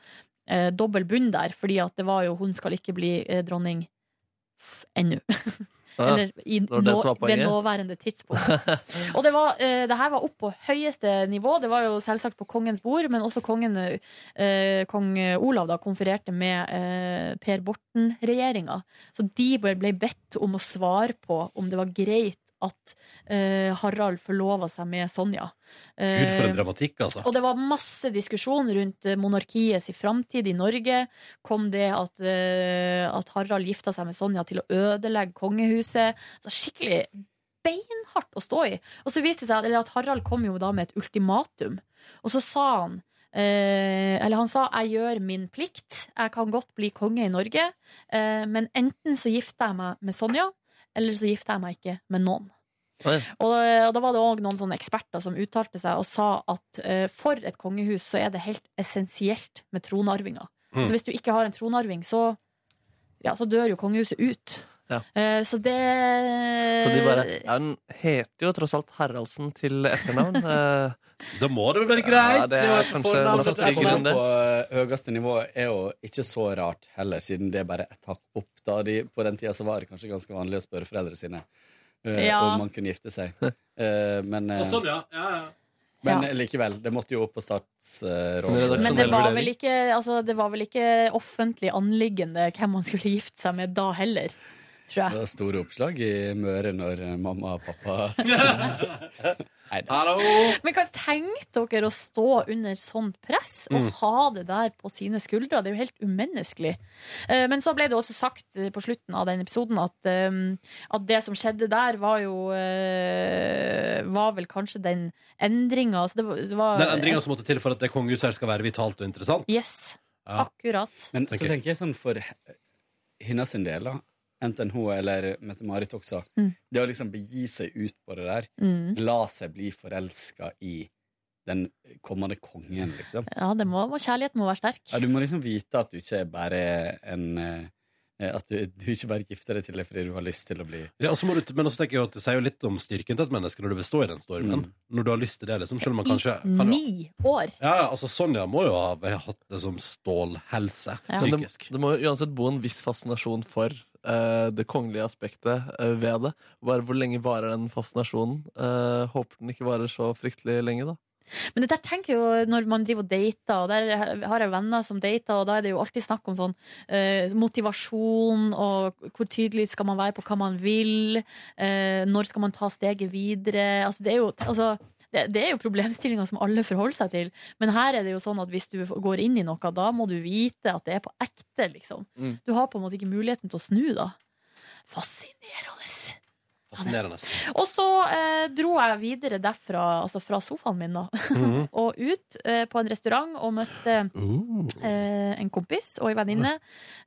Speaker 3: eh, dobbel bunn der, fordi at det var jo 'Hun skal ikke bli eh, dronning f- ennå'.
Speaker 11: Ja,
Speaker 3: Eller i,
Speaker 11: det var det som
Speaker 3: nå,
Speaker 11: var
Speaker 3: ved
Speaker 11: poenget.
Speaker 3: nåværende tidspunkt. Og det, var, eh, det her var opp på høyeste nivå. Det var jo selvsagt på kongens bord, men også kongen, eh, kong Olav da, konfererte med eh, Per Borten-regjeringa. Så de ble ble bedt om å svare på om det var greit at eh, Harald forlova seg med Sonja. Eh,
Speaker 2: Gud, for en dramatikk, altså.
Speaker 3: og det var masse diskusjon rundt eh, monarkiets i framtid i Norge. Kom det at, eh, at Harald gifta seg med Sonja til å ødelegge kongehuset? Så skikkelig beinhardt å stå i. Og så viste det seg at, eller at Harald kom jo da med et ultimatum. Og så sa han eh, Eller han sa 'jeg gjør min plikt, jeg kan godt bli konge i Norge', eh, men enten så gifter jeg meg med Sonja, eller så gifter jeg meg ikke med noen. Og, og da var det òg noen sånne eksperter som uttalte seg og sa at eh, for et kongehus så er det helt essensielt med tronarvinger.
Speaker 11: Mm.
Speaker 3: Så hvis du ikke har en tronarving, så, ja, så dør jo kongehuset ut.
Speaker 11: Ja.
Speaker 3: Eh, så det eh,
Speaker 11: Så de bare ja, Hun heter jo tross alt Haraldsen til etternavn. Eh,
Speaker 2: da må det vel være
Speaker 11: Ja, det
Speaker 10: Ja,
Speaker 11: er kanskje
Speaker 10: fornavn
Speaker 11: en
Speaker 10: som
Speaker 11: trygg
Speaker 10: kommer
Speaker 11: runde.
Speaker 10: på eh, høyeste nivå er jo ikke så rart heller, siden det er bare et hakk opp. Da de, på den tida så var det kanskje ganske vanlig å spørre foreldrene sine eh,
Speaker 11: Ja.
Speaker 10: om man kunne gifte seg. Eh, men, eh,
Speaker 2: Og sånn, ja. ja, ja.
Speaker 10: men
Speaker 3: Ja.
Speaker 10: eh, likevel, det måtte jo opp på statsrådet.
Speaker 4: sånn
Speaker 3: Men det var, vel ikke, altså, det var vel ikke offentlig anliggende hvem man skulle gifte seg med da heller, tror jeg.
Speaker 10: Det var store oppslag i Møre når eh, mamma og pappa skulle Nei, da.
Speaker 3: Men hva tenkte dere å stå under sånt press og
Speaker 10: Mm.
Speaker 3: ha det der på sine skuldre? Det er jo helt umenneskelig. Eh, Men så ble det også sagt eh, på slutten av den episoden at, eh, at det som skjedde der, var jo eh, Var vel kanskje den endringa altså det var- det var-
Speaker 2: Den endringa som måtte til for at det kongehuset her skal være vitalt og interessant.
Speaker 3: Yes.
Speaker 2: Ja.
Speaker 3: Akkurat.
Speaker 10: Men så tenker jeg sånn for he- hennes sin del, da. Enten hun eller Mette-Marit også.
Speaker 3: Mm.
Speaker 10: Det å liksom begi seg ut på det der.
Speaker 3: Mm.
Speaker 10: La seg bli forelska i den kommende kongen, liksom.
Speaker 3: Ja, det må, må, kjærligheten må være sterk.
Speaker 10: Ja, du må liksom vite at du ikke er bare en eh, At du, du ikke bare gifter deg til det fordi du har lyst til å bli
Speaker 2: Ja, og så må du, men også tenker jeg jo at Det sier jo litt om styrken til et menneske når du vil stå i den stormen.
Speaker 10: Mm.
Speaker 2: Når du har lyst til det, liksom. Selv om man kanskje kan jo,
Speaker 3: Ni år!
Speaker 2: ja, altså Sonja må jo ha vel hatt det som stålhelse
Speaker 11: Men
Speaker 2: psykisk.
Speaker 11: det, det må jo uansett bo en viss fascinasjon for eh, det kongelige aspektet eh, ved det. Bare hvor lenge varer den fascinasjonen? Eh, håper den ikke varer så fryktelig lenge, da.
Speaker 3: Men det der tenker jeg jo når man driver og dater, og der har jeg venner som dater, og da er det jo alltid snakk om sånn eh, motivasjon, og hvor tydelig skal man være på hva man vil, eh, når skal man ta steget videre, altså det er jo... Altså, det, det er jo problemstillinger som alle forholder seg til Men her er det jo sånn at hvis du går inn i noe Da må du vite at det er på ekte liksom.
Speaker 11: Mm.
Speaker 3: Du har på en måte ikke muligheten til å snu da Fascinerende
Speaker 2: Fascinerende.
Speaker 3: Og så eh, dro jeg videre derfra, altså fra sofaen min, da,
Speaker 2: Mhm.
Speaker 3: og ut eh, på en restaurant og møtte eh, en kompis og ei venninne.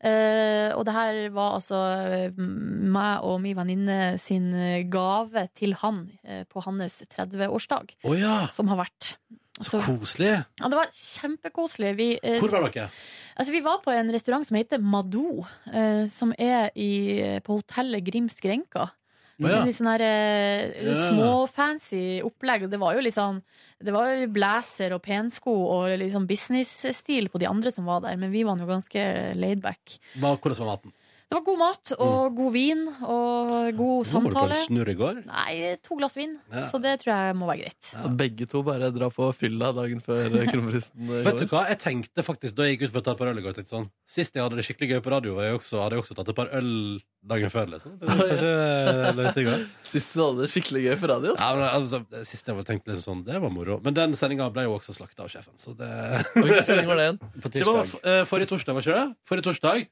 Speaker 3: Eh, og det her var altså eh, meg og min venninne sin eh, gave til han eh, på hans 30-årsdag,
Speaker 2: Å ja.
Speaker 3: som har vært.
Speaker 2: Så koselig.
Speaker 3: Ja, det var kjempekoselig. Vi, eh,
Speaker 2: Hvor var dere?
Speaker 3: Altså, vi var på en restaurant som heter Madou, eh, som er i, på hotellet Grims Grenka.
Speaker 2: Å, ja.
Speaker 3: Litt sånn her eh,
Speaker 2: Ja.
Speaker 3: småfancy opplegg. Og det var jo litt sånn Det var jo blazer og pensko og litt sånn businessstil på de andre som var der, men vi var nå ganske laidback.
Speaker 2: Hva, hvordan var maten?
Speaker 3: Det var god mat og god vin og
Speaker 2: Nå
Speaker 3: god
Speaker 2: Mm. var du på
Speaker 3: samtale.
Speaker 2: en snurr i går.
Speaker 3: Nei, to glass vin,
Speaker 2: Ja.
Speaker 3: så det tror jeg må være greit.
Speaker 11: Begge to bare drar på fylla dagen før eh, kronprisen eh,
Speaker 2: Vet du
Speaker 11: går.
Speaker 2: hva, jeg tenkte faktisk Da jeg gikk ut for å ta et par øl i går, tenkte jeg sånn Sist jeg hadde det skikkelig gøy på radio, var jeg også, hadde jeg også tatt et par øl dagen før. Liksom. Det var kanskje løs i går.
Speaker 11: Sist du hadde det skikkelig gøy på radio?
Speaker 2: Ja, men, altså, det siste jeg tenkte liksom sånn, det var moro. Men den sendinga ble jo også slakta av sjefen. Så det...
Speaker 11: Hvilken sending var det igjen?
Speaker 2: På tirsdag. Det var f- eh, forrige torsdag, var ikke det? Forrige torsdag.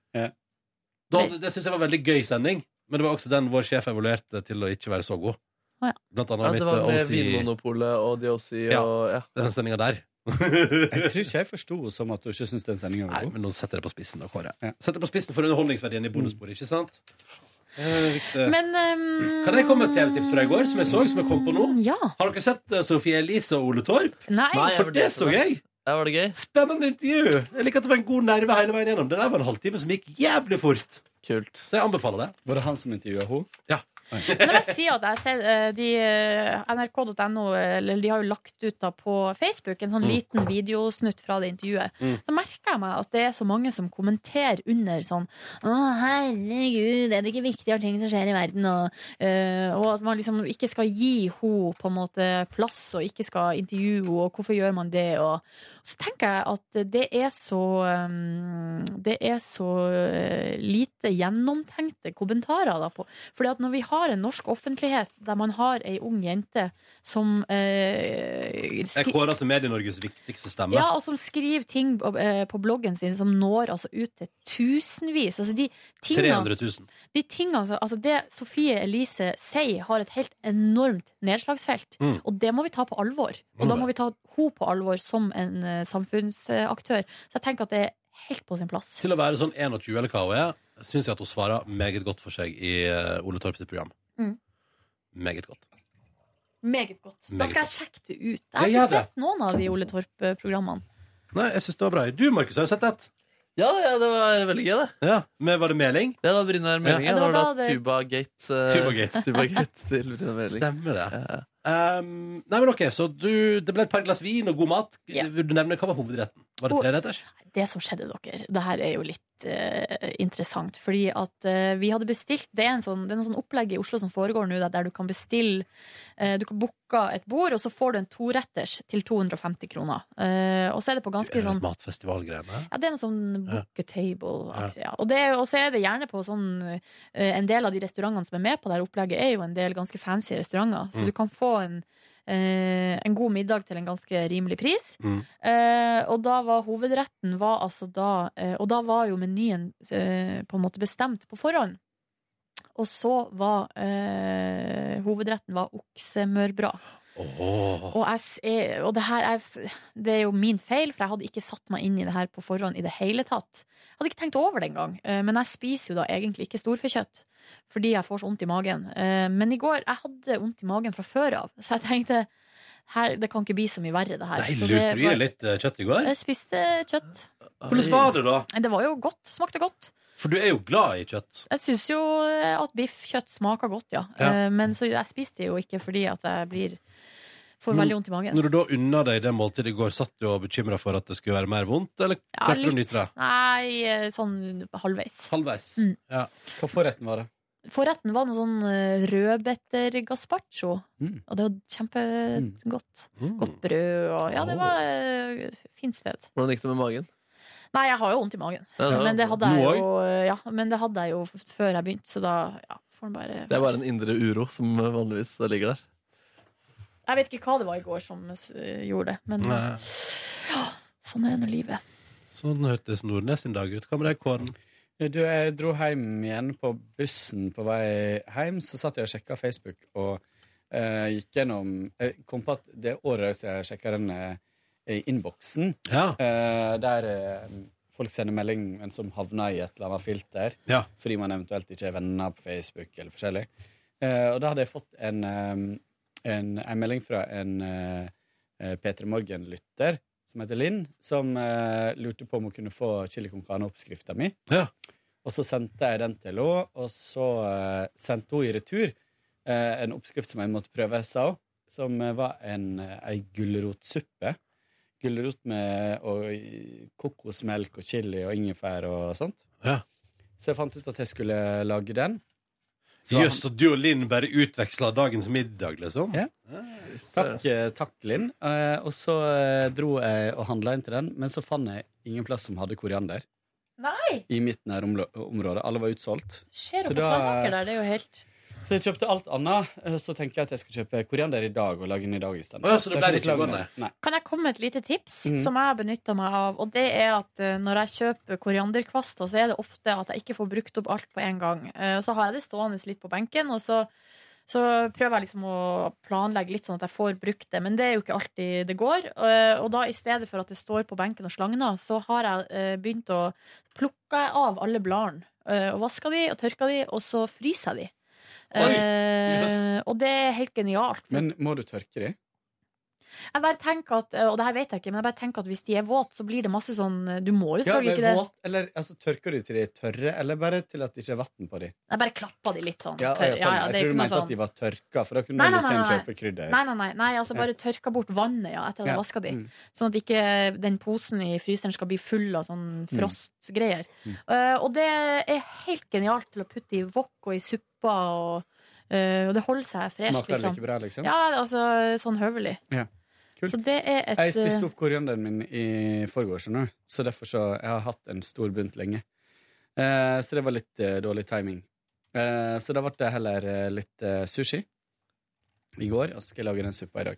Speaker 2: Da, det syns jeg var en veldig gøy sending, men det var også den vår sjef evaluerte til å ikke være så god.
Speaker 3: Å, ja.
Speaker 2: Blant
Speaker 11: Ja,
Speaker 2: annet
Speaker 11: det
Speaker 2: mitt
Speaker 11: var
Speaker 2: eh,
Speaker 11: med
Speaker 2: OC
Speaker 11: Vinmonopolet og DOC og ja.
Speaker 2: Den sendinga der.
Speaker 10: jeg tror ikke jeg forsto henne som at hun ikke syns den sendinga var god.
Speaker 2: Men nå setter jeg på spissen, da, Kåre. Setter på spissen for underholdningsverdien i bonusbordet, ikke sant? Eh, riktig.
Speaker 3: Men ehm, Mm,
Speaker 2: Kan jeg komme med et TV-tips fra i går, som jeg så, som jeg kom på nå?
Speaker 3: Ja.
Speaker 2: Har dere sett eh, Sofie Elise og Ole Torp?
Speaker 3: Nei.
Speaker 2: For det så jeg!
Speaker 11: var det gøy.
Speaker 2: Spennende intervju! Jeg liker at det var en god nerve hele veien gjennom. Det der var en halvtime som gikk jævlig fort.
Speaker 11: Kult.
Speaker 2: Så jeg anbefaler det.
Speaker 10: Var det han som intervjua henne?
Speaker 2: Ja.
Speaker 3: Men jeg må si at jeg ser eh, de, eh, NRK.no eller de har jo lagt ut da på Facebook en sånn
Speaker 12: Mm.
Speaker 3: liten videosnutt fra det intervjuet.
Speaker 12: Mm.
Speaker 3: Så merker jeg meg at det er så mange som kommenterer under sånn Å, herregud, er det ikke viktigere ting som skjer i verden? Og, eh, og at man liksom ikke skal gi henne på en måte plass, og ikke skal intervjue henne, og hvorfor gjør man det? Og så tenker jeg at det er så um, Det er så eh, lite gjennomtenkte kommentarer da på. Fordi at når vi har en norsk offentlighet der man har ei ung jente som eh, skri-
Speaker 2: Jeg kårer til Medie-Norges viktigste stemme.
Speaker 3: ja, og som skriver ting eh, på bloggen sin som når altså ut til tusenvis. Altså de tingene,
Speaker 2: 300 000.
Speaker 3: de tingene som- altså det Sofie Elise sier, har et helt enormt nedslagsfelt.
Speaker 2: Mm.
Speaker 3: Og det må vi ta på alvor. Og da må vi ta hun på alvor som en eh, samfunnsaktør. Så jeg tenker at det er helt på sin plass.
Speaker 2: Til å være sånn 21 eller hva hun er, syns jeg at hun svarer meget godt for seg i eh, Ole Torp sitt program.
Speaker 3: Mm.
Speaker 2: Meget godt.
Speaker 3: Meget godt. Da
Speaker 2: Meget
Speaker 3: skal jeg sjekke det ut. Jeg
Speaker 2: Ja,
Speaker 3: har
Speaker 2: gjør
Speaker 3: ikke
Speaker 2: det.
Speaker 3: sett noen av de Ole Torp-programmene.
Speaker 2: Nei, jeg syns det var bra. Du, Markus, har jo sett et.
Speaker 11: Ja, ja, det var veldig gøy, det.
Speaker 2: Ja, men Var det Meling?
Speaker 11: Ja, det var Brynjar Meling.
Speaker 2: Ja.
Speaker 11: det var da
Speaker 2: da det-
Speaker 11: Tubagate. eh,
Speaker 2: Tubagate.
Speaker 11: Tubagate til Brynjar Meling.
Speaker 2: Stemmer det. Um, nei, men ok, så du, Det ble et par glass vin og god mat. Vil du nevne hva var hovedretten? Var det
Speaker 3: Og-
Speaker 2: treretters?
Speaker 3: Det som skjedde dere, det her er jo litt eh, interessant. Fordi at eh, vi hadde bestilt Det er en sånn, det er noe sånn opplegg i Oslo som foregår nå, der- der du kan bestille eh, Du kan booke et bord, og så får du en toretters til 250 kroner. Eh, og så er det på ganske sånn
Speaker 2: Matfestivalgreiene?
Speaker 3: ja, det er noe sånn book a table-aktig. Ja. Og det er jo- og så er det gjerne på sånn eh, En del av de restaurantene som er med på det her opplegget, er jo en del ganske fancy restauranter. Så
Speaker 12: Mm.
Speaker 3: du kan få en, eh, en god middag til en ganske rimelig pris.
Speaker 2: Mm.
Speaker 3: Eh, og da var hovedretten var altså da eh, Og da var jo menyen eh, på en måte bestemt på forhånd. Og så var eh, hovedretten var oksemørbra.
Speaker 2: Åh.
Speaker 3: Og, jeg, s- er- og det her er, f- det er jo min feil, for jeg hadde ikke satt meg inn i det her på forhånd i det hele tatt. Jeg hadde ikke tenkt over det engang. eh, Men jeg spiser jo da egentlig ikke storfekjøtt. Fordi jeg får så vondt i magen. Eh, Men i går jeg hadde vondt i magen fra før av, så jeg tenkte her, det kan ikke bli så mye verre, det her.
Speaker 2: Nei,
Speaker 3: Så
Speaker 2: lurte
Speaker 3: det
Speaker 2: du i
Speaker 3: var- eh,
Speaker 2: deg litt eh, kjøtt i går?
Speaker 3: Jeg spiste kjøtt.
Speaker 2: Hvordan var det, da?
Speaker 3: Det var jo godt. Smakte godt.
Speaker 2: For du er jo glad i kjøtt.
Speaker 3: Jeg syns jo eh, at biffkjøtt smaker godt, ja.
Speaker 2: Ja.
Speaker 3: Eh, Men så jeg spiste det jo ikke fordi at jeg blir får veldig vondt i magen.
Speaker 2: Når du da unna deg det måltidet i går, satt du og bekymra for at det skulle være mer vondt, eller
Speaker 3: Ja,
Speaker 2: klarte du å
Speaker 3: litt.
Speaker 2: nyte det?
Speaker 3: Nei, eh, sånn halvveis.
Speaker 2: Halvveis.
Speaker 3: Mm.
Speaker 2: Ja.
Speaker 10: Hva forretten var det?
Speaker 3: Forretten var noe sånn eh, rødbeter gazpacho.
Speaker 10: Mm.
Speaker 3: Og det var kjempegodt.
Speaker 2: Mm.
Speaker 3: Godt brød og Ja, det var eh, fint sted.
Speaker 11: Hvordan gikk det med magen?
Speaker 3: Nei, jeg har jo vondt i magen.
Speaker 11: Ja, ja.
Speaker 3: Men det
Speaker 11: Du
Speaker 3: hadde jeg
Speaker 11: også?
Speaker 3: jo, eh, ja, men det hadde jeg jo f- før jeg begynte, så da ja, får en bare
Speaker 11: Det er bare en indre uro som eh, vanligvis ligger der.
Speaker 3: Jeg vet ikke hva det var i går som eh, gjorde det, men
Speaker 2: Nei.
Speaker 3: ja, sånn er nå livet.
Speaker 2: Sånn hørtes Nordnes sin dag ut. Hva med deg, Kåren?
Speaker 8: Du, jeg dro hjem igjen på bussen på vei hjem, så satt jeg og sjekka Facebook og eh, gikk gjennom Jeg
Speaker 10: eh,
Speaker 8: kom på at det er året siden jeg sjekka den eh, innboksen, eh, der eh, folk sender melding, men som havner i et eller annet filter,
Speaker 2: Ja.
Speaker 8: fordi man eventuelt ikke er venner på Facebook eller forskjellig. Eh, og da hadde jeg fått en, eh, en, en melding fra en eh, P3 Morgen-lytter som heter Linn, som eh, lurte på om hun kunne få chili con carne-oppskrifta mi. Og så sendte jeg den til henne, og så eh, sendte hun i retur eh, en oppskrift som jeg måtte prøve, sa hun, som eh, var en, eh, ei gulrotsuppe. Gulrot med og, i- kokosmelk og chili og ingefær og sånt. Så jeg fant ut at jeg skulle lage den. Så han-
Speaker 2: Jøss, så du og Linn bare utveksla dagens middag, liksom?
Speaker 8: Ja. Takk, eh, takk Linn. Eh, Og så eh, dro jeg og handla inn til den, men så fant jeg ingen plass som hadde koriander.
Speaker 3: Nei!
Speaker 8: I mitt nærområde. Alle var utsolgt.
Speaker 3: Skjer
Speaker 8: Så
Speaker 3: oppe på
Speaker 8: da-
Speaker 3: Sandaker der, det er jo helt
Speaker 8: Så jeg kjøpte alt annet. eh, Så tenker jeg at jeg skal kjøpe koriander i dag og lage den i dag isteden.
Speaker 2: Å ja, så det
Speaker 8: jeg
Speaker 2: ble
Speaker 8: skal
Speaker 2: litt
Speaker 8: lage
Speaker 2: gående.
Speaker 8: den. Nei.
Speaker 3: Kan jeg komme med et lite tips
Speaker 8: Mhm.
Speaker 3: som jeg har benytta meg av? Og det er at eh, når jeg kjøper korianderkvaster, så er det ofte at jeg ikke får brukt opp alt på en gang. Eh, og så har jeg det stående litt på benken, og så, så prøver jeg liksom å planlegge litt sånn at jeg får brukt det. Men det er jo ikke alltid det går. Eh, og da i stedet for at det står på benken og slagner, så har jeg eh, begynt å plukke av alle bladene. eh, og vasker de og tørker de, og så fryser jeg de.
Speaker 8: Oi,
Speaker 3: Eh, og det er helt genialt. for
Speaker 8: Men må du tørke de?
Speaker 3: jeg bare tenker at, og det her vet jeg ikke, men jeg bare tenker at hvis de er våte, så blir det masse sånn Du må jo
Speaker 8: Ja,
Speaker 3: selvfølgelig
Speaker 8: men
Speaker 3: ikke det.
Speaker 8: våt, eller altså, tørker du til de er tørre, eller bare til at det ikke er vann på de?
Speaker 3: Jeg bare klapper de litt sånn.
Speaker 8: Ja,
Speaker 3: tørr.
Speaker 8: ja, sånn.
Speaker 3: Ja, ja, det er
Speaker 8: jeg
Speaker 3: jo ikke noe
Speaker 8: tror du mente
Speaker 3: sånn-
Speaker 8: at de var tørka, for da kunne
Speaker 3: Nei,
Speaker 8: du
Speaker 3: nei,
Speaker 8: like
Speaker 3: nei,
Speaker 8: gjerne
Speaker 3: nei.
Speaker 8: kjøpe krydder.
Speaker 3: Nei, nei, nei, nei, altså bare
Speaker 8: Ja.
Speaker 3: tørka bort vannet ja, etter at jeg
Speaker 8: Ja.
Speaker 3: vaska de.
Speaker 8: Mm.
Speaker 3: Sånn at ikke den posen i fryseren skal bli full av sånn
Speaker 8: Mm.
Speaker 3: frostgreier. Eh, og det er helt genialt til å putte i wok og i suppa, og, eh, og det holder seg fresh.
Speaker 8: Smaker det like bra, liksom?
Speaker 3: Ja, altså sånn høvelig.
Speaker 8: Ja.
Speaker 3: Så det er et
Speaker 8: Jeg spiste opp korianderen min i forgårs, skjønner du. Så derfor så jeg har hatt en stor bunt lenge. Eh, så det var litt eh, dårlig timing. Eh, så da ble det heller eh, litt eh, sushi i går, og så skal jeg lage den suppa i dag.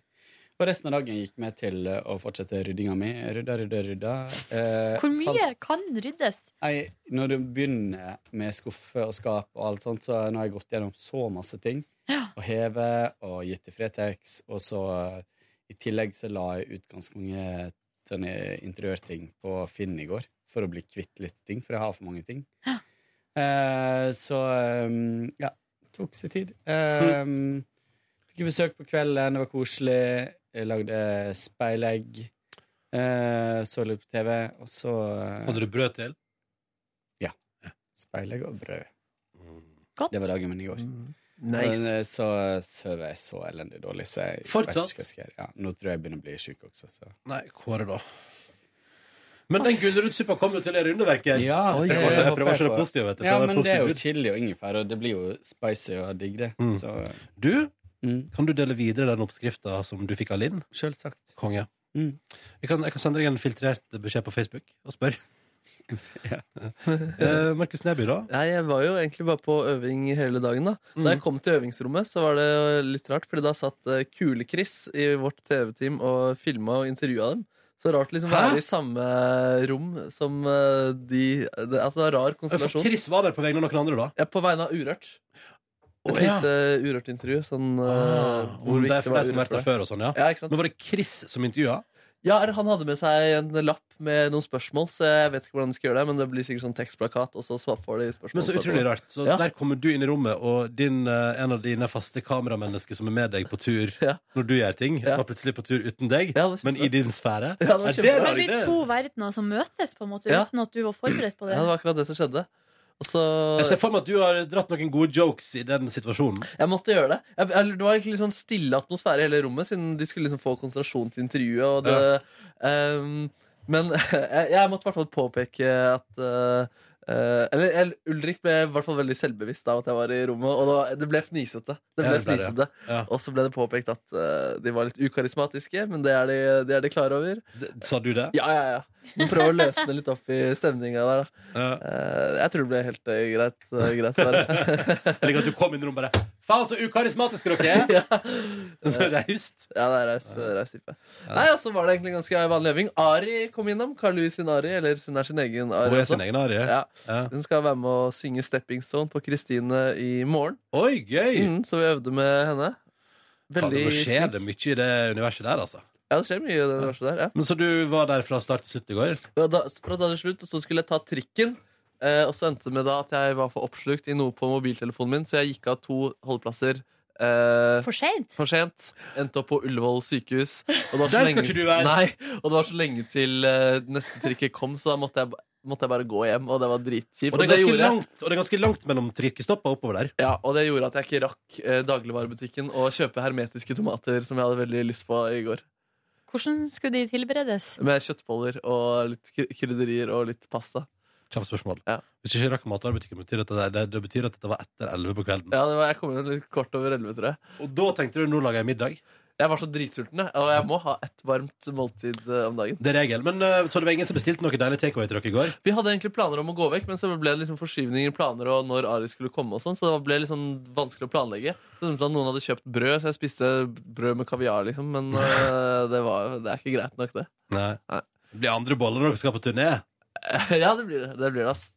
Speaker 8: Og resten av dagen gikk med til eh, å fortsette ryddinga mi. Rydda, rydda, rydda. Eh,
Speaker 3: Hvor mye
Speaker 8: fant-
Speaker 3: kan ryddes?
Speaker 8: Nei, når du begynner med skuffe og skap og alt sånt, så nå har jeg gått gjennom så masse ting. Og heve og gitt til Fretex, og så eh, i tillegg så la jeg ut ganske mange sånne interiørting på Finn i går, for å bli kvitt litt ting, for jeg har for mange ting. Eh, så eh, ja, tok sin tid. Eh, fikk besøk på kvelden, det var koselig. Jeg lagde speilegg, eh, så litt på TV, og så
Speaker 2: Hadde du brød til?
Speaker 8: ja. Speilegg og brød.
Speaker 3: Godt.
Speaker 8: Det var dagen min i går.
Speaker 2: Nice.
Speaker 8: Men eh, så sover jeg så elendig dårlig, så jeg
Speaker 2: Fortsatt?
Speaker 8: vet ikke hva jeg skal gjøre. Ja, nå tror jeg jeg begynner å bli sjuk også, så
Speaker 2: Nei, Kåre, da. Men den gulrotsuppa kom jo til det rundeverket.
Speaker 8: Ja,
Speaker 2: jeg prøver, å se- jeg prøver å se det positive. vet du.
Speaker 8: Ja,
Speaker 2: Prøver
Speaker 8: men det er jo
Speaker 2: positivt.
Speaker 8: chili og ingefær, og det blir jo spicy og digg, det.
Speaker 2: Mm.
Speaker 8: Så Mm.
Speaker 2: Du, kan du dele videre den oppskrifta som du fikk av Linn?
Speaker 8: Selvsagt.
Speaker 2: Konge.
Speaker 8: Mm.
Speaker 2: Jeg, kan, jeg kan sende deg en filtrert beskjed på Facebook og spørre. Eh, Markus Neby, da?
Speaker 4: Nei, jeg var jo egentlig bare på øving hele dagen. Da Da jeg kom til øvingsrommet, så var det litt rart, Fordi da satt eh, Kule-Chris i vårt TV-team og filma og intervjua dem. Så rart liksom å være i samme rom som eh, de det, Altså, det er en rar
Speaker 2: Eh, For
Speaker 4: konstellasjon.
Speaker 2: Chris var der på vegne av noen andre, da?
Speaker 4: Ja, på vegne av Urørt. Et
Speaker 2: Å, ja.
Speaker 4: lite Urørt-intervju. Sånn eh,
Speaker 2: Ah,
Speaker 4: hvor
Speaker 2: om det
Speaker 4: viktig
Speaker 2: er for deg som har
Speaker 4: Urørt
Speaker 2: vært der
Speaker 4: for
Speaker 2: før og sånn, ja.
Speaker 4: ja ikke sant?
Speaker 2: Nå var det Chris som intervjua.
Speaker 4: Ja, eller han hadde med seg en lapp med noen spørsmål, så jeg vet ikke hvordan de skal gjøre det, men det blir sikkert sånn tekstplakat, og så svar- får de spørsmål.
Speaker 2: Men så
Speaker 4: svar på
Speaker 2: utrolig
Speaker 4: det.
Speaker 2: rart. Så
Speaker 4: ja.
Speaker 2: der kommer du inn i rommet, og din, eh, en av dine faste kameramennesker som er med deg på tur når du gjør ting, var plutselig på tur uten deg, men i din sfære.
Speaker 4: Ja, det
Speaker 2: Er
Speaker 4: var kjempebra.
Speaker 2: rar
Speaker 3: Det blir
Speaker 2: idé?
Speaker 3: to verdener som møtes, på en måte,
Speaker 2: Ja.
Speaker 3: uten at du var forberedt på det.
Speaker 4: Ja, det var akkurat det som skjedde. Og så
Speaker 2: Jeg ser for meg at du har dratt noen gode jokes i den situasjonen.
Speaker 4: Jeg måtte gjøre det. Jeg, jeg, det var egentlig sånn stille atmosfære i hele rommet, siden de skulle liksom få konsentrasjon til intervjuet. Og det, ehm, men jeg, jeg måtte i hvert fall påpeke at eh, eh, eller, eller Ulrik ble i hvert fall veldig selvbevisst av at jeg var i rommet, og det, var, det ble fnisete. Det
Speaker 2: Ja,
Speaker 4: ble
Speaker 2: det ble det,
Speaker 4: fnisete. Og så ble det påpekt at eh, de var litt ukarismatiske, men det er de, det er de klar over.
Speaker 2: sa du det?
Speaker 4: Ja, ja, ja. Men prøv å løsne litt opp i stemninga der, da. Eh, jeg tror det ble helt eh, greit, eh, greit svar.
Speaker 2: Jeg liker at du kom inn i rommet bare Faen, så ukarismatiske dere er!
Speaker 4: Eh,
Speaker 2: Så Raust.
Speaker 4: Ja, det er raust, raust type. Nei, og så var det egentlig en ganske vanlig øving. Ari kom innom. Carl Louis sin Ari. Eller hun er sin egen Ari.
Speaker 2: Hun er
Speaker 4: også.
Speaker 2: sin egen Ari, ja.
Speaker 4: Ja. Så Hun skal være med og synge Stepping Stone på Kristine i morgen.
Speaker 2: Oi, gøy!
Speaker 4: Mm, så vi øvde med henne.
Speaker 2: Faen, det
Speaker 4: Veldig
Speaker 2: skjer det mye i det universet der, altså.
Speaker 4: Ja, det skjer mye i det universet der. ja
Speaker 2: Men Så du var der fra start til slutt i går?
Speaker 4: Ja, da, fra da til slutt, og så skulle jeg ta trikken. Eh, og så endte det med da at jeg var for oppslukt i noe på mobiltelefonen min, så jeg gikk av to holdeplasser. eh,
Speaker 3: For sent?
Speaker 4: for sent. Endte opp på Ullevål sykehus. Og det var så
Speaker 2: Der skal
Speaker 4: lenge-
Speaker 2: ikke du være.
Speaker 4: Nei, og det var så lenge til eh, neste trikket kom, så da måtte jeg, ba- måtte jeg bare gå hjem, og det var dritkjipt.
Speaker 2: Og det er ganske
Speaker 4: gjorde jeg.
Speaker 2: langt, og det er ganske langt mellom trikkestoppa oppover der.
Speaker 4: Ja, og det gjorde at jeg ikke rakk eh, dagligvarebutikken å kjøpe hermetiske tomater, som jeg hadde veldig lyst på i går.
Speaker 3: Hvordan skulle de tilberedes?
Speaker 4: Med kjøttboller og litt kry- krydderier og litt pasta.
Speaker 2: Kjapt spørsmål.
Speaker 4: Ja.
Speaker 2: Hvis du ikke rakk matvarebutikken, betyr det, at det, det, det betyr at dette var etter 11 på kvelden.
Speaker 4: Ja, det var, Jeg kom inn litt kort over elleve, tror jeg.
Speaker 2: Og da tenkte du nå lager jeg middag?
Speaker 4: Jeg var så dritsulten, jeg. Og jeg må ha et varmt måltid eh, om dagen.
Speaker 2: Det er regel. Men eh, Så det var ingen som bestilte noe deilig takeaway til dere i går?
Speaker 4: Vi hadde egentlig planer om å gå vekk, men så ble det liksom forskyvninger i planer og når Ari skulle komme og sånn, så det ble litt sånn vanskelig å planlegge. Så det var sånn at Noen hadde kjøpt brød, så jeg spiste brød med kaviar, liksom. Men eh, det, var, det er ikke greit nok, det.
Speaker 2: Nei. Det blir andre boller når dere skal på turné.
Speaker 4: ja, det blir det. Det blir det, ass.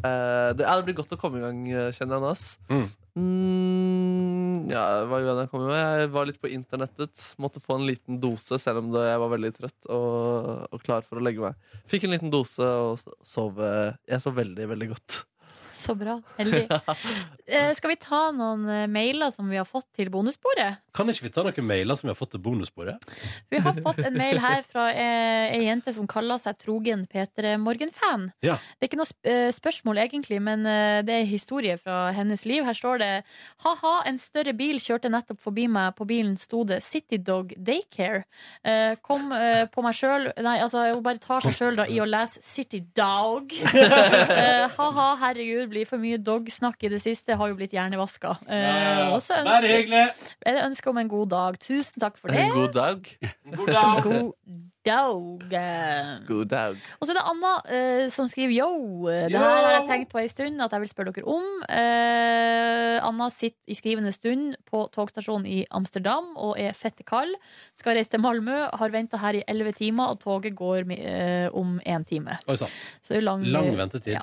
Speaker 4: Eh, det, ja, det blir godt å komme i gang, eh, kjenner jeg nå, ass.
Speaker 2: Mm.
Speaker 4: Mm, ja, hva gjorde jeg da jeg kom med? Jeg var litt på internettet. Måtte få en liten dose, selv om det, jeg var veldig trøtt og, og klar for å legge meg. Fikk en liten dose og s- sov. eh, Jeg sov veldig, veldig godt.
Speaker 3: Så bra. Heldig. Eh, skal vi ta noen eh, mailer som vi har fått til bonusbordet?
Speaker 2: Kan ikke vi ta noen mailer som vi har fått til bonusbordet?
Speaker 3: Vi har fått en mail her fra eh, ei jente som kaller seg trogen Peter Morgen-fan.
Speaker 2: Ja.
Speaker 3: Det er ikke noe sp eh, spørsmål egentlig, men eh, det er historie fra hennes liv. Her står det Ha-ha, en større bil kjørte nettopp forbi meg. På bilen sto det City Dog Daycare. Eh, kom eh, på meg sjøl Nei, altså, hun bare tar seg sjøl i å lese City Dog. eh, ha-ha, herregud, blir for mye dog-snakk i det siste. Har jo blitt hjernevaska. Eh, og så ønsker-
Speaker 2: Bare hyggelig.
Speaker 3: er det ønske om en god dag. Tusen takk for det.
Speaker 4: En god dag.
Speaker 2: God
Speaker 3: God dag.
Speaker 4: God dag.
Speaker 3: Og så er det Anna eh, som skriver yo. eh, Det
Speaker 4: Yo!
Speaker 3: her har jeg tenkt på en stund at jeg vil spørre dere om. Eh, Anna sitter i skrivende stund på togstasjonen i Amsterdam og er fette kald. Skal reise til Malmö, har venta her i elleve timer, og toget går med, eh, om én time.
Speaker 2: Oi sann.
Speaker 3: Så det er lang,
Speaker 2: Lang ventetid.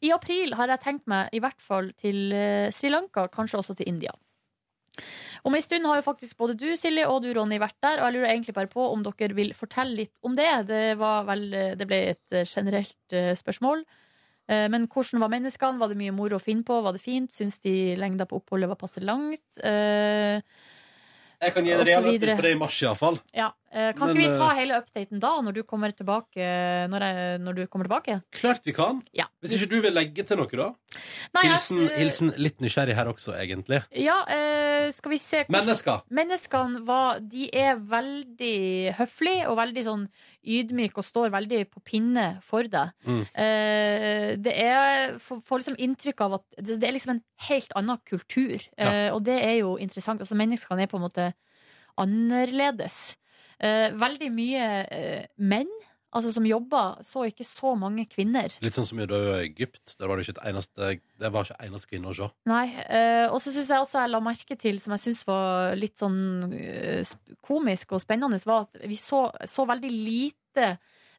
Speaker 3: i april har jeg tenkt meg, i hvert fall til eh, Sri Lanka, kanskje også til India. Om en stund har jo faktisk både du, Silje, og du, Ronny, vært der, og jeg lurer egentlig bare på om dere vil fortelle litt om det. Det, var vel, eh, det ble et eh, generelt eh, spørsmål. Eh, Men hvordan var menneskene? Var det mye moro å finne på? Var det fint? Syns de lengda på oppholdet var passe langt? Eh,
Speaker 2: Jeg kan gi en
Speaker 3: Og så
Speaker 2: real
Speaker 3: videre.
Speaker 2: update på det i mars, iallfall.
Speaker 3: Ja. eh, Kan
Speaker 2: Men,
Speaker 3: ikke vi ta
Speaker 2: eh,
Speaker 3: hele updaten da, når du kommer tilbake? Når, jeg, når du kommer tilbake?
Speaker 2: Klart vi kan.
Speaker 3: Ja.
Speaker 2: Hvis ikke du vil legge til noe, da.
Speaker 3: Nei, jeg-
Speaker 2: Hilsen, hilsen litt nysgjerrig her også, egentlig.
Speaker 3: Ja, eh, skal vi se hvordan-
Speaker 2: Mennesker.
Speaker 3: Menneskene var, de er veldig høflige og veldig sånn ydmyke og står veldig på pinne for deg.
Speaker 2: Mm.
Speaker 3: Eh, det er får får liksom inntrykk av at det det er liksom en helt annen kultur, eh, og det er jo interessant. Altså menneskene er på en måte annerledes. Eh, veldig mye eh, menn altså som jobber, så ikke så mange kvinner.
Speaker 2: Litt sånn som i da jeg var i Egypt. Der var det ikke et eneste, det var ikke eneste kvinne å se.
Speaker 3: Nei. eh, og så syns jeg også jeg la merke til, som jeg syns var litt sånn eh, sp- komisk og spennende, var at vi så, så veldig lite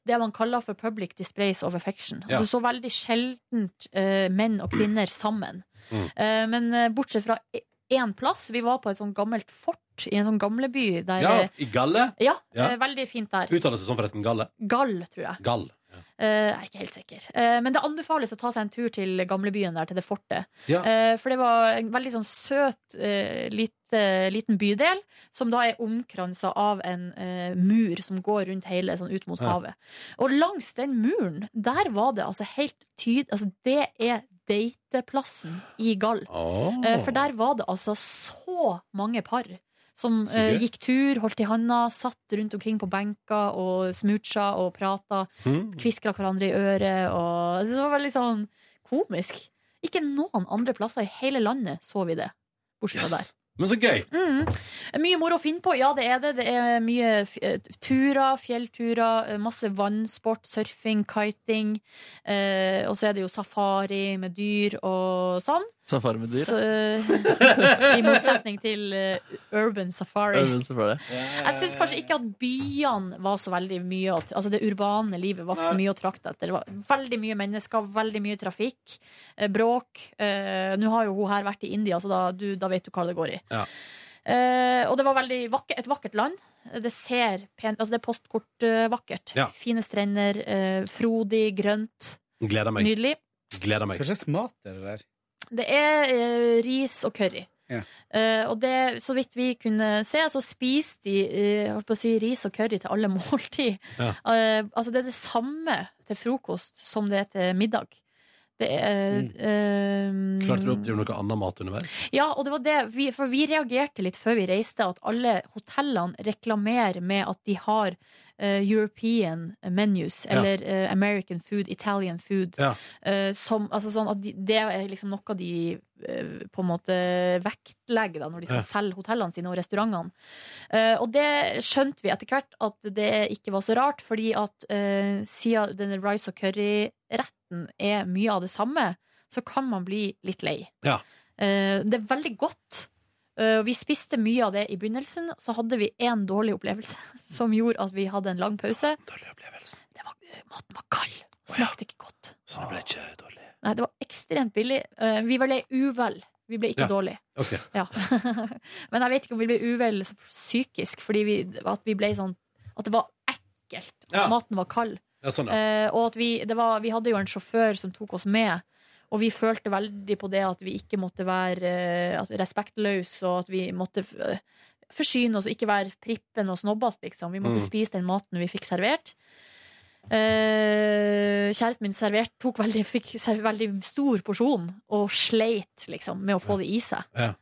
Speaker 3: det man kaller for public displays of affection.
Speaker 13: Ja.
Speaker 3: Altså så veldig sjeldent eh, menn og kvinner sammen.
Speaker 13: Mm.
Speaker 3: Eh, men eh, bortsett fra e- én plass, vi var på et sånt gammelt fort i en sånn gamleby der
Speaker 2: Ja,
Speaker 3: eh,
Speaker 2: I Galle.
Speaker 3: ja,
Speaker 2: Ja.
Speaker 3: eh, veldig fint der.
Speaker 2: Uttaler seg sånn forresten. Galle.
Speaker 3: Gall, tror jeg.
Speaker 2: Gall.
Speaker 3: Eh, jeg er ikke helt sikker. Eh, men det anbefales å ta seg en tur til gamlebyen der, til det fortet.
Speaker 2: Ja.
Speaker 3: Eh, for det var en veldig sånn søt eh, lite, liten bydel, som da er omkransa av en eh, mur som går rundt hele, sånn ut mot
Speaker 13: Ja.
Speaker 3: havet. Og langs den muren, der var det altså helt tyd... Altså, det er dateplassen i Gall. Eh, For der var det altså så mange par som
Speaker 13: Så
Speaker 3: eh,
Speaker 13: gøy.
Speaker 3: gikk tur, holdt i handa, satt rundt omkring på benker og smoocha og prata.
Speaker 2: Hm.
Speaker 13: Mm.
Speaker 3: Kviskra hverandre i øret og Det var veldig sånn komisk. Ikke noen andre plasser i hele landet så vi det, bortsett fra der.
Speaker 2: Men så gøy!
Speaker 3: Mm. Mye moro å finne på. Ja, det er det. Det er mye f eh, turer, fjellturer, eh, masse vannsport, surfing, kiting. Eh, og så er det jo safari med dyr og sånn.
Speaker 11: Safari med dyr?
Speaker 3: Så, eh, I motsetning til eh, urban safari.
Speaker 11: Urban safari.
Speaker 3: Jeg syns kanskje ikke at byene var så veldig mye å- Altså det urbane livet var ikke så mye å trakte etter. Det var veldig mye mennesker, veldig mye trafikk, eh, bråk. Eh, Nå har jo hun her vært i India, så da, du, da vet du hva det går i.
Speaker 2: Ja.
Speaker 3: Eh, og det var veldig vakke- et vakkert land. Det ser pent Altså det er postkort eh, vakkert.
Speaker 2: Ja.
Speaker 3: Fine strender, eh, frodig, grønt.
Speaker 2: Gleder meg.
Speaker 3: Nydelig.
Speaker 2: Gleder meg.
Speaker 10: Hva slags mat er det der?
Speaker 3: Det er eh, ris og curry.
Speaker 10: Ja.
Speaker 3: Eh, og det, så vidt vi kunne se, så spiser de eh, holdt på å si, ris og curry til alle måltid.
Speaker 2: Ja.
Speaker 3: Eh, altså det er det samme til frokost som det er til middag. Det er eh,
Speaker 2: Klarte du å oppdrive noe annen mat underveis?
Speaker 3: ja, og det var det vi, For vi reagerte litt før vi reiste At alle hotellene reklamerer med At de har eh, European menus
Speaker 2: Ja.
Speaker 3: Eller eh, American food, Italian food
Speaker 2: Ja.
Speaker 3: eh, som, altså sånn at de, Det er liksom noe de eh, På en måte vektlegger da, Når de skal
Speaker 2: Ja.
Speaker 3: selge hotellene sine og restaurantene Eh, Og det skjønte vi etter hvert At det ikke var så rart Fordi at eh, siden denne rice og curry Retten er mye av det samme Så kan man bli litt lei
Speaker 2: Ja.
Speaker 3: Eh, det er veldig godt. Eh, vi spiste mye av det i begynnelsen, så hadde vi én dårlig opplevelse som gjorde at vi hadde en lang pause. Det var, maten var kald. Smakte ikke godt.
Speaker 2: Så det Sånn ble ikke dårlig.
Speaker 3: Nei, det var ekstremt billig. Eh, vi ble uvel. Vi ble ikke
Speaker 2: Ja.
Speaker 3: dårlig.
Speaker 2: Ok.
Speaker 3: Ja. Men jeg vet ikke om vi ble uvel så psykisk, fordi vi, at vi ble sånn At det var ekkelt. at
Speaker 2: Ja.
Speaker 3: Maten var kald.
Speaker 2: Ja, sånn, ja.
Speaker 3: Eh, og at vi, det var, vi hadde jo en sjåfør som tok oss med, og vi følte veldig på det at vi ikke måtte være eh, altså, respektløse, og at vi måtte f- eh, forsyne oss og ikke være prippen og snobbete, liksom. Vi måtte
Speaker 12: Mm.
Speaker 3: spise den maten vi fikk servert. Eh, kjæresten min servert, tok veldig, fikk serv- veldig stor porsjon og sleit liksom, med å få det i seg.
Speaker 2: Ja.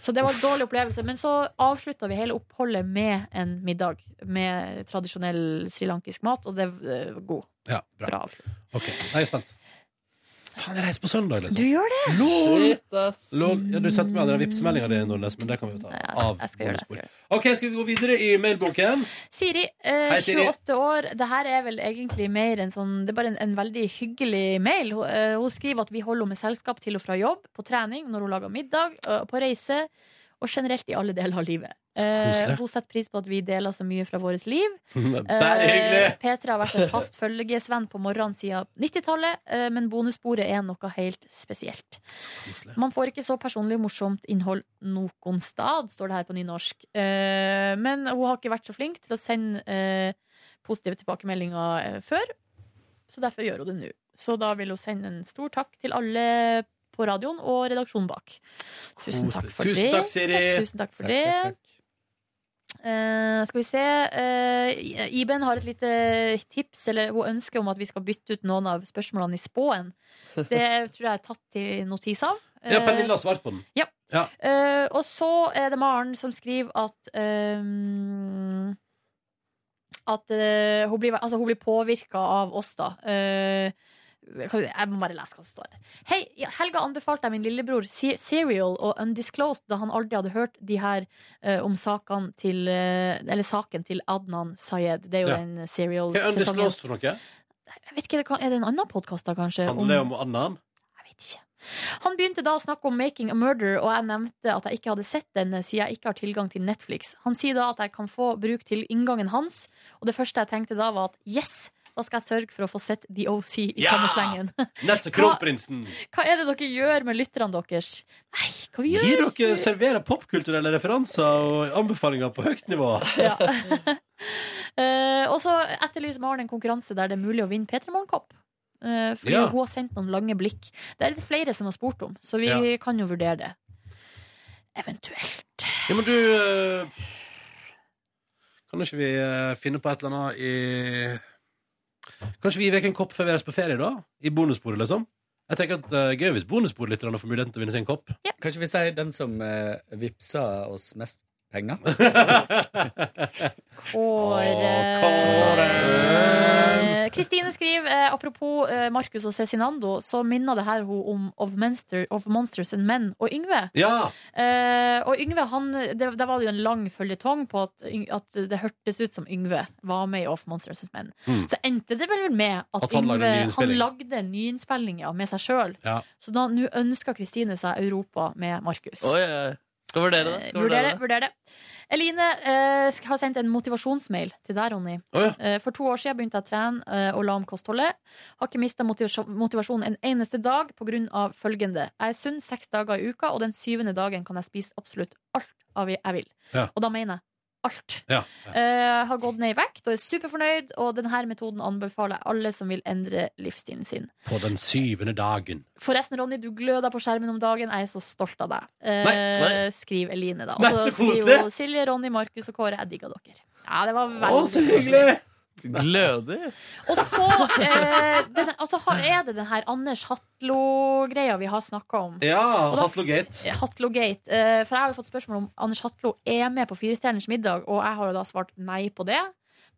Speaker 3: Så det var en dårlig opplevelse. Men så avslutta vi hele oppholdet med en middag med tradisjonell srilankisk mat, og det eh, var god.
Speaker 2: Ja, bra. Ok, jeg er spent. Faen, jeg reiser på søndag, liksom.
Speaker 3: Du gjør det!
Speaker 2: Lol!
Speaker 3: Shit, ass.
Speaker 2: Lol. Ja, du sendte meg den vippsmeldinga di, Nordnes, men det kan vi jo ta av bonusbord. OK, skal vi gå videre i mailbunken?
Speaker 3: Siri, eh,
Speaker 2: Hei, Siri.
Speaker 3: 28 år. Det her er vel egentlig mer en sånn Det er bare en, en veldig hyggelig mail. Hun, eh, hun skriver at vi holder henne med selskap til og fra jobb, på trening, når hun lager middag, eh, på reise og generelt i alle deler av livet. Eh,
Speaker 2: koselig.
Speaker 3: hun setter pris på at vi deler så mye fra vårt liv.
Speaker 2: Bare
Speaker 3: Eh,
Speaker 2: hyggelig!
Speaker 3: Petra har vært en fast følgesvenn på morgenen siden 90-tallet, eh, men bonusbordet er noe helt spesielt. Man får ikke så personlig morsomt innhold noen stad, står det her på nynorsk. Eh, Men hun har ikke vært så flink til å sende eh, positive tilbakemeldinger eh, før, så derfor gjør hun det nå. Så da vil hun sende en stor takk til alle på radioen og redaksjonen bak. Tusen takk for
Speaker 2: Tusen
Speaker 3: det.
Speaker 2: takk, Siri.
Speaker 3: Tusen takk for
Speaker 2: Takk, takk,
Speaker 3: det. Eh, skal vi se eh, Iben har et lite tips Eller hun ønsker om at vi skal bytte ut noen av spørsmålene i spåen Det tror jeg er tatt til notis av
Speaker 2: Ja,
Speaker 3: eh,
Speaker 2: Pernille har svart på den.
Speaker 3: Ja.
Speaker 2: Ja.
Speaker 3: Eh, og så er det Maren som skriver at ehm, At eh, hun blir, altså, hun blir påvirka av oss, da. Eh, jeg må bare lese hva som står her. Hei, i helga anbefalte jeg min lillebror Se- Serial og Undisclosed da han aldri hadde hørt de her eh, om sakene til eh, Eller saken til Adnan Sayed. Det er jo
Speaker 2: Ja.
Speaker 3: den
Speaker 2: Hva er
Speaker 3: serial-sesongen.
Speaker 2: undisclosed for noe?
Speaker 3: Jeg vet ikke, Er det en annen podkast, da, kanskje?
Speaker 2: Handler det om annen?
Speaker 3: Han begynte da å snakke om Making a Murder, og jeg nevnte at jeg ikke hadde sett den siden jeg ikke har tilgang til Netflix. Han sier da at jeg kan få bruk til inngangen hans, og det første jeg tenkte da var at yes, da skal jeg sørge for å få sett The OC i
Speaker 2: Ja!
Speaker 3: samme slengen.
Speaker 2: Nett som kronprinsen!
Speaker 3: Hva er det dere gjør med lytterne deres? Nei, hva vi
Speaker 2: Gir
Speaker 3: gjør?
Speaker 2: dere serverer popkulturelle referanser og anbefalinger på høyt nivå?
Speaker 3: Ja. Eh, og så etterlyser Maren en konkurranse der det er mulig å vinne P3 Morgenkopp. Eh, fordi
Speaker 2: Ja.
Speaker 3: hun har sendt noen lange blikk. Det er det flere som har spurt om, så vi
Speaker 2: Ja.
Speaker 3: kan jo vurdere det. Eventuelt.
Speaker 2: Ja, men du eh, Kan ikke vi eh, finne på et eller annet i Kanskje vi gir vekk en kopp før vi reiser på ferie, da? I bonusbordet, liksom? Jeg tenker at eh, Gøy hvis bonusbordlytterne får muligheten til å vinne sin kopp.
Speaker 10: Kanskje vi sier den som uh, vippsa oss mest penger?
Speaker 3: Kåre
Speaker 10: Kåre.
Speaker 3: Kristine skriver eh, apropos eh, Markus og Cezinando, så minner det her hun om Of, Monster, of Monsters and Men og Yngve.
Speaker 2: Ja!
Speaker 3: Eh, og Yngve, han, det, der var det jo en lang føljetong på at, Yng- at det hørtes ut som Yngve var med i Of Monsters and Men.
Speaker 2: Mm.
Speaker 3: Så endte det vel med at,
Speaker 2: At han lagde en
Speaker 3: Yngve han
Speaker 2: nyinnspilling.
Speaker 3: lagde en nyinnspilling ja, med seg sjøl.
Speaker 2: Ja.
Speaker 3: Så da nå ønsker Kristine seg Europa med Markus.
Speaker 11: Oi, oi, oi. Skal vurdere det.
Speaker 3: Eh,
Speaker 11: Skal
Speaker 3: Vurder det.
Speaker 11: vurdere det.
Speaker 3: Vurder det. Eline eh, sk- har sendt en motivasjonsmail til deg, Ronny.
Speaker 11: Å, ja.
Speaker 3: Eh, for to år siden begynte jeg å trene eh, og la om kostholdet. Har ikke mista motivasjonen en eneste dag pga. følgende. Jeg er sunn seks dager i uka, og den syvende dagen kan jeg spise absolutt alt av jeg vil.
Speaker 2: Ja.
Speaker 3: Og da mener jeg alt.
Speaker 2: Ja.
Speaker 3: Eh, har gått ned i vekt og er superfornøyd, og denne metoden anbefaler jeg alle som vil endre livsstilen sin.
Speaker 2: På den syvende dagen.
Speaker 3: Forresten, Ronny, du gløder på skjermen om dagen. Jeg er så stolt av deg. Eh,
Speaker 2: Nei, nei.
Speaker 3: Skriv Eline, da. Og
Speaker 2: Nei,
Speaker 3: så
Speaker 2: så
Speaker 3: skriver
Speaker 2: koselig.
Speaker 3: hun Silje, Ronny, Markus og Kåre. Jeg digga dere. Ja, det var veldig
Speaker 11: Å, så hyggelig! Glødig.
Speaker 3: Og så eh, den, altså, ha- er det den her Anders Hatlo-greia vi har snakka om.
Speaker 2: Ja,
Speaker 3: Og da-
Speaker 2: Hatlogate.
Speaker 3: Hatlogate. Eh, for jeg har jo fått spørsmål om Anders Hatlo er med på Firestjerners middag, og jeg har jo da svart nei på det.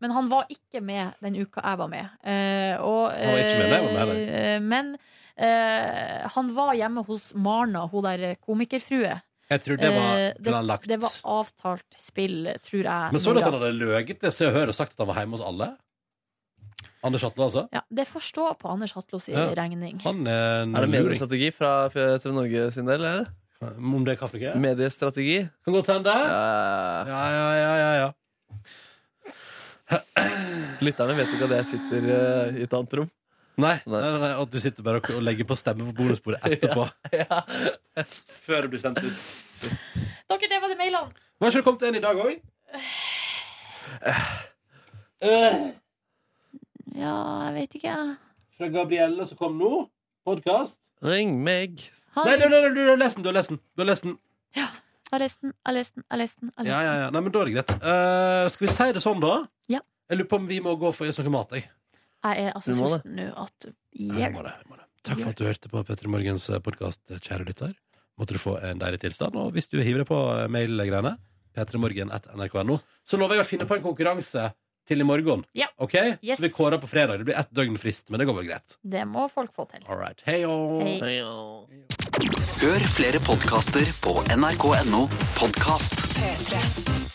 Speaker 3: Men han var ikke med den uka jeg var med. Eh, og,
Speaker 2: Han var ikke med, nei, han var med,
Speaker 3: eh, men eh, han var hjemme hos Marna, hun der komikerfrue.
Speaker 2: Jeg tror det
Speaker 3: Eh,
Speaker 2: var
Speaker 3: det-
Speaker 2: planlagt.
Speaker 3: Det var avtalt spill, tror jeg.
Speaker 2: Men så du at
Speaker 3: Nora.
Speaker 2: han hadde løyet til Se og Hør og sagt at han var hjemme hos alle? Anders Hatle, altså?
Speaker 3: ja, det får stå på Anders Hatlo sin
Speaker 2: Ja.
Speaker 3: regning.
Speaker 2: Han er en
Speaker 11: Er det
Speaker 2: luring. Mm,
Speaker 11: mediestrategi fra TV Norge sin del, eller?
Speaker 2: Om det er kaffe, ikke?
Speaker 11: Mediestrategi?
Speaker 2: Kan godt hende.
Speaker 11: Ja,
Speaker 2: ja, ja, ja, ja.
Speaker 11: Lytterne vet ikke at jeg sitter eh, i et annet rom.
Speaker 2: Nei, nei, nei, nei, at du sitter bare og og legger på stemme på bonusbordet etterpå. Før det blir sendt ut.
Speaker 3: Dere, det var det mailene.
Speaker 2: Hva har ikke det kommet en i dag òg?
Speaker 3: Ja, jeg vet ikke.
Speaker 2: Eh. Fra Gabrielle som kom nå. Podkast.
Speaker 11: Ring meg.
Speaker 3: Ha
Speaker 2: Nei, nei,
Speaker 3: det.
Speaker 2: nei, nei, du har lest den. Du har lest den. Du har lest den.
Speaker 3: Jeg har lest den, jeg har lest den, jeg har lest den. jeg har lest
Speaker 2: Ja, ja,
Speaker 3: den.
Speaker 2: ja. Nei, men da er det greit. Eh, skal vi si det sånn, da?
Speaker 3: Ja.
Speaker 2: Jeg lurer på om vi må gå for å sånn snakke mat. Jeg.
Speaker 3: Jeg er altså
Speaker 2: Du må det.
Speaker 3: sulten nå at
Speaker 2: Ja, vi må det, vi må det. Takk for at du hørte på Petter Morgens podkast, kjære lytter. Måtte du få en deilig tilstand. Og hvis du hiver deg på eh, mailgreiene, p3morgen.nrk.no, så lover jeg å finne på en konkurranse til i morgen.
Speaker 3: Ja.
Speaker 2: Ok?
Speaker 3: Yes.
Speaker 2: Så vi kårer på fredag. Det blir ett døgn frist, men det går vel greit.
Speaker 3: Det må folk få til.
Speaker 2: All right. Hei og
Speaker 3: Hei.
Speaker 12: Hør flere podkaster på nrk.no podkast.
Speaker 1: P3.